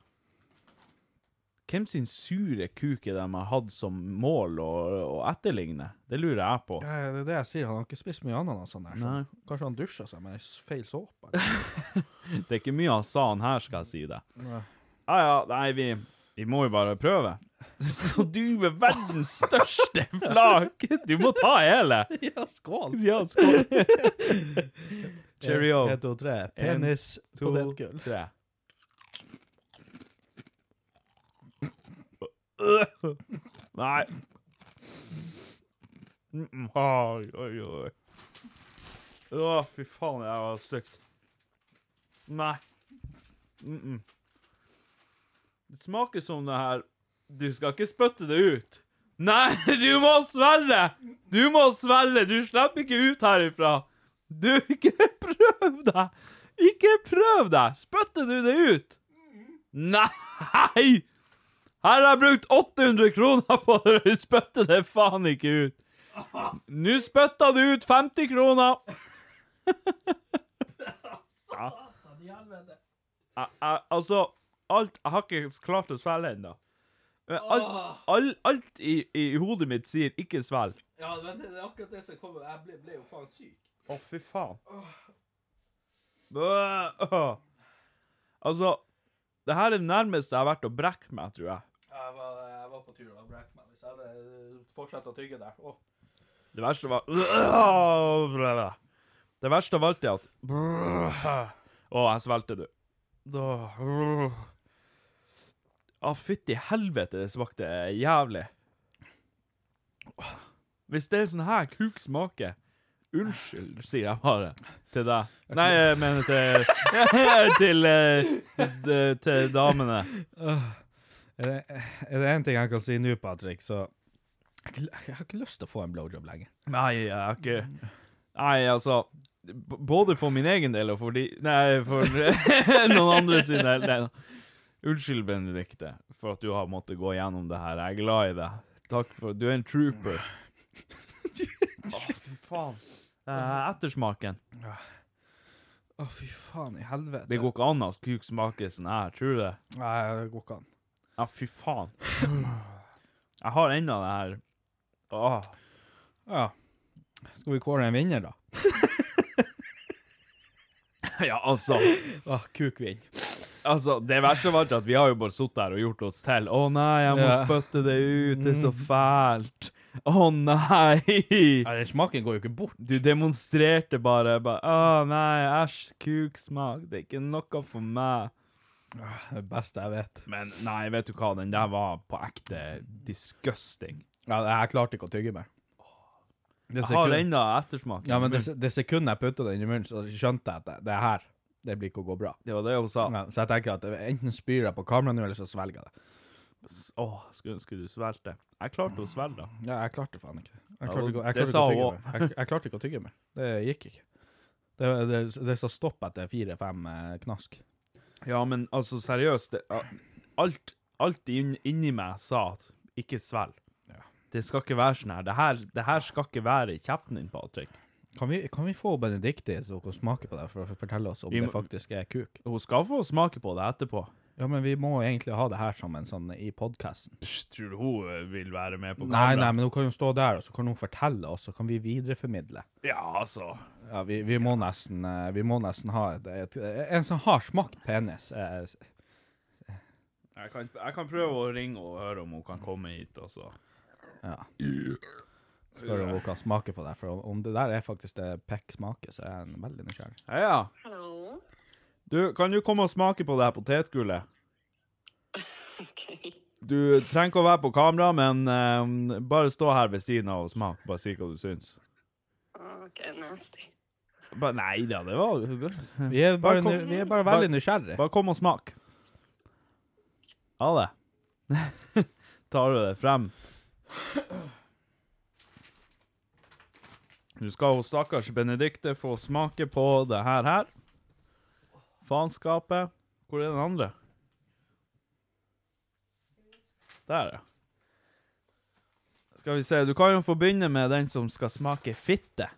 [SPEAKER 1] Hvem sin sure kuk er det de har hatt som mål å, å etterligne? Det lurer jeg på.
[SPEAKER 3] Ja, ja, det er det jeg sier. Han har ikke spist mye ananas. Han der, så.
[SPEAKER 1] Nei.
[SPEAKER 3] Kanskje han dusja seg med s- feil såpe. eller?
[SPEAKER 1] Det er ikke mye han sa han her, skal jeg si det. Ja ja, nei, vi, vi må jo bare prøve. Så du med verdens største flak! Du må ta hele!
[SPEAKER 3] ja, skål!
[SPEAKER 1] Ja, skål. Cheerio.
[SPEAKER 3] En, to, tre. Penis på den gull.
[SPEAKER 1] tre. Nei. Mm, mm. Oi, oi, oi. Å, fy faen, det her var stygt. Nei. Mm -mm. Det smaker som det her Du skal ikke spytte det ut. Nei, du må svelge! Du må svelge! Du slipper ikke ut herifra. Du, ikke prøv deg! Ikke prøv deg! Spytter du det ut? Nei! Her har jeg brukt 800 kroner på det, og du spytter det faen ikke ut. Nå spytta du ut 50 kroner. Jeg- jeg- Altså, alt Jeg har ikke klart å svelge ennå. Men Alt, all, alt i, i hodet mitt sier 'ikke svelg'.
[SPEAKER 3] Ja, men det er akkurat det som kommer. Jeg ble, jo faen syk.
[SPEAKER 1] Å, fy faen. Øh, øh. Altså, det her er det nærmeste jeg har vært å brekke meg, tror jeg.
[SPEAKER 3] Jeg var, på tur og brekk meg. Hvis jeg hadde fortsatt å tygge der
[SPEAKER 1] Det verste var Øh, Det verste av alt er at Å, jeg svelgte, du. Da Å, fytti helvete, det smakte jævlig. Hvis det er sånn her kuk smaker Unnskyld, sier jeg bare til deg. Nei, jeg mener til Til, eh, d- til damene.
[SPEAKER 3] Er det- er det én ting jeg kan si nå, Patrick, så jeg, har ikke- jeg har ikke lyst til å få en blowjob lenger.
[SPEAKER 1] Nei, jeg har ikke Nei, altså b- Både for min egen del og for de Nei, for noen andre sin del. Nei, da. Unnskyld, Benedikte, for at du har måttet gå gjennom det her. Jeg er glad i deg. Takk for Du er en trooper. Å, fy faen. Eh, ettersmaken.
[SPEAKER 3] Å, fy faen i helvete.
[SPEAKER 1] Det går ikke an at kuk smaker sånn her, tror du det?
[SPEAKER 3] Nei, det går ikke an.
[SPEAKER 1] Ja, fy faen. Jeg har ennå det her Åh.
[SPEAKER 3] Ja. Skal vi kåre en vinner, da?
[SPEAKER 1] Ja, altså.
[SPEAKER 3] Åh, kuk vinner.
[SPEAKER 1] Altså, Det verste var at vi har jo bare sittet her og gjort oss til. Å nei, jeg må
[SPEAKER 3] Ja. Mm.
[SPEAKER 1] spytte det ut, det er så fælt. Å nei!
[SPEAKER 3] Ja, den smaken går jo ikke bort.
[SPEAKER 1] Du demonstrerte bare. bare Å nei, æsj, kuksmak. Det er ikke noe for meg.
[SPEAKER 3] Det beste jeg vet.
[SPEAKER 1] Men nei, vet du hva, den der var på ekte disgusting.
[SPEAKER 3] Ja, jeg klarte ikke å tygge mer. Det
[SPEAKER 1] Jeg har
[SPEAKER 3] sekund-
[SPEAKER 1] ennå ettersmaken.
[SPEAKER 3] Ja, men det,
[SPEAKER 1] det,
[SPEAKER 3] se- det sekundet jeg putta den i munnen, så skjønte jeg at det, det her det blir ikke å gå bra.
[SPEAKER 1] var det hun sa.
[SPEAKER 3] Ja, så jeg tenker at det- enten spyr jeg på kameraet nå, eller så svelger jeg det.
[SPEAKER 1] Å, skulle, skulle du svelge det? Jeg klarte å svelge det.
[SPEAKER 3] Ja, jeg klarte faen ikke det. Jeg
[SPEAKER 1] Ja,
[SPEAKER 3] klarte ikke, jeg
[SPEAKER 1] det
[SPEAKER 3] klarte
[SPEAKER 1] sa
[SPEAKER 3] ikke å tygge
[SPEAKER 1] hun
[SPEAKER 3] mer. Jeg, jeg klarte ikke å tygge mer. Det gikk ikke. Det, det, det sa stopp etter fire-fem eh, knask.
[SPEAKER 1] Ja, men altså, seriøst det, Alt, alt inn, inni meg sa at ikke svelg. Det skal ikke være sånn her. Det her, det her skal ikke være i kjeften din, Patrick.
[SPEAKER 3] Kan vi, kan vi få Benedicte til å smake på det, for å fortelle oss om
[SPEAKER 1] Vi må-
[SPEAKER 3] det faktisk er kuk?
[SPEAKER 1] Hun skal få smake på det etterpå.
[SPEAKER 3] Ja, men vi må egentlig ha det her sammen, sånn i podkasten.
[SPEAKER 1] Psst, tror du hun eh, vil være med på
[SPEAKER 3] Nei, nei,
[SPEAKER 1] kamera?
[SPEAKER 3] men hun kan jo stå der, og så kan hun fortelle, og så kan vi videreformidle.
[SPEAKER 1] Ja, altså.
[SPEAKER 3] Ja, vi, vi, må nesten, eh, vi må nesten ha et, et, En som har smakt penis. eh, s-
[SPEAKER 1] Jeg kan, jeg kan prøve å ringe og høre om hun kan komme hit, altså. og så
[SPEAKER 3] Spør om hun kan smake på det. For om- om det der er faktisk det pekk smaker, så er jeg veldig nysgjerrig.
[SPEAKER 1] Heia. Du, kan du komme og smake på det her potetgullet? Du trenger ikke å være på kamera, men eh, bare stå her ved siden av og smak. Bare si hva du syns.
[SPEAKER 4] Okay, nasty.
[SPEAKER 1] Bare, nei da, det var
[SPEAKER 3] Vi er bare,
[SPEAKER 1] Bare kom-
[SPEAKER 3] nu- vi er bare
[SPEAKER 1] bare-
[SPEAKER 3] veldig nysgjerrige.
[SPEAKER 1] Bare kom og smak. Ha det. Tar du det frem? Nå skal hun stakkars Benedikte få smake på det her her. Faenskapet. Hvor er den andre? Der, ja. Skal vi se, du kan jo få begynne med den som skal smake fitte.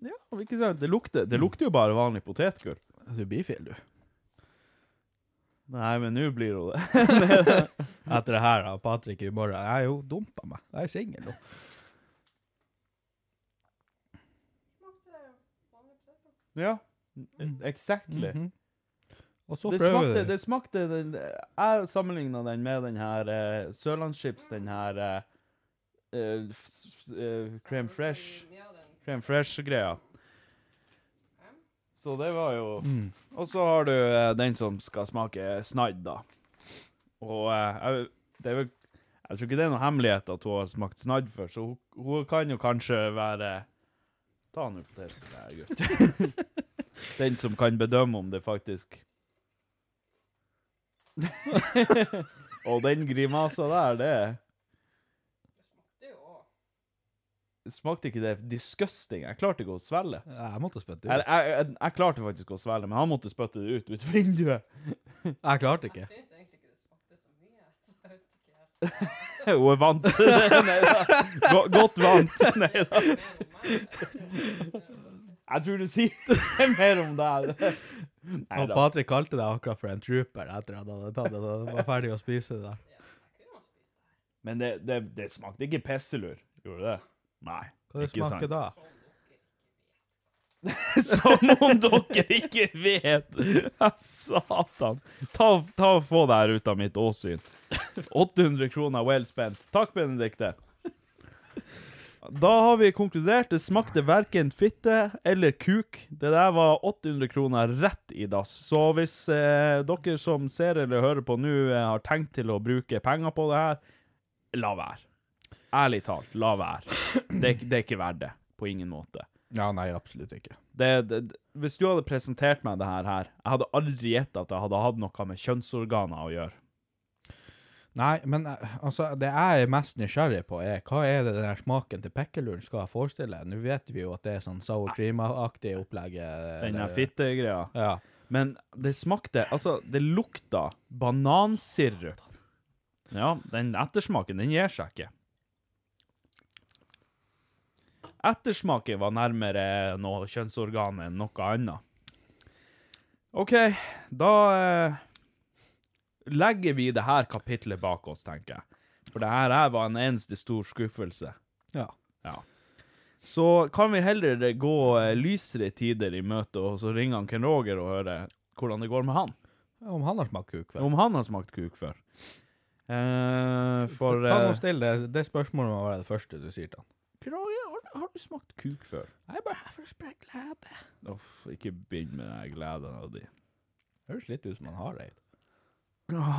[SPEAKER 1] Ja, Ikke sant? Det lukter, det lukter jo bare vanlig potetgull.
[SPEAKER 3] Du er bifil, du.
[SPEAKER 1] Nei, men nå blir hun det.
[SPEAKER 3] Etter det her, da. Patrick i morgen. Jeg er jo dumpa meg. Jeg er singel nå.
[SPEAKER 1] Ja,
[SPEAKER 3] Mhm.
[SPEAKER 1] exactly.
[SPEAKER 3] Og så
[SPEAKER 1] det,
[SPEAKER 3] prøver
[SPEAKER 1] smakte,
[SPEAKER 3] du.
[SPEAKER 1] det smakte den, Jeg sammenligna den med den her eh, Sørlandschips, den her eh, eh, f- f- eh, Crème fresh Crème fresh-greia. Så det var jo
[SPEAKER 3] Mm.
[SPEAKER 1] Og så har du eh, den som skal smake snadd, da. Og eh, jeg, det er vel Jeg tror ikke det er noen hemmelighet at hun har smakt snadd før, så hun, hun kan jo kanskje være Ta nå poteten der, gutt. den som kan bedømme om det faktisk Og den grimasa der, det Smakte ikke det disgusting? Jeg klarte ikke å svelge.
[SPEAKER 3] Jeg måtte spytte
[SPEAKER 1] Jeg,
[SPEAKER 3] ut.
[SPEAKER 1] jeg, jeg, jeg klarte faktisk å svelge, men han måtte spytte det ut ut vinduet.
[SPEAKER 3] Jeg klarte ikke.
[SPEAKER 1] Hun er vant til det. Nei da. Go- Godt vant. Nei da. Jeg tror du sier mer om det. Nei
[SPEAKER 3] Og
[SPEAKER 1] da.
[SPEAKER 3] Patrick kalte deg akkurat for en trooper etter at han hadde tatt det. og var ferdig å spise det der.
[SPEAKER 1] Men det, det, det smakte ikke pisselur. Gjorde det? Nei.
[SPEAKER 3] Hva det
[SPEAKER 1] ikke sant.
[SPEAKER 3] smaker da?
[SPEAKER 1] Som om dere ikke vet! Satan. Ta, ta og Få det her ut av mitt åsyn. 800 kroner well spent. Takk, Benedikte. Da har vi konkludert. Det smakte verken fitte eller kuk. Det der var 800 kroner rett i dass. Så hvis eh, dere som ser eller hører på nå, eh, har tenkt til å bruke penger på det her, la være. Ærlig talt, la være. Det, er- det er ikke verdt det. På ingen måte
[SPEAKER 3] Ja, nei, absolutt ikke.
[SPEAKER 1] det, det, det- hvis du hadde presentert meg det her, her Jeg hadde aldri gjetta at jeg hadde hatt noe med kjønnsorganer å gjøre.
[SPEAKER 3] Nei, men eh, altså, det jeg er mest nysgjerrig på, er hva er det den her smaken til pekkeluren skal forestille? Nå vet vi jo at det er sånn sour cream-aktig opplegg. eh,
[SPEAKER 1] Den her
[SPEAKER 3] eller-
[SPEAKER 1] fittegreia.
[SPEAKER 3] Ja.
[SPEAKER 1] Men det smakte Altså, det lukta banansirup. Ja, den ettersmaken, den gir seg ikke. Ettersmaken var nærmere noe kjønnsorgan enn noe annet. OK, da eh, legger vi det her kapitlet bak oss, tenker jeg. For det her, her var en eneste stor skuffelse.
[SPEAKER 3] ja.
[SPEAKER 1] Så kan vi heller gå eh, lysere tider i møte, og så ringer han Ken Roger og hører hvordan det går med han.
[SPEAKER 3] Om han har smakt kuk før.
[SPEAKER 1] Om han har smakt kuk før. Eh, for
[SPEAKER 3] Ta nå
[SPEAKER 1] eh,
[SPEAKER 3] still det, det spørsmålet må være det første du sier til han.
[SPEAKER 1] Ken Roger, har, har du smakt kuk før?
[SPEAKER 3] Jeg er bare her for å spre glede.
[SPEAKER 1] Uff, ikke begynn med den gleden av de.
[SPEAKER 3] Høres litt ut som han Hareid.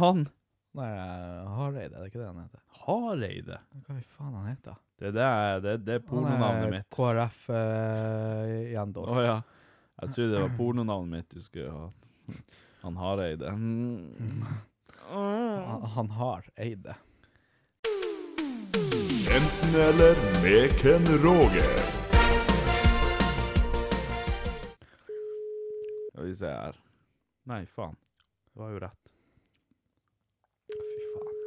[SPEAKER 1] Han
[SPEAKER 3] Nei, eh, Hareid, er det ikke det han heter?
[SPEAKER 1] Hareide.
[SPEAKER 3] Hva i faen han heter?
[SPEAKER 1] Det, er det, er- det, det er pornonavnet mitt.
[SPEAKER 3] KrF eh, igjen, da.
[SPEAKER 1] Å ja. Jeg trodde det var pornonavnet mitt du skulle ha. Han Hareide. Mm.
[SPEAKER 3] Han, han har eid det.
[SPEAKER 5] Enten eller med Ken Roger.
[SPEAKER 1] Skal vi se her. Nei, faen. Det var jo rett. Fy faen.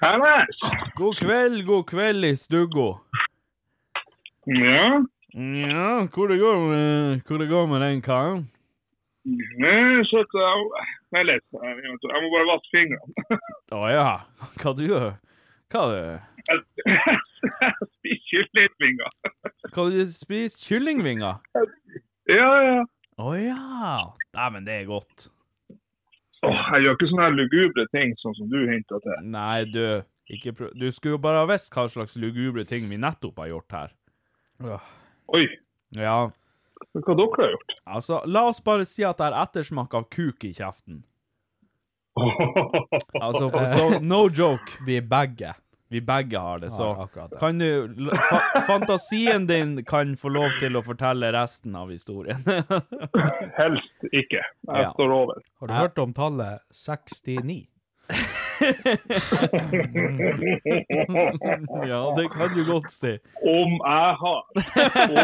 [SPEAKER 6] Hermes!
[SPEAKER 1] God kveld, god kveld i stuggo.
[SPEAKER 6] Ja,
[SPEAKER 1] Nja, hvor det går med, hvor det går med den karen?
[SPEAKER 6] jeg sitter der. Det er lett. Jeg må bare vaske fingrene.
[SPEAKER 1] Å ja, hva du gjør? Hva du
[SPEAKER 6] Jeg spiser kyllingvinger.
[SPEAKER 1] Hva du spiser kyllingvinger?
[SPEAKER 6] Ja, ja.
[SPEAKER 1] Å ja. Nei, men det er godt.
[SPEAKER 6] Åh, jeg gjør ikke sånne her lugubre ting sånn som du hintet til.
[SPEAKER 1] Nei, du. Ikke prøv. Du skulle jo bare ha visst hva slags lugubre ting vi nettopp har gjort her.
[SPEAKER 6] Oi,
[SPEAKER 1] Ja,
[SPEAKER 6] hva dere har gjort?
[SPEAKER 1] altså, la oss bare si at det er ettersmak av kuk i kjeften. Altså, så, no joke.
[SPEAKER 3] Vi begge
[SPEAKER 1] Vi begge har det,
[SPEAKER 3] har
[SPEAKER 1] så
[SPEAKER 3] akkurat det.
[SPEAKER 1] kan du l- fa Fantasien din kan få lov til å fortelle resten av historien.
[SPEAKER 6] Helst ikke. Jeg
[SPEAKER 1] Ja.
[SPEAKER 6] står over.
[SPEAKER 3] Har du hørt om tallet 69?
[SPEAKER 1] ja, det kan du godt si.
[SPEAKER 6] Om jeg har. Om jeg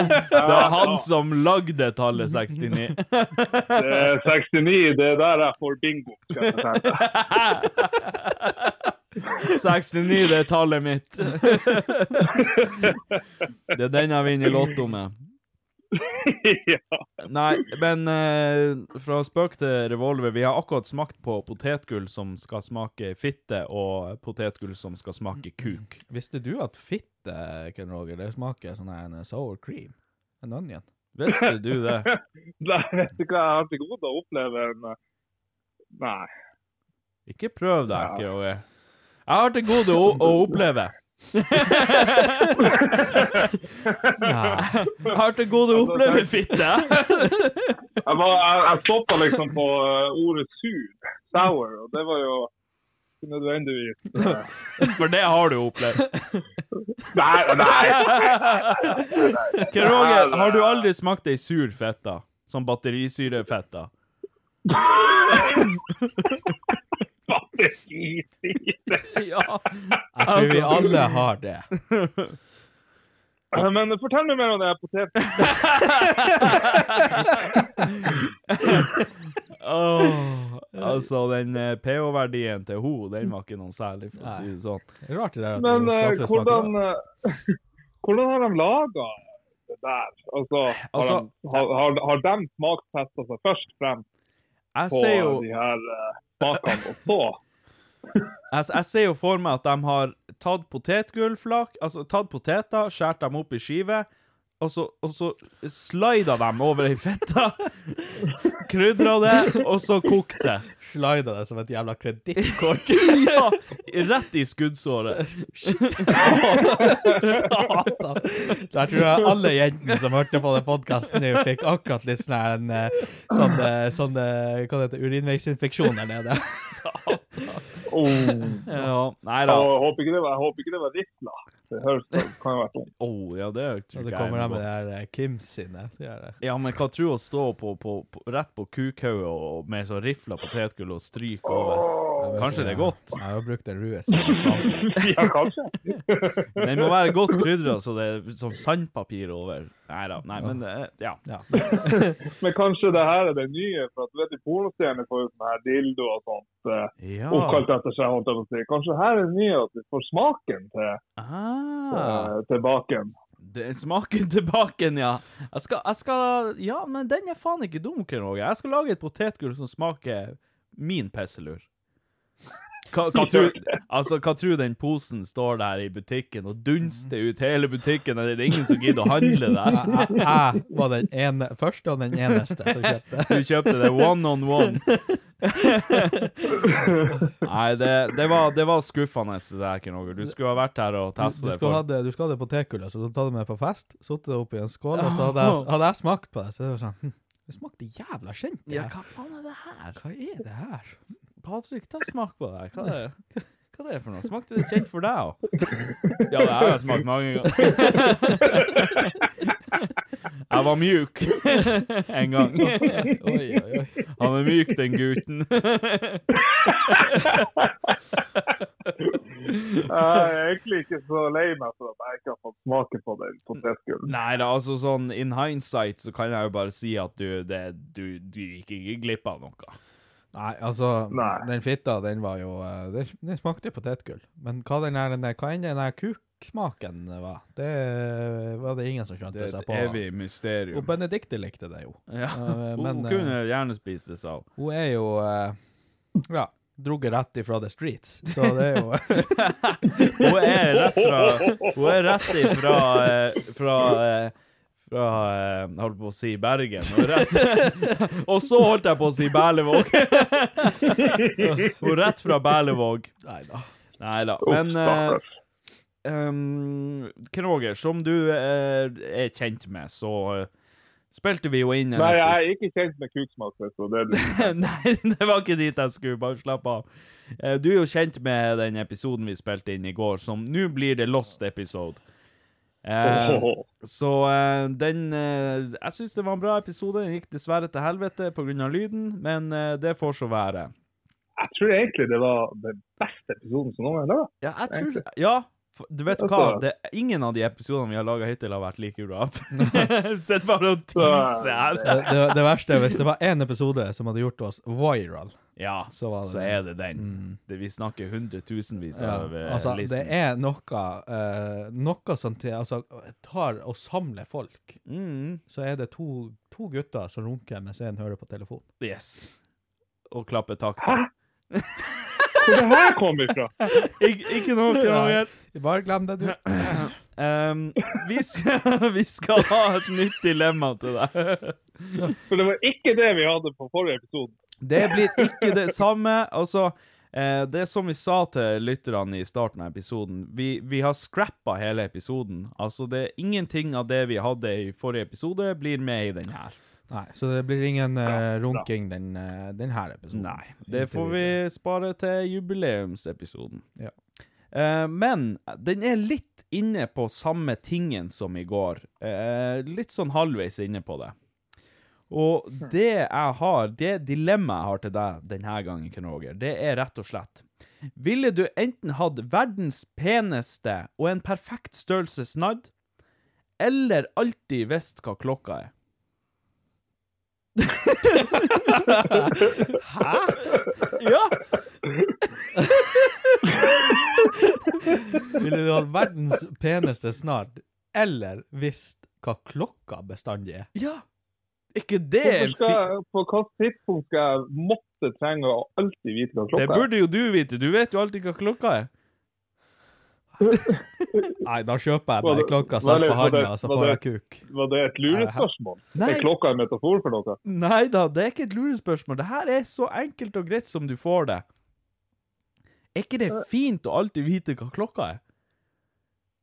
[SPEAKER 1] Det er han
[SPEAKER 6] har.
[SPEAKER 1] som lagde tallet 69.
[SPEAKER 6] Det er 69, det er der jeg får bingo. skal jeg fortelle.
[SPEAKER 1] 69, det er tallet mitt. det er den jeg vinner Lotto med.
[SPEAKER 6] ja.
[SPEAKER 1] Nei, men eh, fra spøk til revolver. Vi har akkurat smakt på potetgull som skal smake fitte, og potetgull som skal smake kuk.
[SPEAKER 3] Visste du at fitte, Ken Roger, det smaker sånn her en sour cream? En onion?
[SPEAKER 1] Visste du det?
[SPEAKER 6] Nei, vet du hva, jeg har til gode å oppleve en eh, Nei.
[SPEAKER 1] Ikke prøv deg, ikke Roger. E. Jeg har til gode å, å oppleve. Jeg har til gode å oppleve fitte.
[SPEAKER 6] Jeg, var, jeg, jeg stoppa liksom på eh, ordet sur, sour, og det var jo ikke nødvendigvis eh,
[SPEAKER 1] For det har du opplevd.
[SPEAKER 6] Nei, nei!
[SPEAKER 1] Ken Roger, har du aldri smakt ei sur fetta? Sånn batterisyrefetta?
[SPEAKER 6] Batterisire.
[SPEAKER 1] Ja.
[SPEAKER 3] Jeg tror vi alle har det.
[SPEAKER 6] Eh, Men fortell meg mer om det poteten.
[SPEAKER 1] altså, den eh, pH-verdien til ho, den var ikke noe særlig, for å si det sånn.
[SPEAKER 3] Det er rart det der at
[SPEAKER 6] Men
[SPEAKER 3] det
[SPEAKER 6] eh,
[SPEAKER 3] skapelig smaker
[SPEAKER 6] hvordan
[SPEAKER 3] rart.
[SPEAKER 6] eh, Hvordan har de laga det der? Altså, har,
[SPEAKER 1] Altså-
[SPEAKER 6] de, har, har, har de smakstesta seg først frem
[SPEAKER 1] Jeg
[SPEAKER 6] på
[SPEAKER 1] ser jo
[SPEAKER 6] de her eh, smakene, og så
[SPEAKER 1] Jeg, jeg ser jo for meg at de har tatt potetgullflak, altså tatt poteter, skjært dem opp i skive, og så, og så slida dem over i fetta, krydra det, og så kokt det.
[SPEAKER 3] Slider det som et jævla kredittkort.
[SPEAKER 1] Ja, rett i skuddsåret.
[SPEAKER 3] Satan. Der tror jeg alle jentene som hørte på den podkasten, fikk akkurat litt sånn her en eh, sånn, eh, sånn eh, Hva det heter Urinveisinfeksjon der nede.
[SPEAKER 1] Ja, nei da.
[SPEAKER 6] Jeg håper ikke det var, jeg håper ikke det var rifla. Det høres det kan jo være sånn.
[SPEAKER 1] Å, ja, det er jo
[SPEAKER 3] Og
[SPEAKER 1] ikke
[SPEAKER 3] det
[SPEAKER 1] jeg
[SPEAKER 3] kommer de med
[SPEAKER 1] godt.
[SPEAKER 3] det her eh, Kim sine. Det er det.
[SPEAKER 1] Ja, men hva tror du å stå på, på, på, rett på kukhauget og- med sånn så rifla potetgull og stryk over? Kanskje det er godt?
[SPEAKER 3] Jeg har jo brukt den rue siden svamp.
[SPEAKER 6] Ja, kanskje.
[SPEAKER 1] Den må være godt krydra, så det er som sandpapir over. Nei da. Nei, men eh, ja.
[SPEAKER 3] Ja.
[SPEAKER 6] Men kanskje det her er det nye, for at du vet i pornostjerner får jo sånne her dildo og sånt eh, oppkalt etter seg, holdt jeg på å si. Kanskje her er det nye at vi får smaken til,
[SPEAKER 1] Ah,
[SPEAKER 6] eh, til baken.
[SPEAKER 1] det er smaken tilbake, ja. Jeg skal, jeg skal Ja, men den er faen ikke dum, Ken Roger. Jeg skal lage et potetgull som smaker min pisselur. Hva, hva, tror, altså, hva tror den posen står der i butikken og dunster ut hele butikken? og Det er ingen som gidder å handle der.
[SPEAKER 3] Jeg, jeg- jeg var den ene, første og den eneste som kjøpte.
[SPEAKER 1] Du kjøpte det one on one. Nei, det, det, var, det var skuffende, det der, Ken Roger. Du skulle ha vært her og
[SPEAKER 3] Du,
[SPEAKER 1] testa
[SPEAKER 3] du
[SPEAKER 1] det.
[SPEAKER 3] skulle
[SPEAKER 1] for-
[SPEAKER 3] ha det, du skulle ha det på tekullet, så du tar det med på fest, satte det oppi en skål, og så hadde jeg, hadde jeg smakt på det, så det var sånn hm, Det smakte jævla kjent. det
[SPEAKER 1] Ja,
[SPEAKER 3] her.
[SPEAKER 1] hva faen er det her?
[SPEAKER 3] Hva er det her?
[SPEAKER 1] Patrick, ta smak på det her. Hva er det? Hva er det for noe? Smakte det kjent for deg òg? Ja, det har jeg smakt mange ganger. Jeg var mjuk en gang.
[SPEAKER 3] Oi, oi, oi.
[SPEAKER 1] Han er myk, den gutten.
[SPEAKER 6] Jeg er egentlig ikke så lei meg for at jeg ikke har fått smaken på den potetgullen.
[SPEAKER 1] Nei da, altså sånn in hindsight så kan jeg jo bare si at du, det, du, du gikk ikke glipp av noe.
[SPEAKER 3] Nei, altså,
[SPEAKER 6] Nei.
[SPEAKER 3] den fitta, den var jo eh, Den, den smakte potetgull. Men hva den her, den der- hva enn den her kuksmaken var, det eh, var det ingen som
[SPEAKER 1] Det
[SPEAKER 3] skjønte
[SPEAKER 1] er
[SPEAKER 3] seg
[SPEAKER 1] et
[SPEAKER 3] på.
[SPEAKER 1] evig
[SPEAKER 3] Og
[SPEAKER 1] mysterium.
[SPEAKER 3] Benedicte likte det jo.
[SPEAKER 1] Ja,
[SPEAKER 3] Eh,
[SPEAKER 1] hun
[SPEAKER 3] men, eh,
[SPEAKER 1] kunne gjerne spist det selv.
[SPEAKER 3] Hun er jo eh, Ja, drugget rett ifra the streets, så det er jo
[SPEAKER 1] Hun er rett fra Hun er rett ifra eh, Fra eh, Fra eh, Holdt på å si Bergen Hun er rett Og så holdt jeg på å si Berlevåg Hun er rett fra Berlevåg
[SPEAKER 3] Nei da.
[SPEAKER 1] Neida Men eh,
[SPEAKER 6] Stakkars.
[SPEAKER 1] um, Knoger Som du eh, er kjent med Så eh, Spilte vi jo inn en
[SPEAKER 6] Nei, jeg
[SPEAKER 1] episode-
[SPEAKER 6] er ikke kjent med kuksmak, så det er det.
[SPEAKER 1] Nei, det var ikke dit jeg skulle. Bare slapp av. Eh, Du er jo kjent med den episoden vi spilte inn i går, som nå blir det lost episode. Eh,
[SPEAKER 6] Åhåhå.
[SPEAKER 1] Så eh, den eh, Jeg syns det var en bra episode. Den gikk dessverre til helvete pga. lyden, men eh, det får så være.
[SPEAKER 6] Jeg tror egentlig det var den beste episoden som noen gang er laget.
[SPEAKER 1] Ja, jeg tror Ja, f- du vet hva?
[SPEAKER 6] Altså-
[SPEAKER 1] Det, ingen av de episodene vi har laga hittil, har vært like bra. Sitter bare og tisser her.
[SPEAKER 3] Det, det, det verste er hvis det var én episode som hadde gjort oss viral,
[SPEAKER 1] Ja,
[SPEAKER 3] så var det
[SPEAKER 1] så
[SPEAKER 3] det.
[SPEAKER 1] er det den.
[SPEAKER 3] Mm.
[SPEAKER 1] Det, vi snakker hundretusenvis
[SPEAKER 3] Ja,
[SPEAKER 1] av eh,
[SPEAKER 3] altså, det
[SPEAKER 1] listens.
[SPEAKER 3] er noe eh, Noe som til, altså, tar og samler folk.
[SPEAKER 1] Mm.
[SPEAKER 3] Så er det to, to gutter som runker mens en hører på telefonen.
[SPEAKER 1] Yes. Og klapper takta.
[SPEAKER 6] Hvor det her kom ifra?
[SPEAKER 1] Ik ikke noe krangel.
[SPEAKER 3] Bare glem det, du.
[SPEAKER 1] Um, vi, skal, vi skal ha et nytt dilemma til deg.
[SPEAKER 6] For det var ikke det vi hadde på forrige episode.
[SPEAKER 1] Det blir ikke det samme. Altså, eh, det er som vi sa til lytterne i starten av episoden, vi, vi har scrappa hele episoden. Altså, det er ingenting av det vi hadde i forrige episode, blir med i den her.
[SPEAKER 3] Nei, så det blir ingen eh, runking den, eh, den her episoden.
[SPEAKER 1] Nei, det får vi spare til jubileumsepisoden.
[SPEAKER 3] Ja.
[SPEAKER 1] Eh, men den er litt inne på samme tingen som i går. Eh, litt sånn halvveis inne på det. Og det jeg har, det dilemmaet jeg har til deg denne gangen, Ken Roger, det er rett og slett Ville du enten hatt verdens peneste og en perfekt størrelse snadd, eller alltid visst hva klokka er? Ja!
[SPEAKER 3] Ville du ha verdens peneste snart, eller visst hva klokka bestandig er?
[SPEAKER 1] Ja! Ikke det
[SPEAKER 6] Hvorfor skal jeg- På hvilket tidspunkt skal jeg måtte trenge å alltid vite hva
[SPEAKER 1] Det
[SPEAKER 6] klokka er?
[SPEAKER 1] burde jo du vite. Du vet jo alltid hva klokka er.
[SPEAKER 3] Nei, da kjøper jeg
[SPEAKER 6] Var
[SPEAKER 3] bare
[SPEAKER 6] det-
[SPEAKER 3] klokka
[SPEAKER 6] var
[SPEAKER 3] satt
[SPEAKER 6] det-
[SPEAKER 3] på
[SPEAKER 6] var det-
[SPEAKER 3] handa, og så
[SPEAKER 6] var
[SPEAKER 3] får jeg
[SPEAKER 6] det-
[SPEAKER 3] kuk.
[SPEAKER 6] Var det et lurespørsmål?
[SPEAKER 1] Nei.
[SPEAKER 6] Er klokka en metafor for noe?
[SPEAKER 1] Nei da, det er ikke et lurespørsmål. Det her er så enkelt og greit som du får det. Er ikke det fint å alltid vite hva klokka er?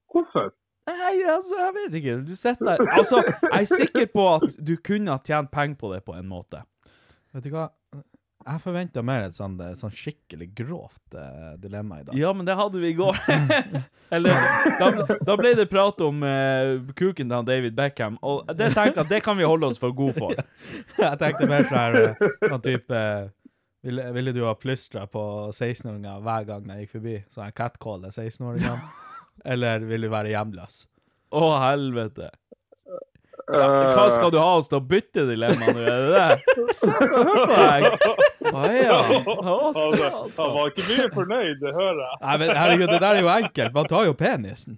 [SPEAKER 6] Hvorfor?
[SPEAKER 1] Nei, altså, jeg vet ikke. Du sitter der Altså, jeg er sikker på at du kunne ha tjent penger på det på en måte.
[SPEAKER 3] Vet du hva? Jeg forventa mer et sånn, et sånn skikkelig grovt eh, dilemma i dag.
[SPEAKER 1] Ja, men det hadde vi i går. Eller da, da ble det prat om eh, kuken til han David Beckham, og det tenker jeg at det kan vi holde oss for gode for.
[SPEAKER 3] Jeg tenkte mer sånn her eh, noen type eh, ville, ville du ha plystra på 16-åringer hver gang jeg gikk forbi? Sånn jeg catcaller 16-åringer? Eller vil du være hjemløs?
[SPEAKER 1] Å, helvete. Hva
[SPEAKER 6] Eh,
[SPEAKER 1] skal du ha oss til å bytte dilemma nå, er det det? Se, hør på deg! Å ja. Å,
[SPEAKER 6] Altså,
[SPEAKER 1] satan.
[SPEAKER 6] han var ikke mye fornøyd, det hører jeg.
[SPEAKER 3] Nei, men herregud, det der er jo enkelt. Man tar jo penisen.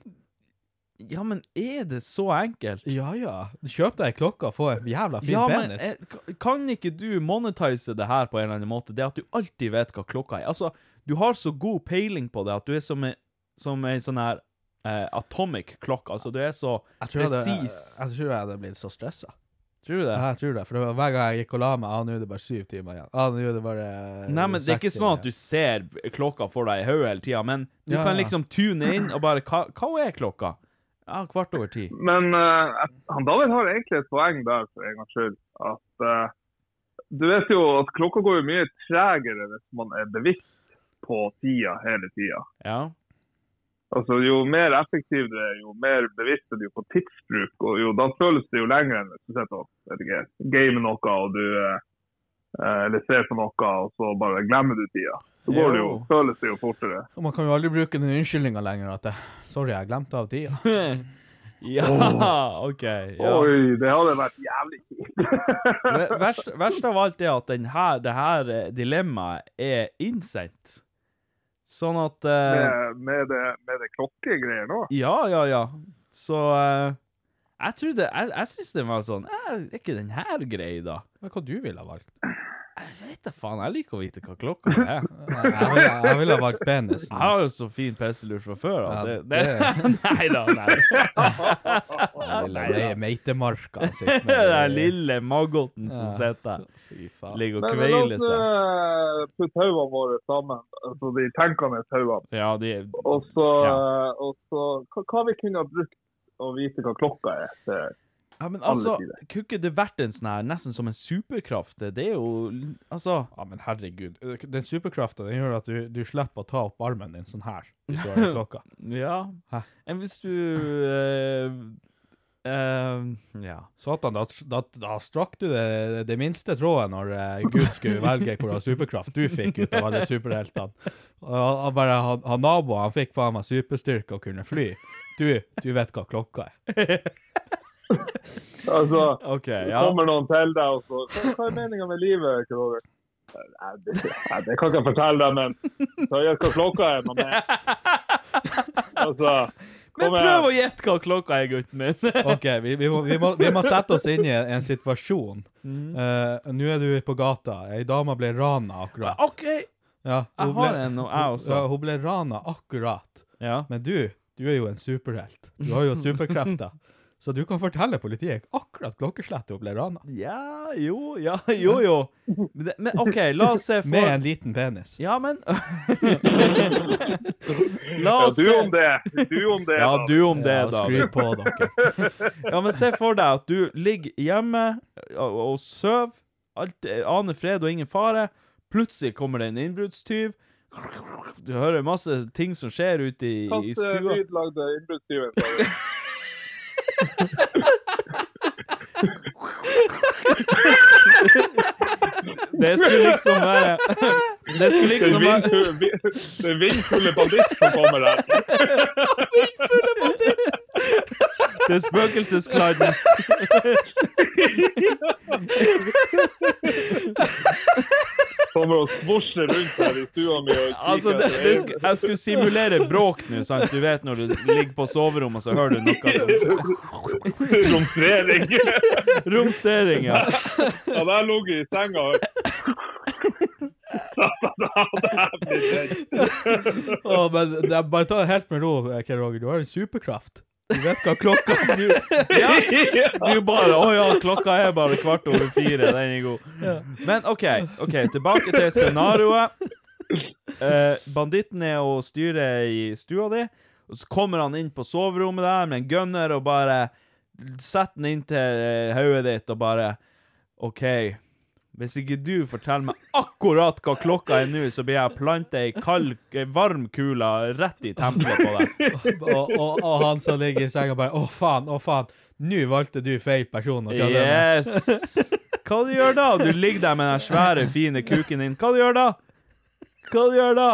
[SPEAKER 1] Ja, men er det så enkelt?
[SPEAKER 3] Ja, ja. Kjøp deg ei klokke og få en jævla fin
[SPEAKER 1] Ja, men
[SPEAKER 3] penis.
[SPEAKER 1] eh, ka- kan ikke du monetise det her på en eller annen måte? Det at du alltid vet hva klokka er. Altså, du har så god peiling på det at du er som en, som en sånn her eh, atomic clock. Altså, du er så
[SPEAKER 3] jeg tror jeg, hadde, jeg,
[SPEAKER 1] presis.
[SPEAKER 3] jeg tror jeg hadde blitt så stressa.
[SPEAKER 1] Tror du det?
[SPEAKER 3] Ja, jeg tror det. For det var hver gang jeg gikk og la meg, ah, nå er det bare syv timer igjen. Ah, nå er det bare eh,
[SPEAKER 1] Nei, men det er ikke
[SPEAKER 3] seks
[SPEAKER 1] sånn
[SPEAKER 3] timer
[SPEAKER 1] at du ser klokka for deg i hodet hele tida, men du
[SPEAKER 3] Ja,
[SPEAKER 1] kan
[SPEAKER 3] ja.
[SPEAKER 1] liksom tune inn og bare Hva, hva er klokka? Ja, kvart over ti.
[SPEAKER 6] Men eh, han David har egentlig et poeng der, for en gangs skyld. At eh, du vet jo at klokka går jo mye tregere hvis man er bevisst på tida hele tida.
[SPEAKER 1] Ja.
[SPEAKER 6] Altså, jo mer effektiv du er, jo mer bevisst er du på tidsbruk, og jo, da føles det jo lenger enn hvis du sitter og vet ikke, gamer noe og du eh, eh, eller ser på noe, og så bare glemmer du tida. Så går det jo,
[SPEAKER 1] Jo.
[SPEAKER 6] føles det jo fortere.
[SPEAKER 3] Og man kan jo aldri bruke den unnskyldninga lenger at det, 'sorry, jeg glemte av tida'.
[SPEAKER 1] Ja,
[SPEAKER 3] Oh.
[SPEAKER 1] OK. Ja.
[SPEAKER 6] Oi, det hadde vært jævlig kjipt.
[SPEAKER 1] Ver- Verst, verst av alt er at den her, det her eh, dilemmaet er innsendt. Sånn at eh,
[SPEAKER 6] med, med det, med det klokkegreier nå.
[SPEAKER 1] Ja, ja, ja. Så eh, jeg trodde Jeg, jeg syns den var sånn eh, Er ikke den her grei, da?
[SPEAKER 3] Men Hva du ville ha valgt?
[SPEAKER 1] Jeg vet da faen. Jeg liker å vite hva klokka er.
[SPEAKER 3] Jeg, jeg, ville, jeg ville ha valgt penisen.
[SPEAKER 1] Jeg har jo så fin PC-lur fra før.
[SPEAKER 3] Ja,
[SPEAKER 1] at det, det,
[SPEAKER 3] det-
[SPEAKER 1] nei da, nei.
[SPEAKER 3] Den lille
[SPEAKER 1] Nei,
[SPEAKER 3] me- meitemarka si.
[SPEAKER 1] Det der lille maggoten som
[SPEAKER 3] Ja.
[SPEAKER 1] sitter der,
[SPEAKER 3] Fy faen.
[SPEAKER 1] ligger og
[SPEAKER 6] Men la
[SPEAKER 1] kveiler
[SPEAKER 6] oss
[SPEAKER 1] seg.
[SPEAKER 6] eh, putte hodene våre sammen, altså de tenkende hodene.
[SPEAKER 1] Ja, de
[SPEAKER 6] Og så,
[SPEAKER 1] Ja.
[SPEAKER 6] eh, og så hva, hva vi kunne ha brukt å vite hva klokka er. til
[SPEAKER 1] Ja, men
[SPEAKER 6] Alle
[SPEAKER 1] altså,
[SPEAKER 6] sider.
[SPEAKER 1] kunne ikke det vært en sånn her, nesten som en superkraft? Det det er jo Altså
[SPEAKER 3] Ja, men herregud. Den superkrafta den gjør at du, du slipper å ta opp armen din sånn her. Hvis du har en klokka.
[SPEAKER 1] Ja.
[SPEAKER 3] Hæ?
[SPEAKER 1] Enn hvis du eh, eh, Ja.
[SPEAKER 3] Satan, da, da, da strakk du det, det minste tråden når eh, Gud skulle velge hvilken superkraft du fikk ut av alle superheltene. Og han bare, han, han naboen han fikk faen meg superstyrke og kunne fly. Du, du vet hva klokka er.
[SPEAKER 6] Altså,
[SPEAKER 1] OK,
[SPEAKER 6] så
[SPEAKER 1] ja.
[SPEAKER 6] Altså, kommer noen til deg og så Hva, hva er meninga med livet? Kroger? Nei, det, nei, det kan ikke jeg fortelle deg, men så gjett hva klokka er, mann. Altså,
[SPEAKER 1] Men
[SPEAKER 6] kom
[SPEAKER 1] prøv å
[SPEAKER 6] igjen.
[SPEAKER 1] gjette hva klokka er, gutten min.
[SPEAKER 3] OK, vi, vi, må, vi, må, vi må sette oss inn i en, en situasjon.
[SPEAKER 1] Mm.
[SPEAKER 3] Eh, Nå er du på gata. Ei dame ble rana akkurat.
[SPEAKER 1] OK,
[SPEAKER 3] Ja,
[SPEAKER 1] jeg har en nå, jeg også.
[SPEAKER 3] Ja, hun ble rana akkurat.
[SPEAKER 1] Ja.
[SPEAKER 3] Men du, du er jo en superhelt. Du har jo superkrefter. Så du kan fortelle politiet akkurat klokkeslettet hun ble rana.
[SPEAKER 1] Ja, jo, ja, jo, jo. Men, det- men OK, la oss se for
[SPEAKER 3] Med en liten penis.
[SPEAKER 1] Ja, men La
[SPEAKER 6] Ja,
[SPEAKER 1] oss
[SPEAKER 6] du
[SPEAKER 1] se.
[SPEAKER 6] om det. Du om det.
[SPEAKER 1] Ja,
[SPEAKER 6] da.
[SPEAKER 1] du om det,
[SPEAKER 3] Ja,
[SPEAKER 1] da.
[SPEAKER 3] skryt på dere.
[SPEAKER 1] Ja, men se for deg at du ligger hjemme og, og sover. Alt eh, aner fred og ingen fare. Plutselig kommer det en innbruddstyv. Du hører masse ting som skjer ute i,
[SPEAKER 6] Hva
[SPEAKER 1] i
[SPEAKER 6] slags
[SPEAKER 1] stua.
[SPEAKER 6] lyd lagde innbruddstyven? sa du?
[SPEAKER 1] Det skulle liksom være Det skulle
[SPEAKER 6] Det er
[SPEAKER 1] liksom være
[SPEAKER 6] vindfu- vi- det er vindfulle banditt som kommer der.
[SPEAKER 1] Det er spøkelseskladden.
[SPEAKER 6] Kommer og svosjer rundt her i stua mi og kikker
[SPEAKER 1] Altså, det, det sk, jeg skulle simulere bråk nå, sant. Du vet når du ligger på soverommet, så hører du noe sånn
[SPEAKER 6] etter romstrering.
[SPEAKER 1] Romstering, ja.
[SPEAKER 6] Hadde jeg ligget i senga og
[SPEAKER 3] Å, men det er bare ta det helt med ro, Kjell Roger. Du har en superkraft. Du vet hva klokka du,
[SPEAKER 1] ja. Du bare Å ja, klokka er bare kvart over fire. Den er god. Men OK, ok, tilbake til scenarioet. Eh, banditten er og styrer i stua di, og så kommer han inn på soverommet der med en gunner og bare setter den inntil eh, hodet ditt og bare OK, hvis ikke du forteller meg akkurat hva klokka er nå, så blir jeg planta ei kald, eh, varm kule rett i tempelet på deg.
[SPEAKER 3] og, og, og han som ligger i senga bare Å, faen, å, faen. Nå valgte du feil person. å kødde med.
[SPEAKER 1] Yes! Hva du gjør da? Du ligger der med den svære, fine kuken din. Hva du gjør da? Hva du gjør da?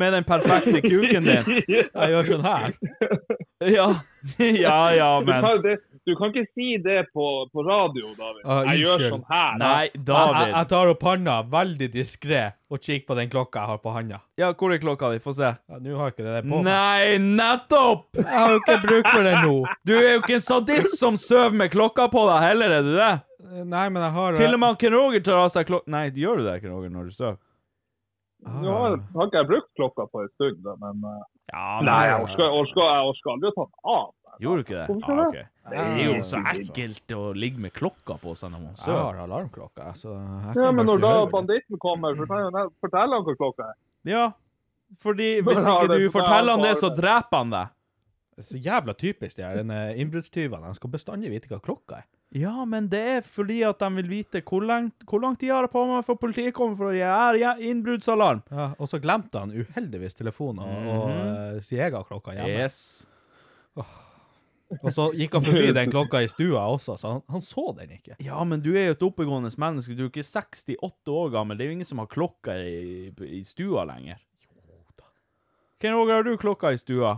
[SPEAKER 1] Med den perfekte kuken din.
[SPEAKER 3] Jeg gjør sånn her.
[SPEAKER 1] Ja, ja, ja,
[SPEAKER 6] du
[SPEAKER 1] men
[SPEAKER 6] kan, det, du kan ikke si det på, på radio, David.
[SPEAKER 3] Ah,
[SPEAKER 6] jeg gjør
[SPEAKER 3] unnskyld.
[SPEAKER 6] sånn her.
[SPEAKER 1] Nei,
[SPEAKER 3] Jeg, jeg, jeg
[SPEAKER 1] David.
[SPEAKER 3] tar opp handa veldig diskré og kikker på den klokka jeg har på handa.
[SPEAKER 1] Ja, hvor er klokka di? Få se.
[SPEAKER 3] Ja, Nå har jeg ikke det der på. meg.
[SPEAKER 1] Nei, nettopp!
[SPEAKER 3] Jeg har jo ikke bruk for det nå.
[SPEAKER 1] Du er jo ikke en sadist som sover med klokka på deg heller, er du det?
[SPEAKER 3] Nei, men jeg har
[SPEAKER 1] Til og med han Ken Roger tar av seg klokka Nei, gjør du det, Ken Roger, når du sover?
[SPEAKER 6] Nå har, har ikke jeg brukt klokka på en stund, da, men eh,
[SPEAKER 1] Ja,
[SPEAKER 6] Nei, jeg orker, jeg orker, jeg orker aldri å ta den av.
[SPEAKER 1] Gjorde du ikke det?
[SPEAKER 6] Hvorfor
[SPEAKER 1] ok. Det er jo så ekkelt å ligge med klokka på seg når man
[SPEAKER 3] Jeg
[SPEAKER 1] sover.
[SPEAKER 3] har alarmklokka, så jeg kan
[SPEAKER 6] Ja,
[SPEAKER 3] bare
[SPEAKER 6] men når
[SPEAKER 3] skru
[SPEAKER 6] da
[SPEAKER 3] hodet litt.
[SPEAKER 6] banditten kommer, fortell han fortell han hva klokka er.
[SPEAKER 1] Ja, fordi
[SPEAKER 6] Bare
[SPEAKER 1] hvis
[SPEAKER 6] har
[SPEAKER 1] ikke
[SPEAKER 6] det
[SPEAKER 1] du
[SPEAKER 6] på deg,
[SPEAKER 1] forteller han
[SPEAKER 6] bare
[SPEAKER 1] det,
[SPEAKER 6] har
[SPEAKER 1] så
[SPEAKER 6] det.
[SPEAKER 1] dreper han deg.
[SPEAKER 3] Så jævla typisk de her denne innbruddstyvene. De skal bestandig vite hva klokka er.
[SPEAKER 1] Ja, men det er fordi at de vil vite hvor lang, hvor lang tid jeg har på meg før politiet kommer, for jeg er ja, innbruddsalarm.
[SPEAKER 3] Ja, og så glemte han uheldigvis telefonen og, og
[SPEAKER 1] Mhm.
[SPEAKER 3] eh, Siega-klokka hjemme.
[SPEAKER 1] Yes.
[SPEAKER 3] Og så gikk han forbi den klokka i stua også, så han, han så den ikke.
[SPEAKER 1] Ja, men du er jo et oppegående menneske. Du er jo ikke 68 år gammel. Det er jo ingen som har klokka i, i stua lenger. Ken Roger, har du klokka i stua?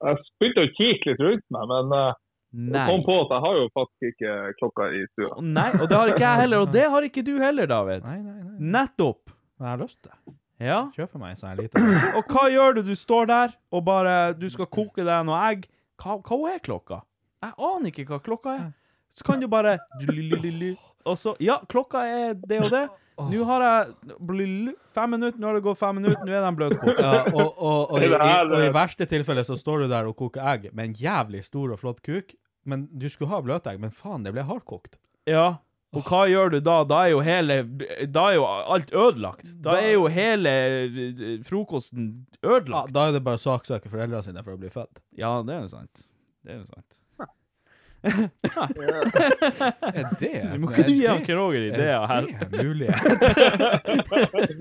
[SPEAKER 6] Jeg begynte å kikke litt rundt meg, men eh, jeg
[SPEAKER 1] Nei.
[SPEAKER 6] kom på at jeg har jo faktisk ikke klokka i stua.
[SPEAKER 1] Nei, og det har ikke jeg heller. Og det har ikke du heller, David.
[SPEAKER 3] Nei, nei, nei.
[SPEAKER 1] Nettopp.
[SPEAKER 3] Men jeg har lyst til det.
[SPEAKER 1] Ja.
[SPEAKER 3] Kjøper meg en sånn liten
[SPEAKER 1] Og hva gjør du? Du står der og bare Du skal koke deg noe egg. Hva, hva er klokka? Jeg aner ikke hva klokka er. Så kan du bare Og så Ja, klokka er det og det. Nå har jeg fem minutter. Nå har det gått fem minutter. Nå er den bløtkokt.
[SPEAKER 3] Ja, og, og, og, i,
[SPEAKER 6] Det
[SPEAKER 3] i,
[SPEAKER 6] her,
[SPEAKER 3] og i
[SPEAKER 6] det-
[SPEAKER 3] verste tilfelle så står du der og koker egg med en jævlig stor og flott kuk. Men du skulle ha bløtegg, men faen, det ble hardkokt.
[SPEAKER 1] Ja. Og hva gjør du da? Da er jo hele Da er jo alt ødelagt. Da er jo hele eh, frokosten
[SPEAKER 3] Ja,
[SPEAKER 1] ødelagt.
[SPEAKER 3] da er det bare å saksøke foreldrene sine for å bli født.
[SPEAKER 1] Ja, det er jo sant. Det er jo sant.
[SPEAKER 3] Er det
[SPEAKER 1] Må ikke du gi
[SPEAKER 3] er
[SPEAKER 1] han
[SPEAKER 3] det-
[SPEAKER 1] Roger
[SPEAKER 3] er
[SPEAKER 1] ideer her?
[SPEAKER 3] det en mulighet?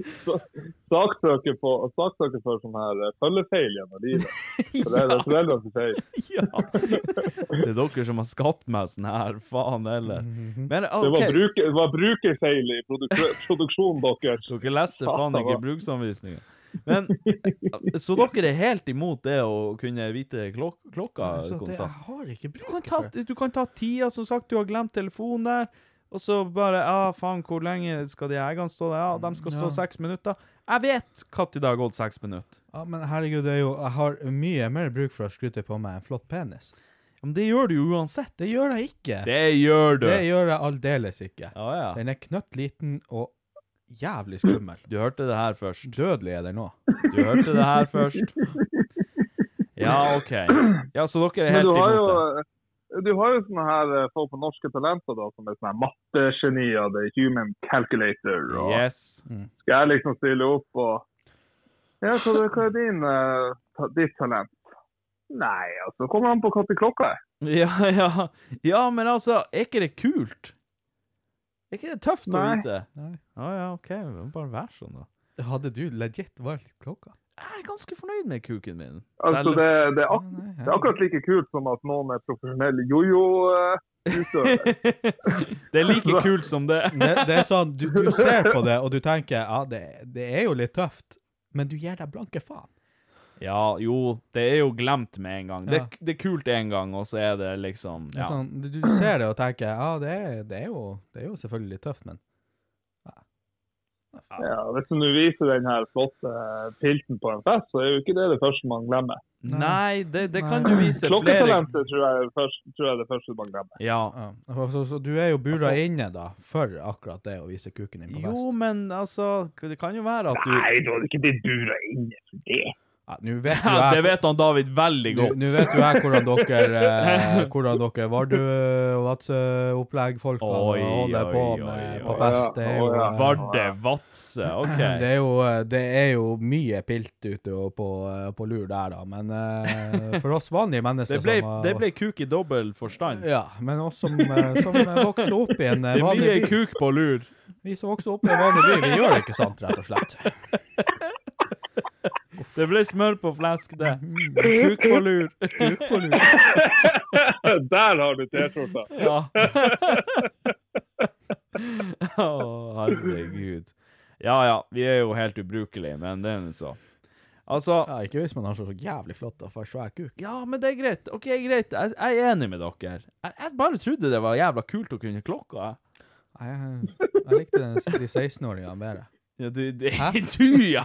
[SPEAKER 6] Saksøker på- saksøker for sånn her eh, følgefeil gjennom livet. For det er det foreldrene som sier.
[SPEAKER 1] Ja. Det er dere som har skapt meg sånn her, faen heller.
[SPEAKER 3] Mhm.
[SPEAKER 1] Men
[SPEAKER 6] Det var,
[SPEAKER 1] OK,
[SPEAKER 6] bruker, det var brukerfeil i produksjon, produksjonen deres.
[SPEAKER 1] dere leste faen ikke bruksanvisninga. Men eh, Så dere er helt imot det å kunne vite klok klokka
[SPEAKER 3] Så det jeg
[SPEAKER 1] konstant?
[SPEAKER 3] har ikke
[SPEAKER 1] Du kan,
[SPEAKER 3] bruk
[SPEAKER 1] ta,
[SPEAKER 3] for.
[SPEAKER 1] du kan ta tida, som sagt. Du har glemt telefonen der. Og så bare Ja, faen, hvor lenge skal de jegerne stå der? Ja, de skal stå
[SPEAKER 3] Ja.
[SPEAKER 1] seks minutter. Jeg vet når det har gått seks minutter.
[SPEAKER 3] Ja, men herregud, det er jo, jeg har mye mer bruk for å skryte på meg en flott penis.
[SPEAKER 1] Men det gjør du jo uansett.
[SPEAKER 3] Det gjør jeg ikke.
[SPEAKER 1] Det gjør du.
[SPEAKER 3] Det gjør jeg aldeles ikke.
[SPEAKER 1] Ja, ja.
[SPEAKER 3] Den er knøtt liten og jævlig skummel.
[SPEAKER 1] Du hørte det her først.
[SPEAKER 3] Dødelig er den nå.
[SPEAKER 1] Du hørte det her først. Ja, OK. Ja, så dere er
[SPEAKER 6] Men
[SPEAKER 1] helt
[SPEAKER 6] du har
[SPEAKER 1] imot
[SPEAKER 6] jo
[SPEAKER 1] det?
[SPEAKER 6] du har jo sånne her eh, folk på Norske Talenter da, som er sånne her mattegenier. Det er human calculator. Og
[SPEAKER 1] Yes.
[SPEAKER 3] Mm.
[SPEAKER 6] Skal jeg liksom stille opp og Ja, så det, hva er din, eh, ta, ditt talent? Nei, altså, kommer an på når klokka er.
[SPEAKER 1] Ja, ja. Ja, men altså, er ikke det kult? Er ikke det tøft å
[SPEAKER 6] Nei.
[SPEAKER 1] vite?
[SPEAKER 3] Nei.
[SPEAKER 1] Ja, ja, OK. men Bare vær sånn, da.
[SPEAKER 3] Hadde du legit valgt klokka?
[SPEAKER 1] Jeg er ganske fornøyd med kuken min.
[SPEAKER 6] Altså,
[SPEAKER 1] Selv-
[SPEAKER 6] det, det, er
[SPEAKER 3] Ja,
[SPEAKER 6] ak
[SPEAKER 3] nei,
[SPEAKER 6] det er akkurat like kult som at noen er profesjonell jojo-utøver.
[SPEAKER 1] det er
[SPEAKER 6] Altså-
[SPEAKER 1] like kult som det.
[SPEAKER 3] Det, det er sånn, du, du ser på det, og du tenker, ja, det, det er jo litt tøft, men du gir deg blanke faen.
[SPEAKER 1] Ja, jo, det er jo glemt med en gang. Det, det er kult en gang, og så er det liksom
[SPEAKER 3] Det er
[SPEAKER 1] ja.
[SPEAKER 3] Sånn, du, du ser det og tenker, ja, det er, det, er jo, det er jo selvfølgelig litt tøft, men
[SPEAKER 6] ja, hvis du nå viser den her flotte eh, pilten på en fest, så er jo ikke det det første man glemmer.
[SPEAKER 1] Nei, det, det kan
[SPEAKER 3] Nei.
[SPEAKER 1] du vise flere
[SPEAKER 6] Klokketalentet tror jeg, er det første- tror jeg er det første man glemmer.
[SPEAKER 1] Ja.
[SPEAKER 3] ja. Så, så, så du er jo bura inne da, for akkurat det å vise kuken din på fest.
[SPEAKER 1] Altså- Jo, men altså Det kan jo være at du
[SPEAKER 6] Nei, du hadde ikke blitt bura inne for det.
[SPEAKER 3] Ja, Nå vet jo
[SPEAKER 1] ja, Det
[SPEAKER 3] jeg,
[SPEAKER 1] vet han David veldig
[SPEAKER 3] nå,
[SPEAKER 1] godt.
[SPEAKER 3] nå vet jo jeg hvordan dere, eh, hvordan dere Vardø og Vadsø-opplegg folk
[SPEAKER 1] Oi,
[SPEAKER 3] holder på
[SPEAKER 1] oi, oi,
[SPEAKER 3] med på
[SPEAKER 1] oi.
[SPEAKER 3] fest. Det er jo,
[SPEAKER 6] Å, ja.
[SPEAKER 1] Vardø, Vadsø, OK.
[SPEAKER 3] Det er, jo, eh, det er jo mye pilt ute og på, eh, på lur der, da. Men eh, for oss vanlige mennesker
[SPEAKER 1] Det ble,
[SPEAKER 3] som har-
[SPEAKER 1] det ble kuk i dobbel forstand.
[SPEAKER 3] Ja, men oss som, eh, som vokste opp i en
[SPEAKER 1] Det
[SPEAKER 3] eh,
[SPEAKER 1] blir
[SPEAKER 3] vanlig
[SPEAKER 1] ei
[SPEAKER 3] by.
[SPEAKER 1] kuk på lur.
[SPEAKER 3] Vi som vokste opp i en vanlig by, vi gjør ikke sant, rett og slett.
[SPEAKER 1] Det ble smør på flesk, det. Kuk på lur. Kuk på lur.
[SPEAKER 6] Der har du T-skjorta.
[SPEAKER 1] Ja. Å, herregud. Ja ja, vi er jo helt ubrukelige, men det er nå så. Altså
[SPEAKER 3] Ja, ikke hvis man har så, så jævlig flott og for svær kuk.
[SPEAKER 1] Ja, men det er greit. OK, greit. Jeg, jeg er enig med dere. Jeg, jeg bare trodde det var jævla kult å kunne klokka. jeg.
[SPEAKER 3] Nei, Jeg, jeg likte den, de 16-åringene bedre.
[SPEAKER 1] Ja, du, det, du, ja!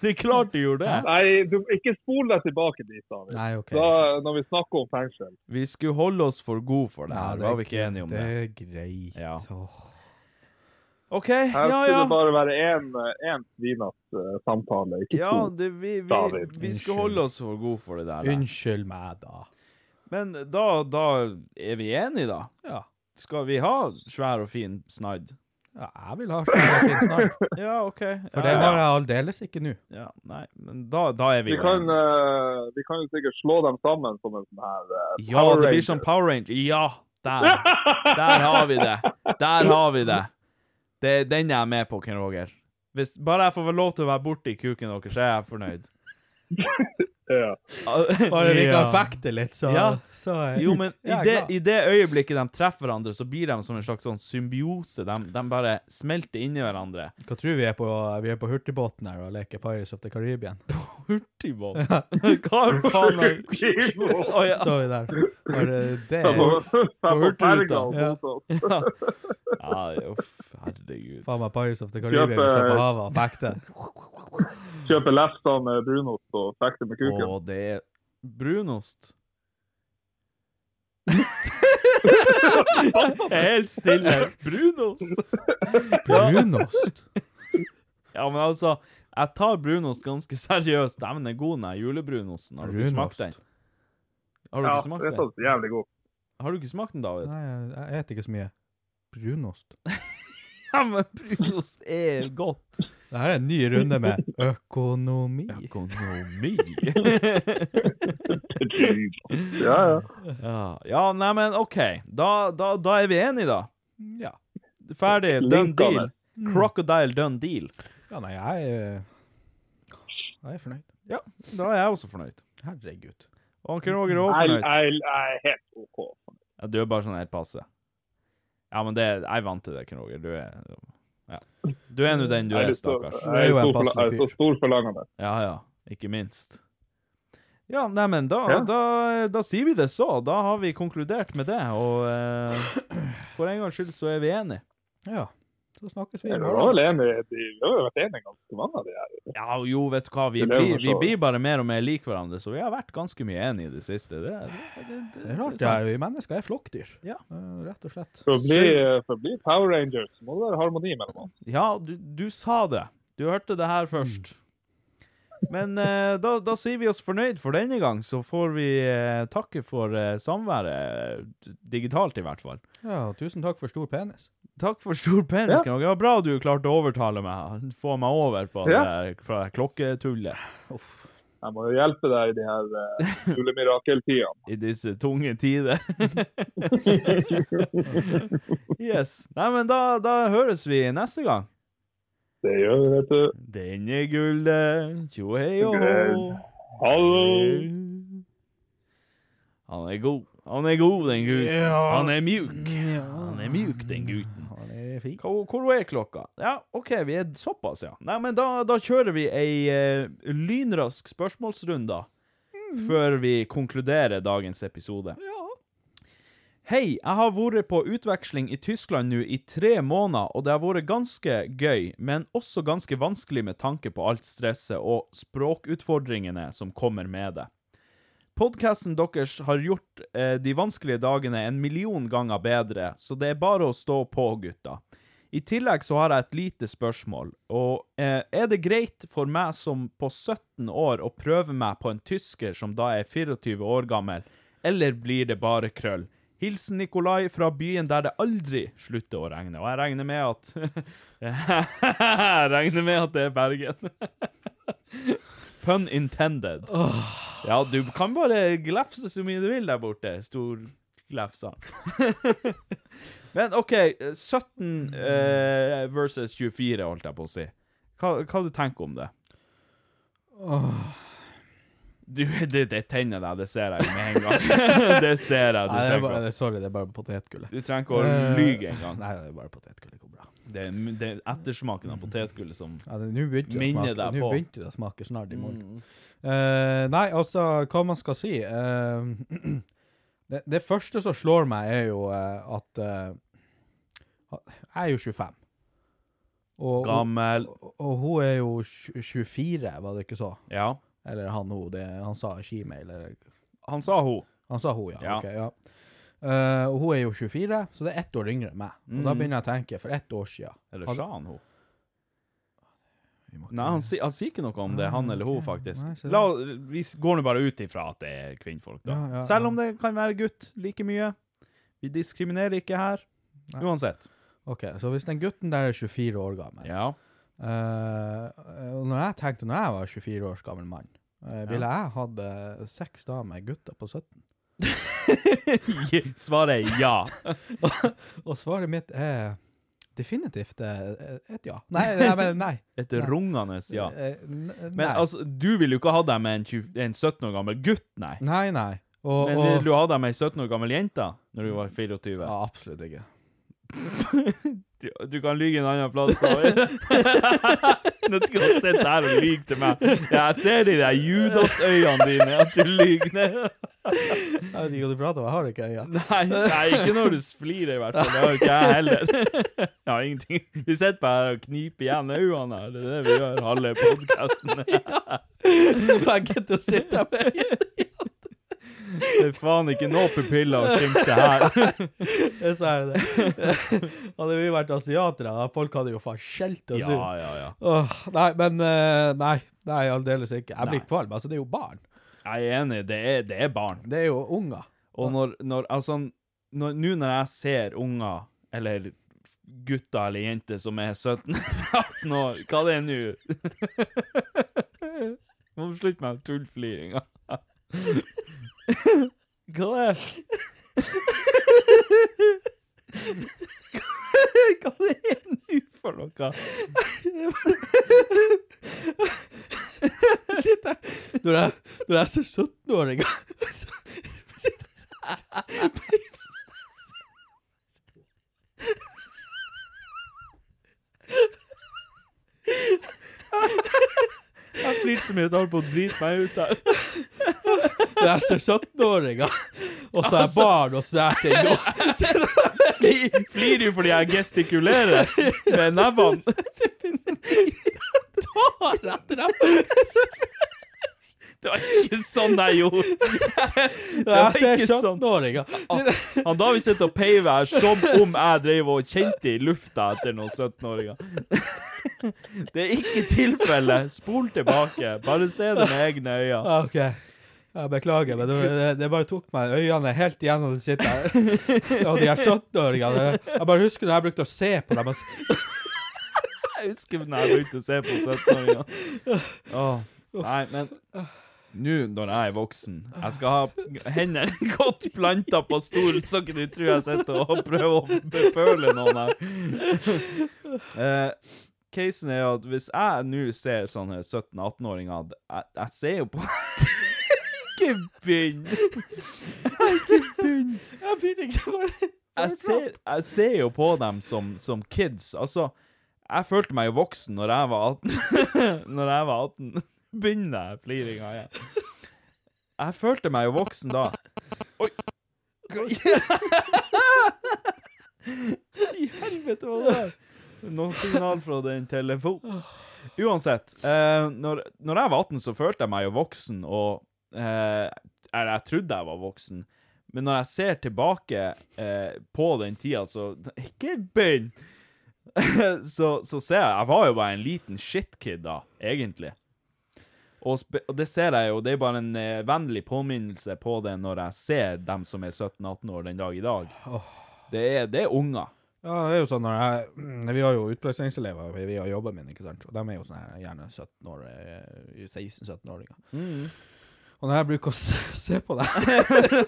[SPEAKER 1] Det er klart du gjorde det.
[SPEAKER 6] Nei, du, ikke spol deg tilbake dit, David.
[SPEAKER 3] Nei, OK.
[SPEAKER 6] Da, når vi snakker om fengsel.
[SPEAKER 1] Vi skulle holde oss for gode for det her, var vi ikke enige om det?
[SPEAKER 3] Det er greit.
[SPEAKER 1] Ja.
[SPEAKER 3] Åh.
[SPEAKER 1] OK, ja
[SPEAKER 6] Her skulle
[SPEAKER 1] ja.
[SPEAKER 6] det bare være eh, én, én svinete eh, samtale, ikke
[SPEAKER 1] Ja,
[SPEAKER 6] to.
[SPEAKER 1] det, vi, vi,
[SPEAKER 6] David,
[SPEAKER 1] vi
[SPEAKER 3] unnskyld.
[SPEAKER 1] skulle holde oss for gode for det der. der.
[SPEAKER 3] Unnskyld meg, da.
[SPEAKER 1] Men da, da er vi enige, da.
[SPEAKER 3] Ja.
[SPEAKER 1] Skal vi ha svær og fin snadd?
[SPEAKER 3] ja jeg vil ha svær og fin snart.
[SPEAKER 1] Ja, OK.
[SPEAKER 3] For
[SPEAKER 1] ja,
[SPEAKER 3] det har
[SPEAKER 1] ja.
[SPEAKER 3] jeg aldeles ikke nå.
[SPEAKER 1] ja, Nei, men da, da er vi
[SPEAKER 6] Vi
[SPEAKER 1] jo
[SPEAKER 6] kan,
[SPEAKER 1] enige.
[SPEAKER 6] eh, vi kan jo sikkert slå dem sammen som en sånn her eh,
[SPEAKER 1] Ja,
[SPEAKER 6] Power
[SPEAKER 1] det blir
[SPEAKER 6] Rangers.
[SPEAKER 1] som Power Ranger. Ja! Der. Der har vi det. Der har vi det. Det er den jeg er med på, Ken Roger. Hvis bare jeg får lov til å være borti kuken deres, så er jeg fornøyd.
[SPEAKER 6] Ja.
[SPEAKER 3] Bare vi kan
[SPEAKER 1] Ja.
[SPEAKER 3] fekte litt, så,
[SPEAKER 1] Ja.
[SPEAKER 3] så eh. er
[SPEAKER 1] Jo, men i
[SPEAKER 3] jeg er
[SPEAKER 1] det,
[SPEAKER 3] glad.
[SPEAKER 1] i det øyeblikket de treffer hverandre, så blir de som en slags sånn symbiose. De, de bare smelter inni hverandre.
[SPEAKER 3] Hva tror vi er på? Vi er på hurtigbåten her og leker Pirates of the Caribbean.
[SPEAKER 1] Hurtigbåt? Hva faen er Å, ja.
[SPEAKER 3] Står vi der. Bare det
[SPEAKER 6] På,
[SPEAKER 3] er
[SPEAKER 6] på,
[SPEAKER 1] Hurtigruta.
[SPEAKER 6] ferga og
[SPEAKER 3] Ja.
[SPEAKER 6] sånt.
[SPEAKER 1] ja, uff, herregud.
[SPEAKER 3] faen meg Pirates of the Caribbean vi står på havet og fekter.
[SPEAKER 6] Kjøpe lefsa med brunost og fekte med kuken.
[SPEAKER 1] Og det er brunost. Helt stille. Brunost?
[SPEAKER 3] Brunost.
[SPEAKER 1] Ja, men altså, jeg tar brunost ganske seriøst. Dæven, den er god, den her julebrunosten. Har du ikke smakt den?
[SPEAKER 3] Brunost.
[SPEAKER 1] Har du
[SPEAKER 6] Ja,
[SPEAKER 1] ikke smakt
[SPEAKER 6] det er sånn.
[SPEAKER 1] den?
[SPEAKER 6] faktisk jævlig god.
[SPEAKER 1] Har du ikke smakt den, David?
[SPEAKER 3] Nei, jeg, jeg eter ikke så mye. Brunost.
[SPEAKER 1] Ja, men brunost er godt.
[SPEAKER 3] Det her er en ny runde med økonomi.
[SPEAKER 1] Økonomi?
[SPEAKER 6] Ja, ja.
[SPEAKER 1] ja, ja nei, men OK. Da, da, da er vi enige, da.
[SPEAKER 3] Ja.
[SPEAKER 1] Ferdig. Done
[SPEAKER 6] Linka
[SPEAKER 1] deal. Crocodile done deal.
[SPEAKER 3] ja, Mm. nei, jeg er Jeg er fornøyd.
[SPEAKER 1] Da er jeg også fornøyd.
[SPEAKER 3] Herregud.
[SPEAKER 1] Og han Roger er også
[SPEAKER 6] Jeg,
[SPEAKER 1] fornøyd.
[SPEAKER 6] jeg, jeg er helt OK.
[SPEAKER 1] Ja, du er bare sånn helt passe. Ja, men det, jeg er vant til det, Ken Roger. Du er ja. Du er nå den du er,
[SPEAKER 6] Jeg litt så-
[SPEAKER 1] stakkars.
[SPEAKER 6] Jeg
[SPEAKER 3] Du er jo
[SPEAKER 6] er
[SPEAKER 3] en
[SPEAKER 6] stor forla-
[SPEAKER 3] passelig
[SPEAKER 6] jeg er så
[SPEAKER 3] fyr.
[SPEAKER 6] stor forlangende.
[SPEAKER 1] Ja, ja. Ikke minst. Ja, nei, men da,
[SPEAKER 6] Ja.
[SPEAKER 1] da, da sier vi det så. Da har vi konkludert med det, og eh, for en gangs skyld så er vi enige.
[SPEAKER 3] Ja. Så snakkes vi
[SPEAKER 6] Vi
[SPEAKER 3] i
[SPEAKER 6] var vel
[SPEAKER 3] morgen.
[SPEAKER 6] enige, de, vi har jo vært enige ganske mange av de her.
[SPEAKER 1] Ja, og jo, vet du hva, vi
[SPEAKER 6] Det lever
[SPEAKER 1] blir, vi
[SPEAKER 6] for så vidt.
[SPEAKER 1] blir bare mer og mer lik hverandre, så vi har vært ganske mye enige i det siste. Det, det, det, det,
[SPEAKER 3] Det er rart,
[SPEAKER 1] det
[SPEAKER 3] det her.
[SPEAKER 1] sant.
[SPEAKER 3] Vi mennesker er flokkdyr.
[SPEAKER 1] Ja.
[SPEAKER 3] Eh, Rett og slett.
[SPEAKER 6] For å bli, for å bli Power Rangers så må det være harmoni mellom oss.
[SPEAKER 1] Ja, du, du sa det. Du hørte det her først. Men eh, da, da sier vi oss fornøyd for denne gang, så får vi eh, takke for eh, samværet, d- digitalt i hvert fall.
[SPEAKER 3] Ja, og tusen takk for stor penis.
[SPEAKER 1] Takk for stor penis, Krog. Det var bra du klarte å overtale meg, få meg over på det
[SPEAKER 6] Ja.
[SPEAKER 1] der- fra det klokketullet
[SPEAKER 6] Jeg må jo hjelpe deg i de her eh, julemirakeltidene.
[SPEAKER 1] i disse tunge tider. yes. Nei, men da, da høres vi neste gang.
[SPEAKER 6] Det gjør vi, vet du.
[SPEAKER 1] Den er gullet, tjo hei og hå.
[SPEAKER 6] Gull. Hallo!
[SPEAKER 1] Han er god. Han er god, den gutten. Han er mjuk. Han er mjuk, den gutten.
[SPEAKER 3] Han er fin.
[SPEAKER 1] Hvor, hvor er klokka? Ja, OK, vi er såpass, ja. Nei, men da, da kjører vi ei eh, lynrask spørsmålsrunde da,
[SPEAKER 3] Mm.
[SPEAKER 1] før vi konkluderer dagens episode. Hei, jeg har vært på utveksling i Tyskland nå i tre måneder, og det har vært ganske gøy, men også ganske vanskelig med tanke på alt stresset og språkutfordringene som kommer med det. Podcasten deres har gjort eh, de vanskelige dagene en million ganger bedre, så det er bare å stå på, gutta. I tillegg så har jeg et lite spørsmål, og eh, er det greit for meg som på 17 år å prøve meg på en tysker som da er 24 år gammel, eller blir det bare krøll? Hilsen Nikolai fra byen der det aldri slutter å regne, og jeg regner med at Jeg regner med at det er Bergen. Pun intended. Ja, du kan bare glefse så mye du vil der borte, stor glefsa. Men OK, 17 eh, versus 24, holdt jeg på å si. Hva, hva du tenker om det? Du, det, det tenner deg, det ser jeg jo med en gang. det ser jeg. Du trenger
[SPEAKER 3] Nei, det er bare,
[SPEAKER 1] ikke å-
[SPEAKER 3] det- sorry, det er bare potetgullet.
[SPEAKER 1] du trenger ikke å lyge en gang.
[SPEAKER 3] Nei, det er bare potetgullet. Det går bra.
[SPEAKER 1] Det, er- det er ettersmaken av potetgullet som
[SPEAKER 3] Ja, det- Nå begynte, det å
[SPEAKER 1] Minner
[SPEAKER 3] smake-
[SPEAKER 1] deg
[SPEAKER 3] nå
[SPEAKER 1] på.
[SPEAKER 3] begynte det å smake snart i morgen. Eh, nei, altså, hva man skal si eh, det, det første som slår meg, er jo eh, at eh, Jeg er jo 25. Og,
[SPEAKER 1] gammel
[SPEAKER 3] og, og hun er jo tj- 24, var det ikke så?
[SPEAKER 1] Ja.
[SPEAKER 3] Eller han hun, det, han sa Shime, eller
[SPEAKER 1] Han sa hun.
[SPEAKER 3] Han sa hun,
[SPEAKER 1] Ja.
[SPEAKER 3] ja. Ok, ja. Eh, og hun er jo 24, så det er ett år yngre enn meg. Og da begynner jeg å tenke, for ett år siden
[SPEAKER 1] Mm. Eller
[SPEAKER 3] Han-
[SPEAKER 1] sa han hun?
[SPEAKER 3] Vi må ikke-
[SPEAKER 1] Nei, han, si, han sier ikke noe om det, han eller hun, faktisk.
[SPEAKER 3] Nei, så det-
[SPEAKER 1] La, vi s- går nå bare ut ifra at det er kvinnfolk, da.
[SPEAKER 3] Ja, ja,
[SPEAKER 1] Selv
[SPEAKER 3] ja.
[SPEAKER 1] om det kan være gutt like mye. Vi diskriminerer ikke her. Uansett.
[SPEAKER 3] Ok, så hvis den gutten der er 24 år gammel
[SPEAKER 1] Ja.
[SPEAKER 3] eh, og Når jeg tenkte når jeg var 24 års gammel mann, eh, ville jeg hatt eh, seks da med gutter på 17?
[SPEAKER 1] Svaret er ja.
[SPEAKER 3] Og svaret mitt er definitivt eh, et ja. Nei, nei, men nei.
[SPEAKER 1] Et rungende ja.
[SPEAKER 3] Eh, n-
[SPEAKER 1] Men
[SPEAKER 3] nei.
[SPEAKER 1] altså, du vil jo ikke ha deg med en, 20, en 17 år gammel gutt, nei.
[SPEAKER 3] nei, nei. Og,
[SPEAKER 1] Men
[SPEAKER 3] og,
[SPEAKER 1] vil du ha deg med ei 17 år gammel jente når du var 24?
[SPEAKER 3] ja, absolutt ikke.
[SPEAKER 1] Du, du kan lyge en annen plass, David. Nå skal du sitte her og lyge til meg. Jeg ser i de Judas-øynene dine at du lyver.
[SPEAKER 3] Jeg vet ikke hva du prater om, jeg har ikke øyne.
[SPEAKER 1] Nei, nei, ikke når du flirer, i hvert fall. Det har jo ikke jeg heller. Jeg har ingenting. Vi sitter bare her og kniper igjen øynene. her. Det er det vi gjør halve podkasten.
[SPEAKER 3] Begge til å sitte med
[SPEAKER 1] Det er faen ikke noe pupiller å skimte her.
[SPEAKER 3] Så er det det. Hadde vi vært asiatere, da, folk hadde jo faen skjelt oss
[SPEAKER 1] Ja,
[SPEAKER 3] ut.
[SPEAKER 1] ja, ja.
[SPEAKER 3] Åh, nei, men eh, Nei, nei, aldeles ikke. Jeg blir
[SPEAKER 1] Nei.
[SPEAKER 3] kvalm. Altså, det er jo barn.
[SPEAKER 1] Jeg er enig, det er, det er barn.
[SPEAKER 3] Det er jo unger.
[SPEAKER 1] Og når, når altså, når, nå når jeg ser unger, eller gutter eller jenter som er 17-18 år, hva det er nå? Må du slutte med den tullfliringa. Hva det er Hva det er nå for noe?
[SPEAKER 3] Sitter jeg Når jeg, når jeg ser 17-åringer så sitter jeg sånn.
[SPEAKER 1] Jeg flirte så mye at jeg holdt på å drite meg ut her.
[SPEAKER 3] leser 17-åringer, og så
[SPEAKER 1] Altså.
[SPEAKER 3] er jeg barn, og så er jeg ikke nå. Så er det-
[SPEAKER 1] Flirer jo fordi jeg gestikulerer med nebbene.
[SPEAKER 3] Tar etter dem.
[SPEAKER 1] Det var ikke sånn jeg gjorde. Det
[SPEAKER 3] Jeg
[SPEAKER 1] var
[SPEAKER 3] ser
[SPEAKER 1] ikke sånn.
[SPEAKER 3] 17-åringer.
[SPEAKER 1] Han David sitter og peiver her som om jeg drev og kjente i lufta etter noen 17-åringer. Det er ikke tilfellet. Spol tilbake. Bare se det med egne øyne.
[SPEAKER 3] Ah, OK. Jeg beklager, men det, det, det bare tok meg øynene helt igjen når du sitter her. Og de her 17-åringene. liksom. Jeg bare husker når jeg brukte å se på dem. og s-
[SPEAKER 1] Jeg husker når jeg begynte å se på 17-åringer. Åh, Nei, men nå når jeg er voksen Jeg skal ha hendene godt planta på stolen, så ikke du tror jeg sitter og prøver å beføle noen her. Eh, casen er jo at hvis jeg nå ser sånne 17-18-åringer jeg, jeg ser jo på Ikke begynn!
[SPEAKER 3] Jeg begynner ikke bare
[SPEAKER 1] jeg ser, jeg ser jo på dem som, som kids. Altså, jeg følte meg jo voksen når jeg var 18. når jeg var 18, begynner jeg fliringa igjen. Jeg følte meg jo voksen da. Oi. Oi. I helvete, hva var det der? Noe signal fra den telefonen. Uansett, eh, når, når jeg var 18, så følte jeg meg jo voksen, og eh, Eller jeg trodde jeg var voksen. Men når jeg ser tilbake eh, på den tida, så Ikke begynn! så, så ser jeg Jeg var jo bare en liten shitkid da, egentlig. Og, spe, og det ser jeg jo, det er bare en eh, vennlig påminnelse på det når jeg ser dem som er 17-18 år den dag i dag. Det, er, det er unger.
[SPEAKER 3] Ja, det er jo sånn når jeg mm, Vi har jo utplasseringselever vi- via jobben min, ikke sant. Og de er jo sånn her gjerne 17 år, eh, 16-17-åringer.
[SPEAKER 1] Mm.
[SPEAKER 3] Og når jeg bruker å se, se på dem,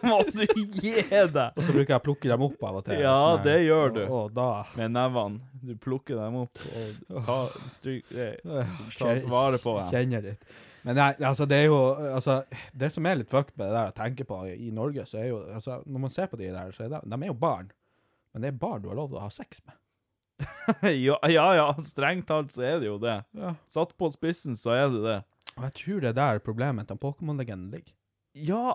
[SPEAKER 1] Må du gi deg!
[SPEAKER 3] så bruker jeg å plukke dem opp av og til.
[SPEAKER 1] Ja,
[SPEAKER 3] sånn her.
[SPEAKER 1] det gjør du.
[SPEAKER 3] Og, og da
[SPEAKER 1] Med nevene. Du plukker dem opp og tar, stryk, eh, tar
[SPEAKER 3] Kjen-
[SPEAKER 1] vare på dem.
[SPEAKER 3] Kjenner ditt. Men nei, altså, det er jo altså, Det som er litt fucked med det der å tenke på i Norge, så er jo altså, Når man ser på de der, så er det, de er jo barn. Men det er barn du har lov til å ha sex med.
[SPEAKER 1] ja, ja, ja, strengt talt så er det jo det.
[SPEAKER 3] Ja.
[SPEAKER 1] Satt på spissen, så er det det.
[SPEAKER 3] Og jeg tror det er der problemet til Pokémon-legenden ligger.
[SPEAKER 1] Ja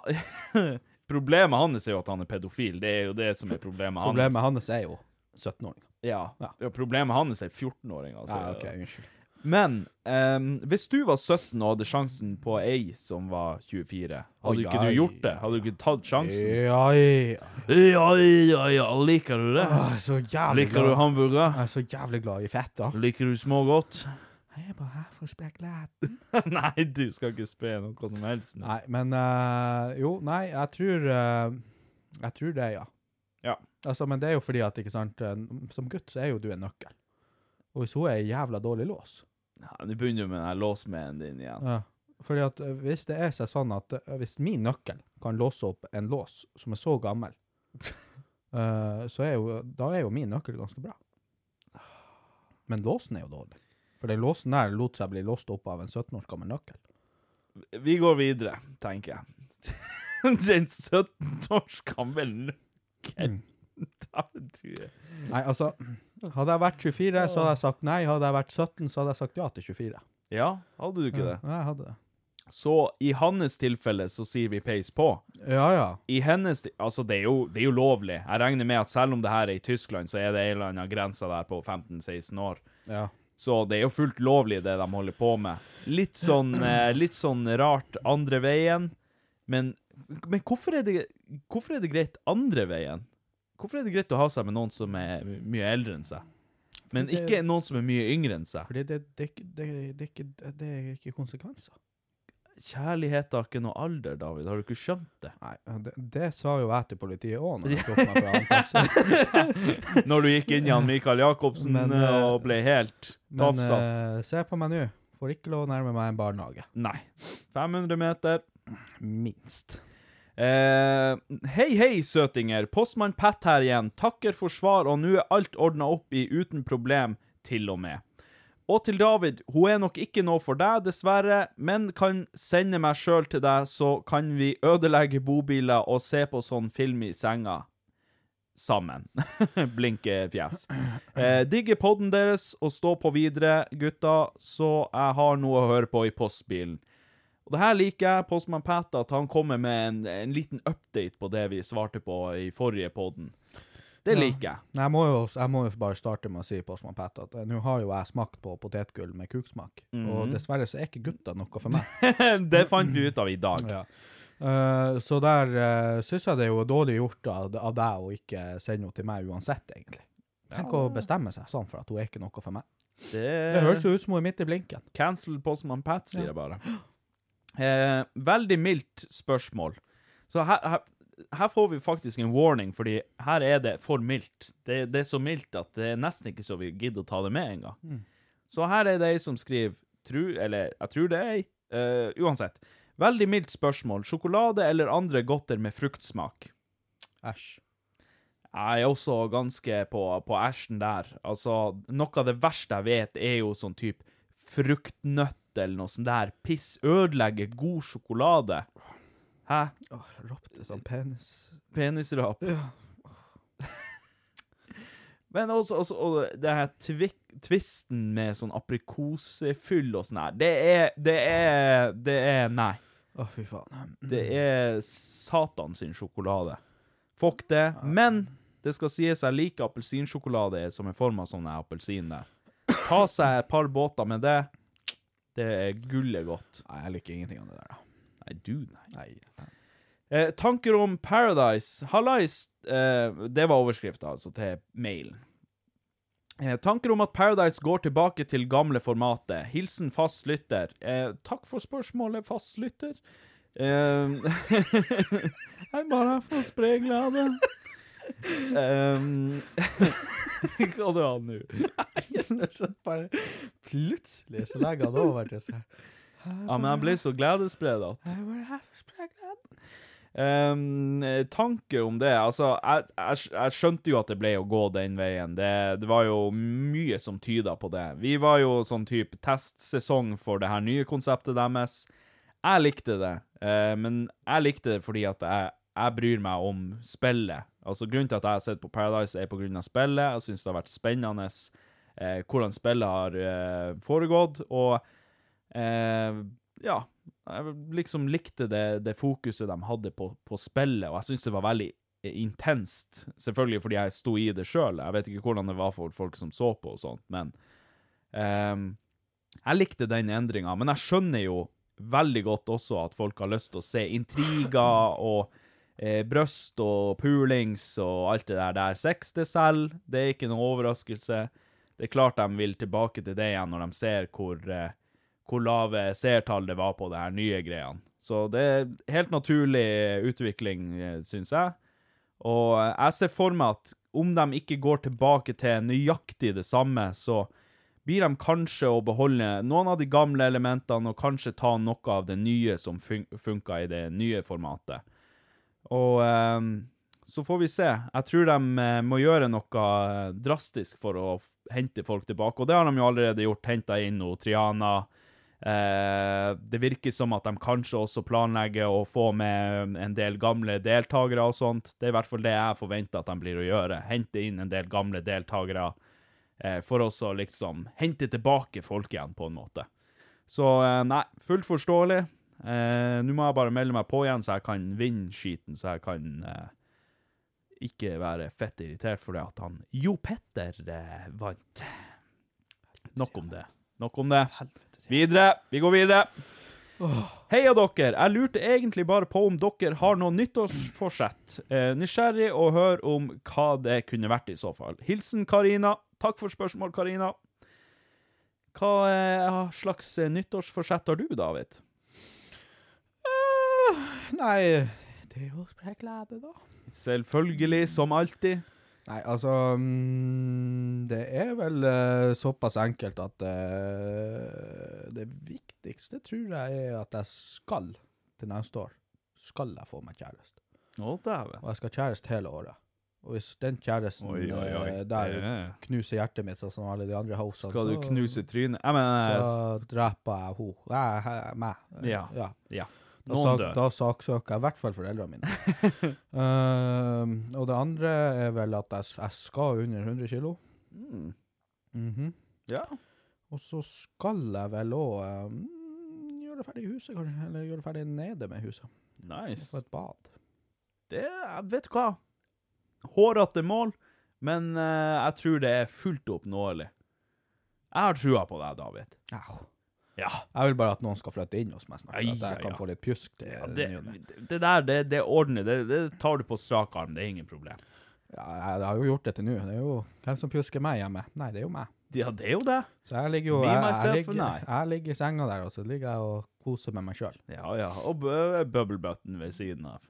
[SPEAKER 1] Problemet hans er jo at han er pedofil. Det er jo det som er problemet hans.
[SPEAKER 3] Problemet hans er jo 17-åringer.
[SPEAKER 1] Ja.
[SPEAKER 3] Ja.
[SPEAKER 1] ja, problemet hans er 14-åring, altså.
[SPEAKER 3] Ja, OK, unnskyld.
[SPEAKER 1] Men ehm, hvis du var 17 og hadde sjansen på ei som var 24,
[SPEAKER 3] Oi,
[SPEAKER 1] hadde ikke
[SPEAKER 3] nei.
[SPEAKER 1] du gjort det? Hadde du ikke tatt sjansen?
[SPEAKER 3] Ja, ja.
[SPEAKER 1] Ja, ja, ja, liker du det?
[SPEAKER 3] Jeg er så jævlig
[SPEAKER 1] Liker
[SPEAKER 3] glad.
[SPEAKER 1] du hamburger?
[SPEAKER 3] Jeg er så jævlig glad i fett, da.
[SPEAKER 1] Liker du smågodt?
[SPEAKER 3] Jeg er bare her for å spreke læt.
[SPEAKER 1] nei, du skal ikke spre noe som helst.
[SPEAKER 3] Nei, men eh, Jo, nei, jeg tror eh, Jeg tror det, ja.
[SPEAKER 1] Ja.
[SPEAKER 3] Altså, men det er jo fordi at, ikke sant, eh, som gutt så er jo du en nøkkel. Og hvis hun er en jævla dårlig lås
[SPEAKER 1] Ja, Nå begynner du med den her låsmeden din igjen.
[SPEAKER 3] ja. Fordi at eh, hvis det er seg sånn at eh, hvis min nøkkel kan låse opp en lås som er så gammel, eh, så er jo, da er jo min nøkkel ganske bra. Men låsen er jo dårlig. For den låsen der lot seg bli låst opp av en 17 års gammel nøkkel.
[SPEAKER 1] Vi går videre, tenker jeg. Den 17 års gammel nøkkel. Dæven, du er-
[SPEAKER 3] Nei, altså, hadde jeg vært 24, så hadde jeg sagt nei. Hadde jeg vært 17, så hadde jeg sagt ja til 24.
[SPEAKER 1] Ja, hadde du ikke det?
[SPEAKER 3] Ja, jeg hadde det.
[SPEAKER 1] Så i hans tilfelle så sier vi peis på.
[SPEAKER 3] Ja, ja.
[SPEAKER 1] I hennes til- Altså, det er, jo, det er jo lovlig. Jeg regner med at selv om det her er i Tyskland, så er det en eller annen grense der på 15-16 år.
[SPEAKER 3] Ja.
[SPEAKER 1] Så det er jo fullt lovlig, det de holder på med. Litt sånn, eh, litt sånn rart andre veien, men, men hvorfor, er det, hvorfor er det greit andre veien? Hvorfor er det greit å ha seg med noen som er mye eldre enn seg? Men
[SPEAKER 3] Fordi det-
[SPEAKER 1] ikke noen som er mye yngre enn seg.
[SPEAKER 3] Fordi det, det, det, det, det, det, det er ikke konsekvenser.
[SPEAKER 1] Kjærlighet har ikke noe alder, David. Har du ikke skjønt det?
[SPEAKER 3] Nei, det, det sa jo jeg til politiet òg når jeg tok meg fra antakelse.
[SPEAKER 1] Når du gikk inn i han Mikael Jacobsen
[SPEAKER 3] Men, eh,
[SPEAKER 1] og ble helt
[SPEAKER 3] Men
[SPEAKER 1] tafsatt.
[SPEAKER 3] eh, se på meg nå. Får ikke lov å nærme meg en barnehage.
[SPEAKER 1] Nei. 500 meter.
[SPEAKER 3] Minst.
[SPEAKER 1] Eh, hei, hei, søtinger. Postmann Pat her igjen. Takker for svar, og nå er alt ordna opp i uten problem, til og med. Og til David, hun er nok ikke noe for deg, dessverre, men kan sende meg sjøl til deg, så kan vi ødelegge bobiler og se på sånn film i senga. Sammen. Blinkefjes. Eh, digger podden deres og stå på videre, gutta, så jeg har noe å høre på i postbilen. Og det her liker jeg, Postman Pat, at han kommer med en, en liten update på det vi svarte på i forrige podden. Det
[SPEAKER 3] Ja.
[SPEAKER 1] liker jeg.
[SPEAKER 3] Nei, Jeg må, jo, jeg må jo bare starte med å si Postman Pat at eh, nå har jo jeg smakt på potetgull med kuksmak, og
[SPEAKER 1] Mhm.
[SPEAKER 3] dessverre så er ikke gutta noe for meg.
[SPEAKER 1] det fant vi ut av i dag.
[SPEAKER 3] Ja. Eh, så der uh, syns jeg det er jo dårlig gjort av, av deg å ikke sende henne til meg uansett, egentlig. Tenk å bestemme seg sånn for at hun er ikke noe for meg. Det høres
[SPEAKER 1] Det
[SPEAKER 3] jo ut som hun er midt i blinken.
[SPEAKER 1] Cancel Postman Pat, sier jeg bare. Eh, veldig mildt spørsmål. Så her, her, her får vi faktisk en warning, fordi her er det for mildt. Det, det er så mildt at det er nesten ikke så vi gidder å ta det med engang. Så her er det ei som skriver tru, Eller jeg tror det er ei. eh, uansett. Veldig mildt spørsmål. Sjokolade eller andre godter med fruktsmak?
[SPEAKER 3] Æsj.
[SPEAKER 1] Jeg er også ganske på, på æsjen der. Altså, noe av det verste jeg vet, er jo sånn type fruktnøtt eller noe sånt der. Piss ødelegger god sjokolade. Hæ?
[SPEAKER 3] Åh, Ropte sånn penis.
[SPEAKER 1] Penisrap. Men også, også og det her tvik, tvisten med sånn aprikosefyll og sånn her, det er, det er, det er, nei.
[SPEAKER 3] Å, fy faen.
[SPEAKER 1] Det er satan sin sjokolade. Fuck det. Men det skal sies jeg liker appelsinsjokolade som er forma sånn her appelsin der. Ta seg et par båter med det. Det er gullet godt.
[SPEAKER 3] Nei, jeg liker ingenting av det der, da.
[SPEAKER 1] Nei, du, nei.
[SPEAKER 3] Nei.
[SPEAKER 1] Eh, tanker om Paradise. Hallais eh, Det var overskrifta, altså, til mailen. Eh, tanker om at Paradise går tilbake til gamle formatet. Hilsen fast lytter. Eh, takk for spørsmålet, fast lytter. Eh, jeg er bare for spregler av det. Ehm. Eh, hva du har nå?
[SPEAKER 3] Så bare plutselig så legger han over til seg.
[SPEAKER 1] Ja, men jeg ble så gledesspredet.
[SPEAKER 3] Jeg bare, jeg får sprekk,
[SPEAKER 1] Um, tanker om det Altså, jeg, jeg, jeg skjønte jo at det ble å gå den veien. Det, det var jo mye som tyda på det. Vi var jo sånn type testsesong for det her nye konseptet deres. Jeg likte det, eh, men jeg likte det fordi at jeg, jeg bryr meg om spillet. Altså, Grunnen til at jeg har sett på Paradise, er på grunn av spillet. Jeg syns det har vært spennende eh, hvordan spillet har eh, foregått, og eh, ja, jeg liksom likte det, det fokuset de hadde på, på spillet, og jeg synes det var veldig eh, intenst, selvfølgelig fordi jeg sto i det selv, jeg vet ikke hvordan det var for folk som så på og sånt, men ehm, jeg likte den endringen, men jeg skjønner jo veldig godt også at folk har lyst til å se intriger og eh, brøst og pulings og alt det der der. Sex til selv, det er ikke noe overraskelse. Det er klart de vil tilbake til det igjen når de ser hvor... Eh, hvor lave seertall det var på det her nye greiene. Så det er helt naturlig utvikling, eh, synes jeg. Og eh, jeg ser for meg at om de ikke går tilbake til nøyaktig det samme, så blir de kanskje å beholde noen av de gamle elementene og kanskje ta noe av det nye som fun funka i det nye formatet. Og eh, så får vi se. Jeg tror de eh, må gjøre noe eh, drastisk for å f- hente folk tilbake, og det har de jo allerede gjort. Henta inn noe Triana. Eh, det virker som at de kanskje også planlegger å få med en del gamle deltakere og sånt. Det er i hvert fall det jeg forventer at de blir å gjøre. Hente inn en del gamle deltakere eh, for også liksom hente tilbake folk igjen, på en måte. Så eh, nei, fullt forståelig. Eh, Nå må jeg bare melde meg på igjen, så jeg kan vinne skiten, så jeg kan eh, ikke være fett irritert fordi at han Jo Petter eh, vant. Nok om det. Nok om det. Videre. Vi går videre. Heia dere! Jeg lurte egentlig bare på om dere har noe nyttårsforsett. Eh, nysgjerrig å høre om hva det kunne vært i så fall. Hilsen Karina. Takk for spørsmål, Karina. Hva eh, slags eh, nyttårsforsett har du, David?
[SPEAKER 3] Nei, det er jo spreklede, da.
[SPEAKER 1] Selvfølgelig, som alltid.
[SPEAKER 3] Nei, altså mm, Det er vel eh, såpass enkelt at eh, det viktigste tror jeg er at jeg skal til neste år. Skal jeg få meg kjæreste.
[SPEAKER 1] Å, dæven.
[SPEAKER 3] Og jeg skal ha kjæreste hele året. Og hvis den kjæresten
[SPEAKER 1] Oi, oi, oi.
[SPEAKER 3] eh, der
[SPEAKER 1] Det-
[SPEAKER 3] knuser hjertet mitt, sånn som alle de andre hostene,
[SPEAKER 1] Skal du
[SPEAKER 3] så
[SPEAKER 1] knuse trynet? eh, Jeg mener,
[SPEAKER 3] da dreper jeg henne. Nei, he- meg.
[SPEAKER 1] Ja.
[SPEAKER 3] ja. Da,
[SPEAKER 1] noen
[SPEAKER 3] sak,
[SPEAKER 1] dør.
[SPEAKER 3] da saksøker jeg i hvert fall foreldrene mine. Ehm, og det andre er vel at jeg, s- jeg skal under 100 kilo.
[SPEAKER 1] Mm.
[SPEAKER 3] Mhm.
[SPEAKER 1] Ja.
[SPEAKER 3] Og så skal jeg vel òg gjøre ehm, gjøre det ferdig i huset, kanskje. Eller gjøre det ferdig nede med huset. Få
[SPEAKER 1] Nice.
[SPEAKER 3] et bad.
[SPEAKER 1] Det er, vet du hva? Hårete mål, men eh, jeg tror det er fullt oppnåelig. Jeg har trua på deg, David.
[SPEAKER 3] Au.
[SPEAKER 1] Ja.
[SPEAKER 3] Jeg vil bare at noen skal flytte inn hos meg snart, så
[SPEAKER 1] Ai,
[SPEAKER 3] at jeg
[SPEAKER 1] ai,
[SPEAKER 3] kan
[SPEAKER 1] ja.
[SPEAKER 3] få litt pjusk til
[SPEAKER 1] Ja,
[SPEAKER 3] det
[SPEAKER 1] det,
[SPEAKER 3] nye.
[SPEAKER 1] det der, det, det ordner. Det, det tar du på strak arm. Det er ingen problem.
[SPEAKER 3] Ja, jeg, jeg har jo gjort det til nå. Det er jo hvem som pjusker meg hjemme. Nei, det er jo meg.
[SPEAKER 1] Ja, det er jo det.
[SPEAKER 3] Så jeg ligger jo
[SPEAKER 1] Me,
[SPEAKER 3] jeg,
[SPEAKER 1] myself,
[SPEAKER 3] jeg,
[SPEAKER 1] and
[SPEAKER 3] ligger,
[SPEAKER 1] I.
[SPEAKER 3] jeg ligger i senga der, og så ligger jeg og koser med meg sjøl.
[SPEAKER 1] Ja, ja. Og bu- bubble button ved siden av.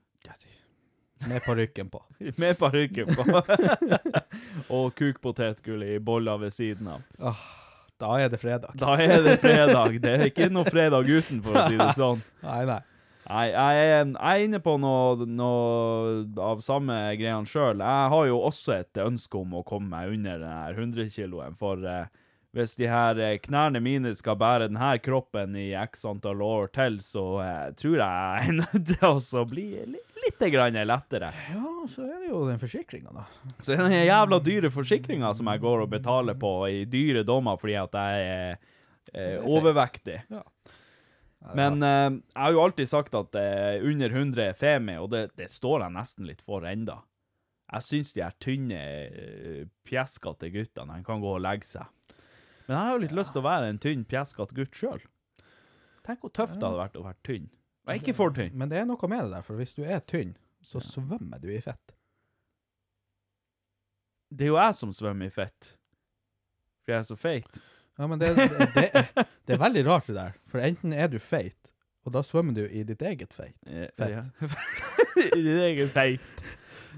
[SPEAKER 3] Med parykken på.
[SPEAKER 1] Med parykken på. og kukpotetgull i boller ved siden av.
[SPEAKER 3] Åh, da er det fredag.
[SPEAKER 1] Da er det fredag. Det er ikke noe fredag uten, for å si det sånn.
[SPEAKER 3] Nei, nei.
[SPEAKER 1] Nei, jeg er, jeg er inne på noe, noe av samme greiene sjøl. Jeg har jo også et ønske om å komme meg under den her 100-kiloen, for eh, hvis de her eh, knærne mine skal bære den her kroppen i x antall år til, så eh, tror jeg jeg er nødt til også å bli litt, litt grann lettere.
[SPEAKER 3] Ja, så er det jo den forsikringa, da.
[SPEAKER 1] Så er det den jævla dyre forsikringa som jeg går og betaler på i dyre dommer fordi at jeg er, eh, overvektig.
[SPEAKER 3] Ja.
[SPEAKER 1] Men eh, jeg har jo alltid sagt at eh, under 100 er femi, og det, det står jeg nesten litt for enda. Jeg syns de her tynne, eh, pjeskete guttene de kan gå og legge seg. Men jeg har jo litt lyst til å være en tynn, pjeskete gutt sjøl. Tenk hvor tøft det hadde vært å være tynn. Men ikke for tynn.
[SPEAKER 3] Men det er noe med det der, for hvis du er tynn, så svømmer du i fett.
[SPEAKER 1] Det er jo jeg som svømmer i fett. Fordi jeg er så feit.
[SPEAKER 3] Ja, men det, det, det, det er veldig rart det der, for enten er du feit, og da svømmer du i ditt eget feit.
[SPEAKER 1] Eh,
[SPEAKER 3] Fett.
[SPEAKER 1] ja. Din egen feit.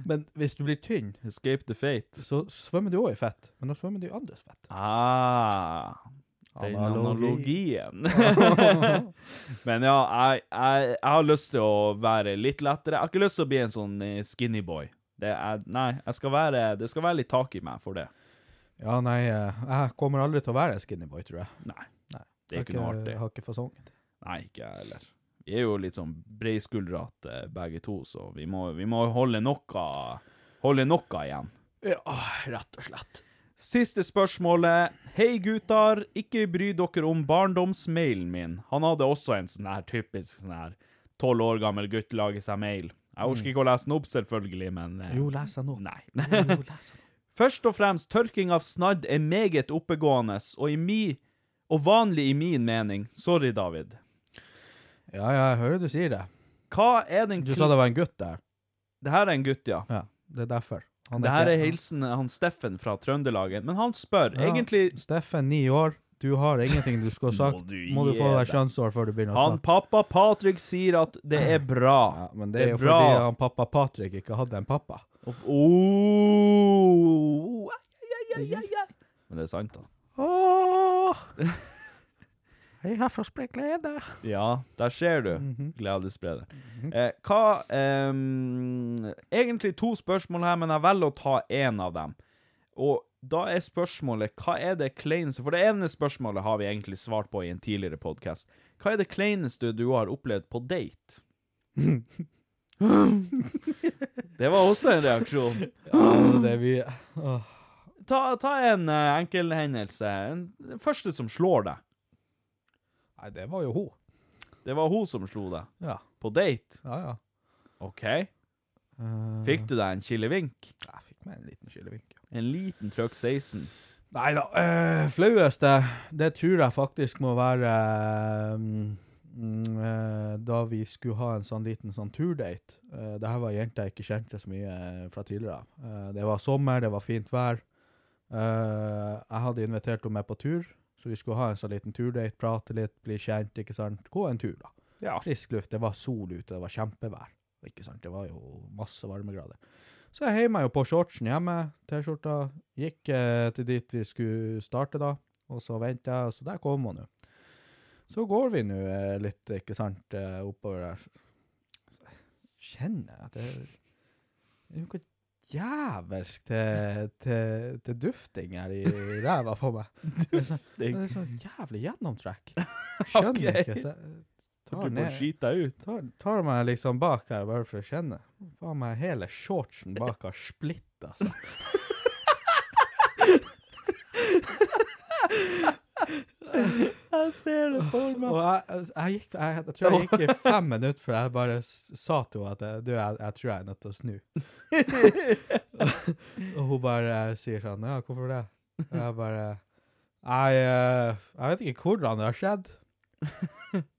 [SPEAKER 3] Men hvis du blir tynn,
[SPEAKER 1] Escape the fate.
[SPEAKER 3] så svømmer du òg i fett, men da svømmer du i andres fett.
[SPEAKER 1] Ah, den analogien. Men ja, jeg, jeg, jeg har lyst til å være litt lettere. Jeg har ikke lyst til å bli en sånn eh, skinny boy. Det er, nei, jeg skal være, det skal være litt tak i meg for det.
[SPEAKER 3] Ja, nei, eh, jeg kommer aldri til å være en skinny boy, tror jeg.
[SPEAKER 1] Nei,
[SPEAKER 3] Nei.
[SPEAKER 1] det er ikke noe
[SPEAKER 3] Har
[SPEAKER 1] artig.
[SPEAKER 3] Har ikke fasongen.
[SPEAKER 1] Nei, ikke jeg heller. Vi er jo litt sånn breiskuldrete begge to, så vi må, vi må holde noe, holde noe igjen.
[SPEAKER 3] Ja, rett og slett.
[SPEAKER 1] Siste spørsmålet. Hei gutter, ikke bry dere om barndomsmailen min. Han hadde også en sånn her typisk sånn her tolv år gammel gutt lager seg mail. Jeg orker ikke å lese den opp, selvfølgelig, men eh,
[SPEAKER 3] Mm. Jo, les den nå.
[SPEAKER 1] Nei.
[SPEAKER 3] Jo, les den nå.
[SPEAKER 1] Først og fremst, tørking av snadd er meget oppegående, og, i mi, og vanlig i min mening. Sorry, David.
[SPEAKER 3] Ja, ja, jeg hører du sier det.
[SPEAKER 1] Hva er den
[SPEAKER 3] Du sa det var en gutt der.
[SPEAKER 1] Det her er en gutt, ja.
[SPEAKER 3] Ja, det er derfor. Han
[SPEAKER 1] Det her
[SPEAKER 3] ikke-
[SPEAKER 1] er hilsen eh, han Steffen fra Trøndelagen, men han spør
[SPEAKER 3] Ja,
[SPEAKER 1] egentlig
[SPEAKER 3] Steffen, ni år. Du har ingenting du skulle ha sagt.
[SPEAKER 1] Må
[SPEAKER 3] Må
[SPEAKER 1] du
[SPEAKER 3] du,
[SPEAKER 1] gi
[SPEAKER 3] få deg
[SPEAKER 1] deg.
[SPEAKER 3] kjønnsår før du begynner å
[SPEAKER 1] Han
[SPEAKER 3] snakke.
[SPEAKER 1] pappa Patrick sier at det er bra.
[SPEAKER 3] Ja, men det er jo
[SPEAKER 1] bra.
[SPEAKER 3] fordi han pappa Patrick ikke hadde en pappa.
[SPEAKER 1] Opp- Oh. Ai, ai, ai, ai, ai. Men det er sant, da.
[SPEAKER 3] Hei, herfra sprer glede.
[SPEAKER 1] Ja, der ser du. Gledesspreder. eh, hva ehm, Egentlig to spørsmål her, men jeg velger å ta én av dem. Og da er spørsmålet hva er det kleineste For det ene spørsmålet har vi egentlig svart på i en tidligere podkast. Hva er det kleineste du har opplevd på date? det var også en reaksjon.
[SPEAKER 3] Det er vi... Åh.
[SPEAKER 1] Ta, ta en eh, enkel hendelse. En, den første som slår deg.
[SPEAKER 3] Nei, det var jo hun.
[SPEAKER 1] Det var hun som slo deg.
[SPEAKER 3] Ja,
[SPEAKER 1] På date.
[SPEAKER 3] ja, ja.
[SPEAKER 1] OK.
[SPEAKER 3] Eh,
[SPEAKER 1] Fikk du deg en kilevink?
[SPEAKER 3] Jeg fikk meg en liten skillevink.
[SPEAKER 1] En liten trøkk 16.
[SPEAKER 3] Neida, eh, flaueste, det tror jeg faktisk må være... mm, mm, eh, da vi skulle ha en sånn liten sånn turdate uh, Det her var jenter jeg ikke kjente så mye eh, fra tidligere Eh, Det var sommer, det var fint vær Eh, Jeg hadde invitert henne med på tur Så vi skulle ha en sånn liten turdate Prate litt, bli kjent, ikke sant Gå en tur da
[SPEAKER 1] Ja.
[SPEAKER 3] frisk luft, det var sol ute, det var kjempevær. Ikke sant, det var jo masse varmegrader. Så jeg heiv meg jo på shortsen hjemme, T-skjorta, gikk eh, til dit vi skulle starte da, og så ventet jeg, og så der kom hun nå. Så går vi nå eh, litt, ikke sant, eh, oppover der. Så Kjenner jeg at det det er noe jævelsk til, til, til dufting her i ræva på meg. Det
[SPEAKER 1] Dufting.
[SPEAKER 3] er sånn jævlig gjennomtrekk. Skjønner
[SPEAKER 1] Ok.
[SPEAKER 3] ikke, så jeg
[SPEAKER 1] Du
[SPEAKER 3] tar
[SPEAKER 1] må
[SPEAKER 3] ned
[SPEAKER 1] skite deg ut.
[SPEAKER 3] tar, tar meg liksom bak her bare for å kjenne. Faen meg, hele shortsen bak har splitt, altså.
[SPEAKER 1] Jeg ser det for meg.
[SPEAKER 3] Og jeg, altså, jeg, gikk, jeg, jeg tror jeg gikk i fem minutter før jeg bare s- sa til henne at jeg, du, jeg, jeg tror jeg er nødt til å snu. og hun bare eh, sier sånn Ja, hvorfor det? Og jeg bare Jeg, eh, jeg vet ikke hvordan det har skjedd,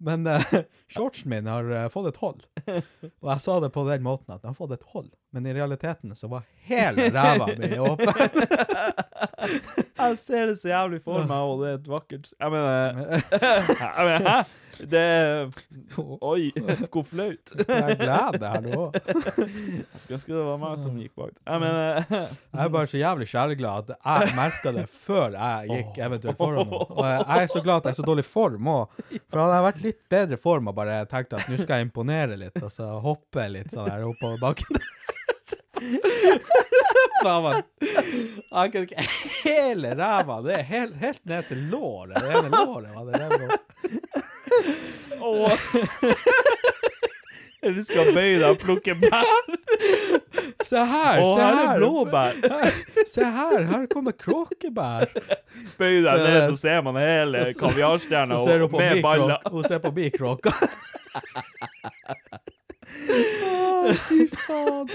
[SPEAKER 3] men eh, shortsen min har eh, fått et hold. Og jeg sa det på den måten at den har fått et hold, men i realiteten så var hele ræva mi åpen.
[SPEAKER 1] Jeg ser det så jævlig for meg, og det er et vakkert s- Jeg mener, jeg mener Hæ? Det er Oi, hvor flaut.
[SPEAKER 3] Jeg er glad det her nå.
[SPEAKER 1] Jeg skulle ønske det var meg som gikk bak. Jeg mener
[SPEAKER 3] Jeg er bare så jævlig sjeleglad at jeg merka det før jeg gikk eventuelt foran henne. Og jeg jeg er så glad at jeg er i så dårlig form òg. For hadde jeg vært litt bedre form og bare tenkt at nå skal jeg imponere litt, og så hoppe litt sånn her oppover bakken der. Faen, man. Jeg kunne ikke Hele ræva! Det er helt, helt ned til låret. Det ene låret var det ræva.
[SPEAKER 1] Åh. Du skal bøye deg og plukke bær.
[SPEAKER 3] Se her!
[SPEAKER 1] Å, her
[SPEAKER 3] se
[SPEAKER 1] er
[SPEAKER 3] her!
[SPEAKER 1] blåbær.
[SPEAKER 3] Her- Se her! Her kommer kråkebær.
[SPEAKER 1] Bøye deg ned, så ser man hele
[SPEAKER 3] Så- så-
[SPEAKER 1] kaviarstjerna
[SPEAKER 3] Så ser hun
[SPEAKER 1] og-
[SPEAKER 3] på
[SPEAKER 1] med
[SPEAKER 3] min
[SPEAKER 1] baller.
[SPEAKER 3] kråk- Hun ser på min kråke.
[SPEAKER 1] Fy faen.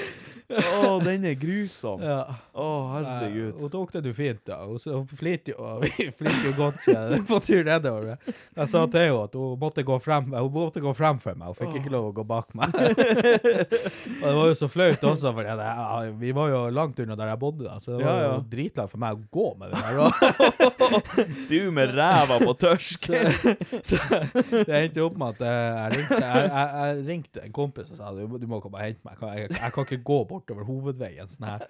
[SPEAKER 1] Å, den er grusom. Å,
[SPEAKER 3] Ja. Nei, Hun
[SPEAKER 1] herregud.
[SPEAKER 3] tok det du fint, da. Hun s- Hun flirte jo, og vi flirte jo godt eh, på tur nedover. Jeg sa til henne at hun måtte gå frem, hun måtte gå frem for meg, hun fikk ikke lov å gå bak meg. og det var jo så flaut også, for jeg, jeg, vi var jo langt unna der jeg bodde, da, så det var
[SPEAKER 1] Ja, ja.
[SPEAKER 3] jo dritlangt for meg å gå med det der. Og
[SPEAKER 1] Du med ræva på tørsk.
[SPEAKER 3] det endte jo opp med at eh, jeg ringte, jeg, jeg, jeg ringte en kompis og sa du, må- du må komme og hente meg, jeg, kan- jeg, jeg kan ikke gå bortover hovedveien sånn her.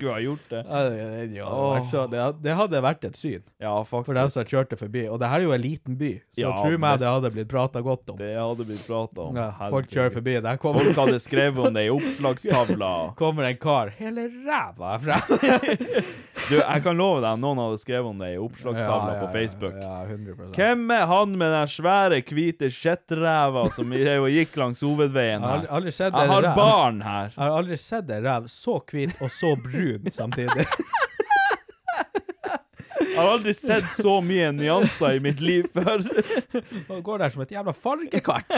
[SPEAKER 1] Skulle ha gjort det.
[SPEAKER 3] Ja, det, det, det hadde vært så- det, hadde- det hadde vært et syn.
[SPEAKER 1] Ja,
[SPEAKER 3] For dem som
[SPEAKER 1] faktisk.
[SPEAKER 3] kjørte forbi. Og det her er jo en liten by, så
[SPEAKER 1] Ja,
[SPEAKER 3] tro meg det
[SPEAKER 1] visst.
[SPEAKER 3] hadde blitt prata godt om.
[SPEAKER 1] Det hadde blitt prata om.
[SPEAKER 3] ja, folk kjører
[SPEAKER 1] Herregud.
[SPEAKER 3] forbi. Der kommer,
[SPEAKER 1] Folk hadde skrevet om det i oppslagstavla.
[SPEAKER 3] kommer en kar. Hele ræva er frem!
[SPEAKER 1] Du, jeg kan love deg, noen hadde skrevet om det i oppslagstavla på Facebook.
[SPEAKER 3] Ja, ja, 100 Jeg
[SPEAKER 1] Hvem er han med den svære, hvite kjettræva som drev og gikk langs hovedveien
[SPEAKER 3] har aldri,
[SPEAKER 1] her?
[SPEAKER 3] aldri sett
[SPEAKER 1] Jeg
[SPEAKER 3] en
[SPEAKER 1] har
[SPEAKER 3] ræv-
[SPEAKER 1] barn her.
[SPEAKER 3] Jeg har aldri sett en ræv så hvit og så brun samtidig.
[SPEAKER 1] Jeg har aldri sett så mye nyanser i mitt liv før.
[SPEAKER 3] Og går der som et jævla fargekart.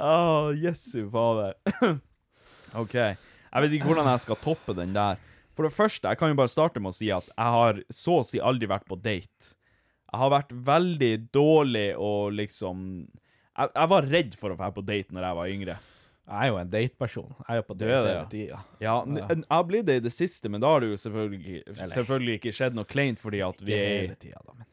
[SPEAKER 1] Å, Jesu fader. OK. Jeg vet ikke hvordan jeg skal toppe den der. For det første, jeg kan jo bare starte med å si at jeg har så å si aldri vært på date. Jeg har vært veldig dårlig og liksom Jeg, jeg var redd for å dra på date når jeg var yngre.
[SPEAKER 3] Jeg er jo en dateperson. Jeg er jo på
[SPEAKER 1] er
[SPEAKER 3] date
[SPEAKER 1] det,
[SPEAKER 3] hele tida.
[SPEAKER 1] Ja, n- n- jeg har blitt det i det siste, men da har det jo selvfølgelig, selvfølgelig ikke skjedd noe kleint, fordi at vi
[SPEAKER 3] Ikke
[SPEAKER 1] er
[SPEAKER 3] hele tida, da, men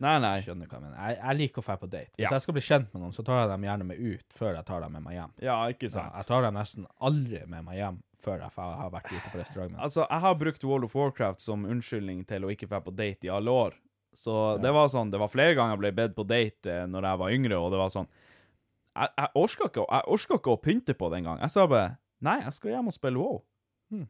[SPEAKER 1] Nei, nei.
[SPEAKER 3] skjønner du hva jeg mener. Jeg, jeg liker å dra på date. Hvis
[SPEAKER 1] Ja.
[SPEAKER 3] jeg skal bli kjent med noen, så tar jeg dem gjerne med ut før jeg tar dem med meg hjem.
[SPEAKER 1] Ja, ikke
[SPEAKER 3] Ja, jeg
[SPEAKER 1] sant.
[SPEAKER 3] tar dem nesten aldri med meg hjem før jeg fa- har vært ute på restaurant. med dem.
[SPEAKER 1] Altså, jeg har brukt World of Warcraft som unnskyldning til å ikke dra på date i alle år. Så det var sånn, det var flere ganger jeg ble bedt på date eh, når jeg var yngre, og det var sånn Jeg, jeg orka ikke, å- jeg orka ikke å pynte på det engang. Jeg sa bare Nei, jeg skal hjem og spille WoW.
[SPEAKER 3] Hmm.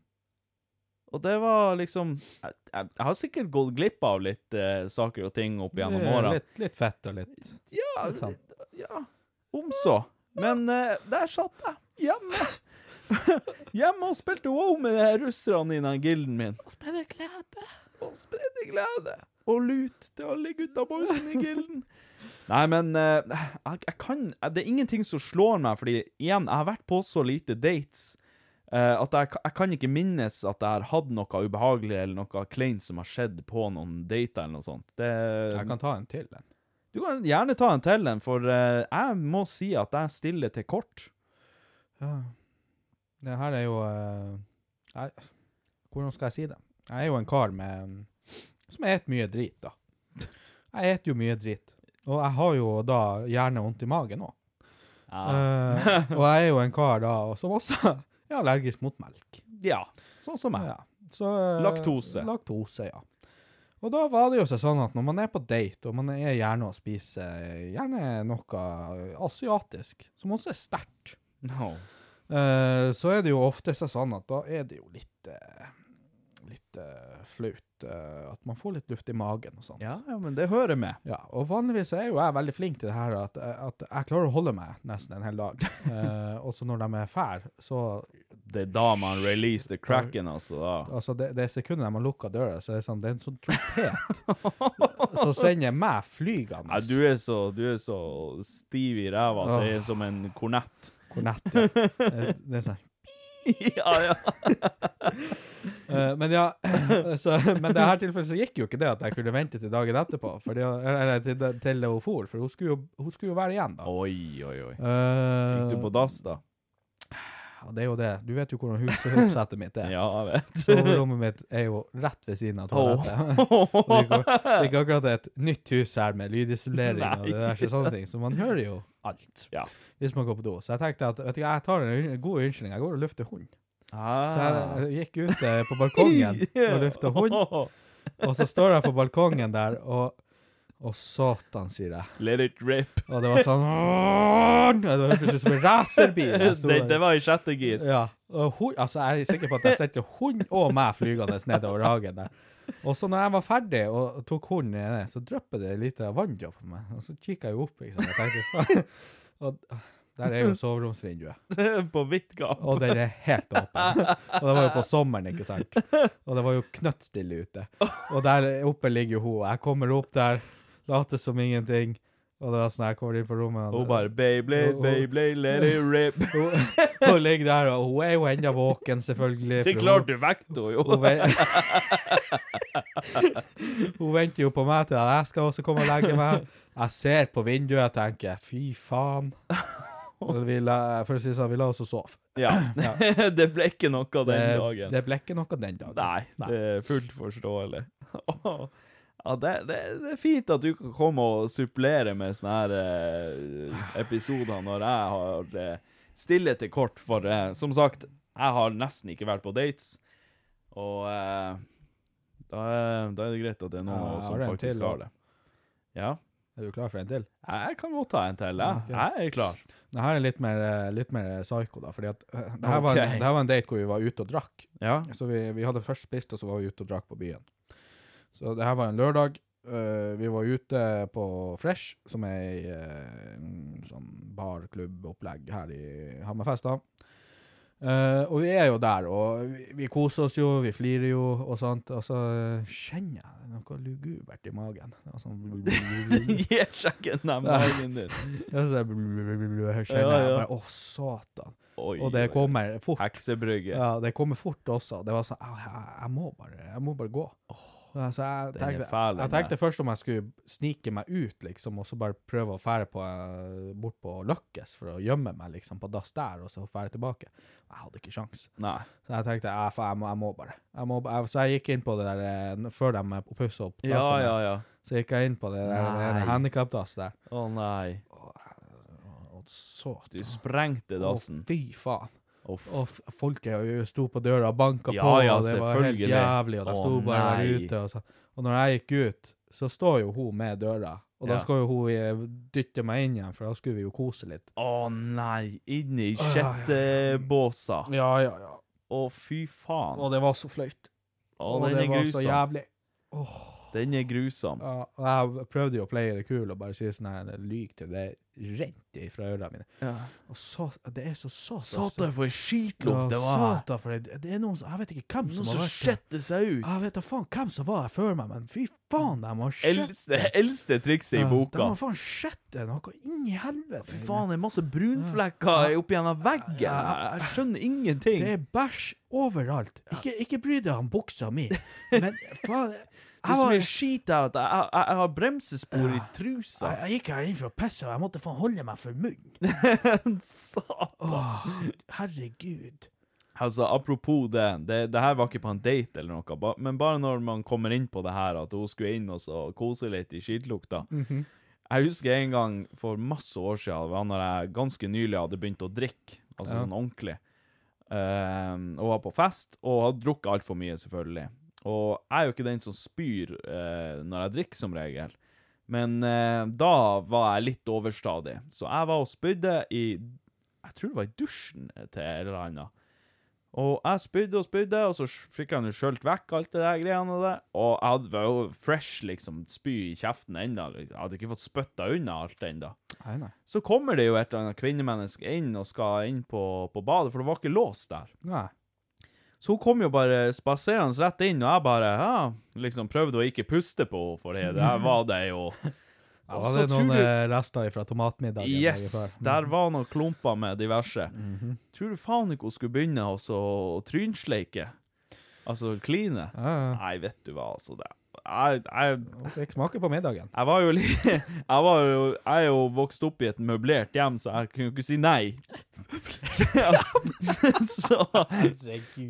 [SPEAKER 1] Og det var liksom jeg, jeg, jeg har sikkert gått glipp av litt eh, saker og ting opp gjennom åra.
[SPEAKER 3] Litt, litt fett og litt
[SPEAKER 1] Ja,
[SPEAKER 3] Litt sant.
[SPEAKER 1] ja. Om så. sånn. Men eh, der satt jeg, hjemme. hjemme og spilte wow med de her russerne i den gilden min. Og spredde glede. Og spredde glede. Og lut til alle gutta boysene i gilden. Nei, men eh, jeg, jeg kan eh, Det er ingenting som slår meg, fordi igjen, jeg har vært på så lite dates. eh, at jeg, ka- jeg kan ikke minnes at jeg har hatt noe ubehagelig eller noe kleint som har skjedd på noen dater eller noe sånt. Det,
[SPEAKER 3] Jeg kan ta en til. En.
[SPEAKER 1] du kan gjerne ta en til en, for eh, jeg må si at jeg stiller til kort.
[SPEAKER 3] Ja. Det her er jo eh, jeg, Hvordan skal jeg si det? Jeg er jo en kar med som et mye drit, da. Jeg et jo mye drit. Og jeg har jo da gjerne vondt i magen òg. og jeg er jo en kar da og som også er allergisk mot melk.
[SPEAKER 1] Ja, sånn som meg.
[SPEAKER 3] Ja. Så, eh,
[SPEAKER 1] Laktose.
[SPEAKER 3] Laktose, ja. Og da var det jo så sånn at når man er på date, og man er gjerne å spise eh, gjerne noe asiatisk, som også er sterkt,
[SPEAKER 1] No.
[SPEAKER 3] eh, så er det jo ofte så sånn at da er det jo litt, eh, litt eh, flaut eh, at man får litt luft i magen og sånt.
[SPEAKER 1] Ja, ja, men det hører med.
[SPEAKER 3] Ja, og vanligvis så er jo jeg veldig flink til det her, eh, at, at jeg klarer å holde meg nesten en hel dag. Eh, og så når de er fære, så
[SPEAKER 1] det er da man releaser the cracken, altså. da.
[SPEAKER 3] Altså, det, det sekundet de har lukka døra, så er det sånn, det er en sånn trompet som sender meg flygende.
[SPEAKER 1] Nei, du er så, du er så stiv i ræva at det er som en kornett.
[SPEAKER 3] Kornett, ja. Det, det er sånn.
[SPEAKER 1] ja, ja.
[SPEAKER 3] Eh, men ja, så, men i det her tilfellet så gikk jo ikke det at jeg kunne vente til dagen etterpå, fordi, eller til, til hun for, for hun skulle, jo, hun skulle jo være igjen da.
[SPEAKER 1] Oi, oi, oi.
[SPEAKER 3] Eh,
[SPEAKER 1] Gikk du på dass, da?
[SPEAKER 3] Ja, det er jo det. Du vet jo hvordan huset huset mitt er.
[SPEAKER 1] Ja, jeg vet.
[SPEAKER 3] Soverommet mitt er jo rett ved siden av toalettet. Det er ikke- det er ikke akkurat et nytt hus her med lydisolering og det der, så sånne ting, så man hører jo alt
[SPEAKER 1] Ja.
[SPEAKER 3] hvis man går på do. Så jeg tenkte at vet du, hva, jeg tar en un- god unnskyldning, jeg går og lufter hund. Så
[SPEAKER 1] Ah.
[SPEAKER 3] jeg gikk ut eh, på balkongen og lufta hund, og så står jeg på balkongen der, og, og satan, sier jeg.
[SPEAKER 1] Let it rip.
[SPEAKER 3] Og det var sånn «Åh!» Det hørtes ut som en racerbil. jeg sto
[SPEAKER 1] Det,
[SPEAKER 3] der.
[SPEAKER 1] det var i sjette gir.
[SPEAKER 3] Ja. Og hun, altså, jeg er sikker på at jeg setter hund og meg flygende nedover hagen der. Og så når jeg var ferdig og tok hunden ned, så dryppet det litt vanndråper på meg. Og så kikka jeg jo opp, liksom. Jeg tenkte, faen. og der er jo soveromsvinduet.
[SPEAKER 1] På vidt gap.
[SPEAKER 3] Og den er helt åpen. Og det var jo på sommeren, ikke sant. Og det var jo knøttstille ute. Og der oppe ligger jo hun. og Jeg kommer opp der, later som ingenting. Og det var sånn jeg kommer inn på rommet
[SPEAKER 1] Hun bare Beyblade,
[SPEAKER 3] Hun- hun-
[SPEAKER 1] Beyblade, let it rip.
[SPEAKER 3] hun, hun ligger der, og hun er jo ennå våken, selvfølgelig.
[SPEAKER 1] Det
[SPEAKER 3] for
[SPEAKER 1] er
[SPEAKER 3] hun-
[SPEAKER 1] klart du vekket henne, jo.
[SPEAKER 3] Hun, ven... hun venter jo på meg til at jeg skal også komme og legge meg. Jeg ser på vinduet og tenker 'fy faen'. Og Vi la, for å si det sånn, vi la oss og sove.
[SPEAKER 1] Ja. Det ble ikke noe
[SPEAKER 3] Det,
[SPEAKER 1] den dagen.
[SPEAKER 3] det ble ikke noe den dagen.
[SPEAKER 1] Nei, det er fullt forståelig. Åh. Ja, det, det, det er fint at du kan komme og supplere med sånne her eh, episoder når jeg har eh, stille til kort for eh, Som sagt, jeg har nesten ikke vært på dates, og eh, da, er, da er det greit at det er noen
[SPEAKER 3] Ja,
[SPEAKER 1] av oss
[SPEAKER 3] har
[SPEAKER 1] som
[SPEAKER 3] du en
[SPEAKER 1] faktisk
[SPEAKER 3] til, da?
[SPEAKER 1] har det. Ja,
[SPEAKER 3] Er du klar for en til?
[SPEAKER 1] jeg kan godt ta en til. Jeg,
[SPEAKER 3] Ja, ok.
[SPEAKER 1] jeg er klar.
[SPEAKER 3] Det her er litt mer, eh, litt mer psyko, da. Fordi at eh, det her, var en,
[SPEAKER 1] Ok.
[SPEAKER 3] det her var en date hvor vi var ute og drakk.
[SPEAKER 1] Ja.
[SPEAKER 3] Så vi, vi hadde først spist, og så var vi ute og drakk på byen. Så det her var en lørdag. Eh, vi var ute på Fresh, som er ei eh, en sånn barklubbopplegg her i Hammerfest. da. Eh, og vi er jo der, og vi, vi koser oss jo, vi flirer jo og sånt. Og så eh, kjenner jeg noe lugubert i magen. Altså, Det var sånn
[SPEAKER 1] Gi sjekken den magen din.
[SPEAKER 3] Ja, så jeg kjenner jeg
[SPEAKER 1] Ja, ja.
[SPEAKER 3] bare, Å, satan.
[SPEAKER 1] Oi,
[SPEAKER 3] Og det
[SPEAKER 1] oi, oi.
[SPEAKER 3] kommer fort.
[SPEAKER 1] Heksebrygge.
[SPEAKER 3] Ja, det kommer fort også. Det var sånn «Au, Jeg, jeg, må, bare, jeg må bare gå. Ja, så jeg
[SPEAKER 1] den er
[SPEAKER 3] tenkte,
[SPEAKER 1] fæl, den
[SPEAKER 3] jeg tenkte
[SPEAKER 1] der.
[SPEAKER 3] først om jeg skulle snike meg ut, liksom, og så bare prøve å fære på, eh, bort på Løkkes for å gjemme meg liksom, på dass der, og så fære tilbake. Jeg hadde ikke sjans.
[SPEAKER 1] Nei.
[SPEAKER 3] Så jeg tenkte «Ja, faen, jeg, må, jeg må bare. Jeg må, ba- jeg, så jeg gikk inn på det der eh, før de pussa opp
[SPEAKER 1] Ja,
[SPEAKER 3] dassene,
[SPEAKER 1] ja, ja.
[SPEAKER 3] Så gikk jeg inn på det der
[SPEAKER 1] Nei.
[SPEAKER 3] handikapdass der.
[SPEAKER 1] Å nei.
[SPEAKER 3] Og så
[SPEAKER 1] Du sprengte
[SPEAKER 3] Å,
[SPEAKER 1] dassen.
[SPEAKER 3] fy faen.
[SPEAKER 1] Uff.
[SPEAKER 3] Og f- folk er jo- sto på døra og banka
[SPEAKER 1] Ja,
[SPEAKER 3] på,
[SPEAKER 1] ja,
[SPEAKER 3] og det var helt
[SPEAKER 1] selvfølgelig.
[SPEAKER 3] jævlig, og de
[SPEAKER 1] Å,
[SPEAKER 3] sto bare der
[SPEAKER 1] nei.
[SPEAKER 3] ute. Og, så. og når jeg gikk ut, så står jo hun med døra, og
[SPEAKER 1] Ja.
[SPEAKER 3] da skal jo hun eh, dytte meg inn igjen, for da skulle vi jo kose litt.
[SPEAKER 1] Å nei, inn i
[SPEAKER 3] Å, ja, ja, ja.
[SPEAKER 1] kjettebåsa. Å,
[SPEAKER 3] Ja, ja, ja.
[SPEAKER 1] fy faen.
[SPEAKER 3] Og det var så flaut.
[SPEAKER 1] Å,
[SPEAKER 3] Og
[SPEAKER 1] den
[SPEAKER 3] det
[SPEAKER 1] er
[SPEAKER 3] var så
[SPEAKER 1] grusom.
[SPEAKER 3] jævlig.
[SPEAKER 1] Den er grusom.
[SPEAKER 3] Ja, og jeg prøvde jo å play det kul og bare si sånn her, lyg til det rente fra ørene mine. Og så, det er så så
[SPEAKER 1] Satan, for en
[SPEAKER 3] Ja,
[SPEAKER 1] skitlukt det var.
[SPEAKER 3] Satan, for det, det er noen som, jeg vet ikke hvem
[SPEAKER 1] Noe
[SPEAKER 3] som
[SPEAKER 1] som
[SPEAKER 3] har vært der.
[SPEAKER 1] skjetter seg ut.
[SPEAKER 3] Jeg vet da faen hvem som var her før meg, men fy faen, de har skjett
[SPEAKER 1] Eldste, eldste trikset i
[SPEAKER 3] De
[SPEAKER 1] boka.
[SPEAKER 3] har faen skjett det noe inn i helvete.
[SPEAKER 1] Fy faen, det er masse brunflekker oppi gjennom veggen. her. Jeg skjønner ingenting.
[SPEAKER 3] Det er bæsj overalt. Ikke, ikke bry deg om buksa mi, men faen
[SPEAKER 1] Det
[SPEAKER 3] Jeg,
[SPEAKER 1] er så
[SPEAKER 3] var,
[SPEAKER 1] mye
[SPEAKER 3] jeg,
[SPEAKER 1] skit her at jeg, jeg, jeg- jeg har bremsespor i trusa.
[SPEAKER 3] jeg gikk her inn for å pisse, og jeg måtte faen holde meg for munnen.
[SPEAKER 1] Satan.
[SPEAKER 3] Herregud.
[SPEAKER 1] Altså, apropos det, det, det her var ikke på en date eller noe, ba, men bare når man kommer inn på det her, at hun skulle inn og så kose litt i skittlukta. Jeg husker en gang for masse år siden, det var når jeg ganske nylig hadde begynt å drikke, altså sånn ordentlig, Ehm, og var på fest, og hadde drukket alt for mye, selvfølgelig. Og jeg er jo ikke den som spyr eh, når jeg drikker, som regel. Men eh, da var jeg litt overstadig, så jeg var og spydde i, jeg tror det var i dusjen til en eller annen. Og jeg spydde og spydde, og så fikk han jo skjølt vekk alt det der greiene der. Og jeg hadde var jo fresh liksom spy i kjeften ennå. Liksom. Jeg hadde ikke fått spytta unna alt ennå.
[SPEAKER 3] Nei, nei.
[SPEAKER 1] Så kommer det jo et eller annet kvinnemenneske inn og skal inn på, på badet, for det var ikke låst der.
[SPEAKER 3] Nei.
[SPEAKER 1] Så hun kom jo bare spaserende rett inn, og jeg bare ja, liksom prøvde å ikke puste på henne, for det der var det jo
[SPEAKER 3] Da
[SPEAKER 1] Og
[SPEAKER 3] var
[SPEAKER 1] så
[SPEAKER 3] det noen
[SPEAKER 1] tror du-
[SPEAKER 3] eh, rester fra tomatmiddagen.
[SPEAKER 1] Yes, der var noen klumper med diverse.
[SPEAKER 3] Mhm.
[SPEAKER 1] Tror du faen ikke hun skulle begynne også å trynsleike? Altså kline?
[SPEAKER 3] Ja, ja.
[SPEAKER 1] Nei, vet du hva, altså. Det, jeg, jeg,
[SPEAKER 3] Hun fikk smake på middagen.
[SPEAKER 1] jeg var jo litt jeg, var jo, jeg er jo vokst opp i et møblert hjem, så jeg kunne jo ikke si nei. så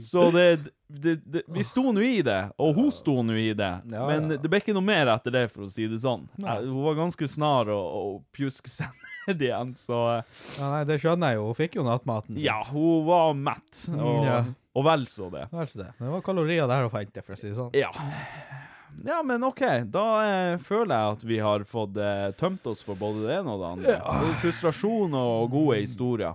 [SPEAKER 1] så det, det, det Vi sto nå i det, og hun sto nå i det.
[SPEAKER 3] Ja,
[SPEAKER 1] men
[SPEAKER 3] ja.
[SPEAKER 1] det ble ikke noe mer etter det, for å si det sånn.
[SPEAKER 3] Nei.
[SPEAKER 1] Jeg, hun var ganske snar å å pjuske seg ned igjen, så eh,
[SPEAKER 3] Ja, nei, det skjønner jeg jo. Hun fikk jo nattmaten. sin.
[SPEAKER 1] Ja, hun var mett, og,
[SPEAKER 3] ja.
[SPEAKER 1] og vel så det.
[SPEAKER 3] Vær så det. Det var kalorier der å hente, for å si det sånn.
[SPEAKER 1] Ja. Ja, men OK, da eh, føler jeg at vi har fått eh, tømt oss for både det ene og det andre. Både frustrasjon og gode historier.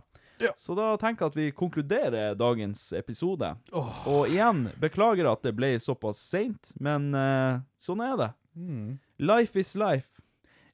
[SPEAKER 1] Så da tenker jeg at vi konkluderer dagens episode. Og igjen, beklager at det ble såpass seint, men eh, sånn er det.
[SPEAKER 3] Mm.
[SPEAKER 1] Life is life.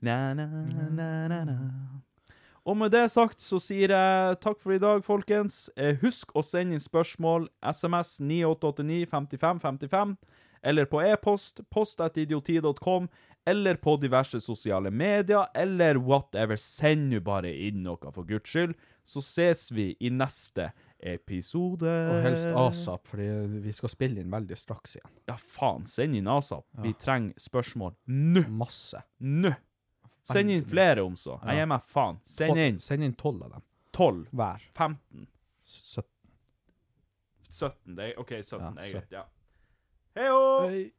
[SPEAKER 1] Na, na, na, na, na. Og med det sagt så sier jeg takk for i dag, folkens. Eh, Husk å sende inn spørsmål SMS 9889 55 55, eller på e-post post.idioti.com, eller på diverse sosiale medier, eller whatever. Send nå bare inn noe, for guds skyld. Så ses vi i neste episode.
[SPEAKER 3] Og helst asap, fordi vi skal spille inn veldig straks igjen.
[SPEAKER 1] Ja, faen. Send inn ASAP. Vi trenger spørsmål nå.
[SPEAKER 3] Masse.
[SPEAKER 1] Nå. Send inn flere om så. Jeg gir meg faen. Send inn
[SPEAKER 3] Send inn tolv av dem.
[SPEAKER 1] 12,
[SPEAKER 3] Hver.
[SPEAKER 1] 15
[SPEAKER 3] Søtt.
[SPEAKER 1] 17, det er, ok, 17
[SPEAKER 3] Ja,
[SPEAKER 1] er greit,
[SPEAKER 3] 17.
[SPEAKER 1] ja. Hei ho!
[SPEAKER 3] Hei.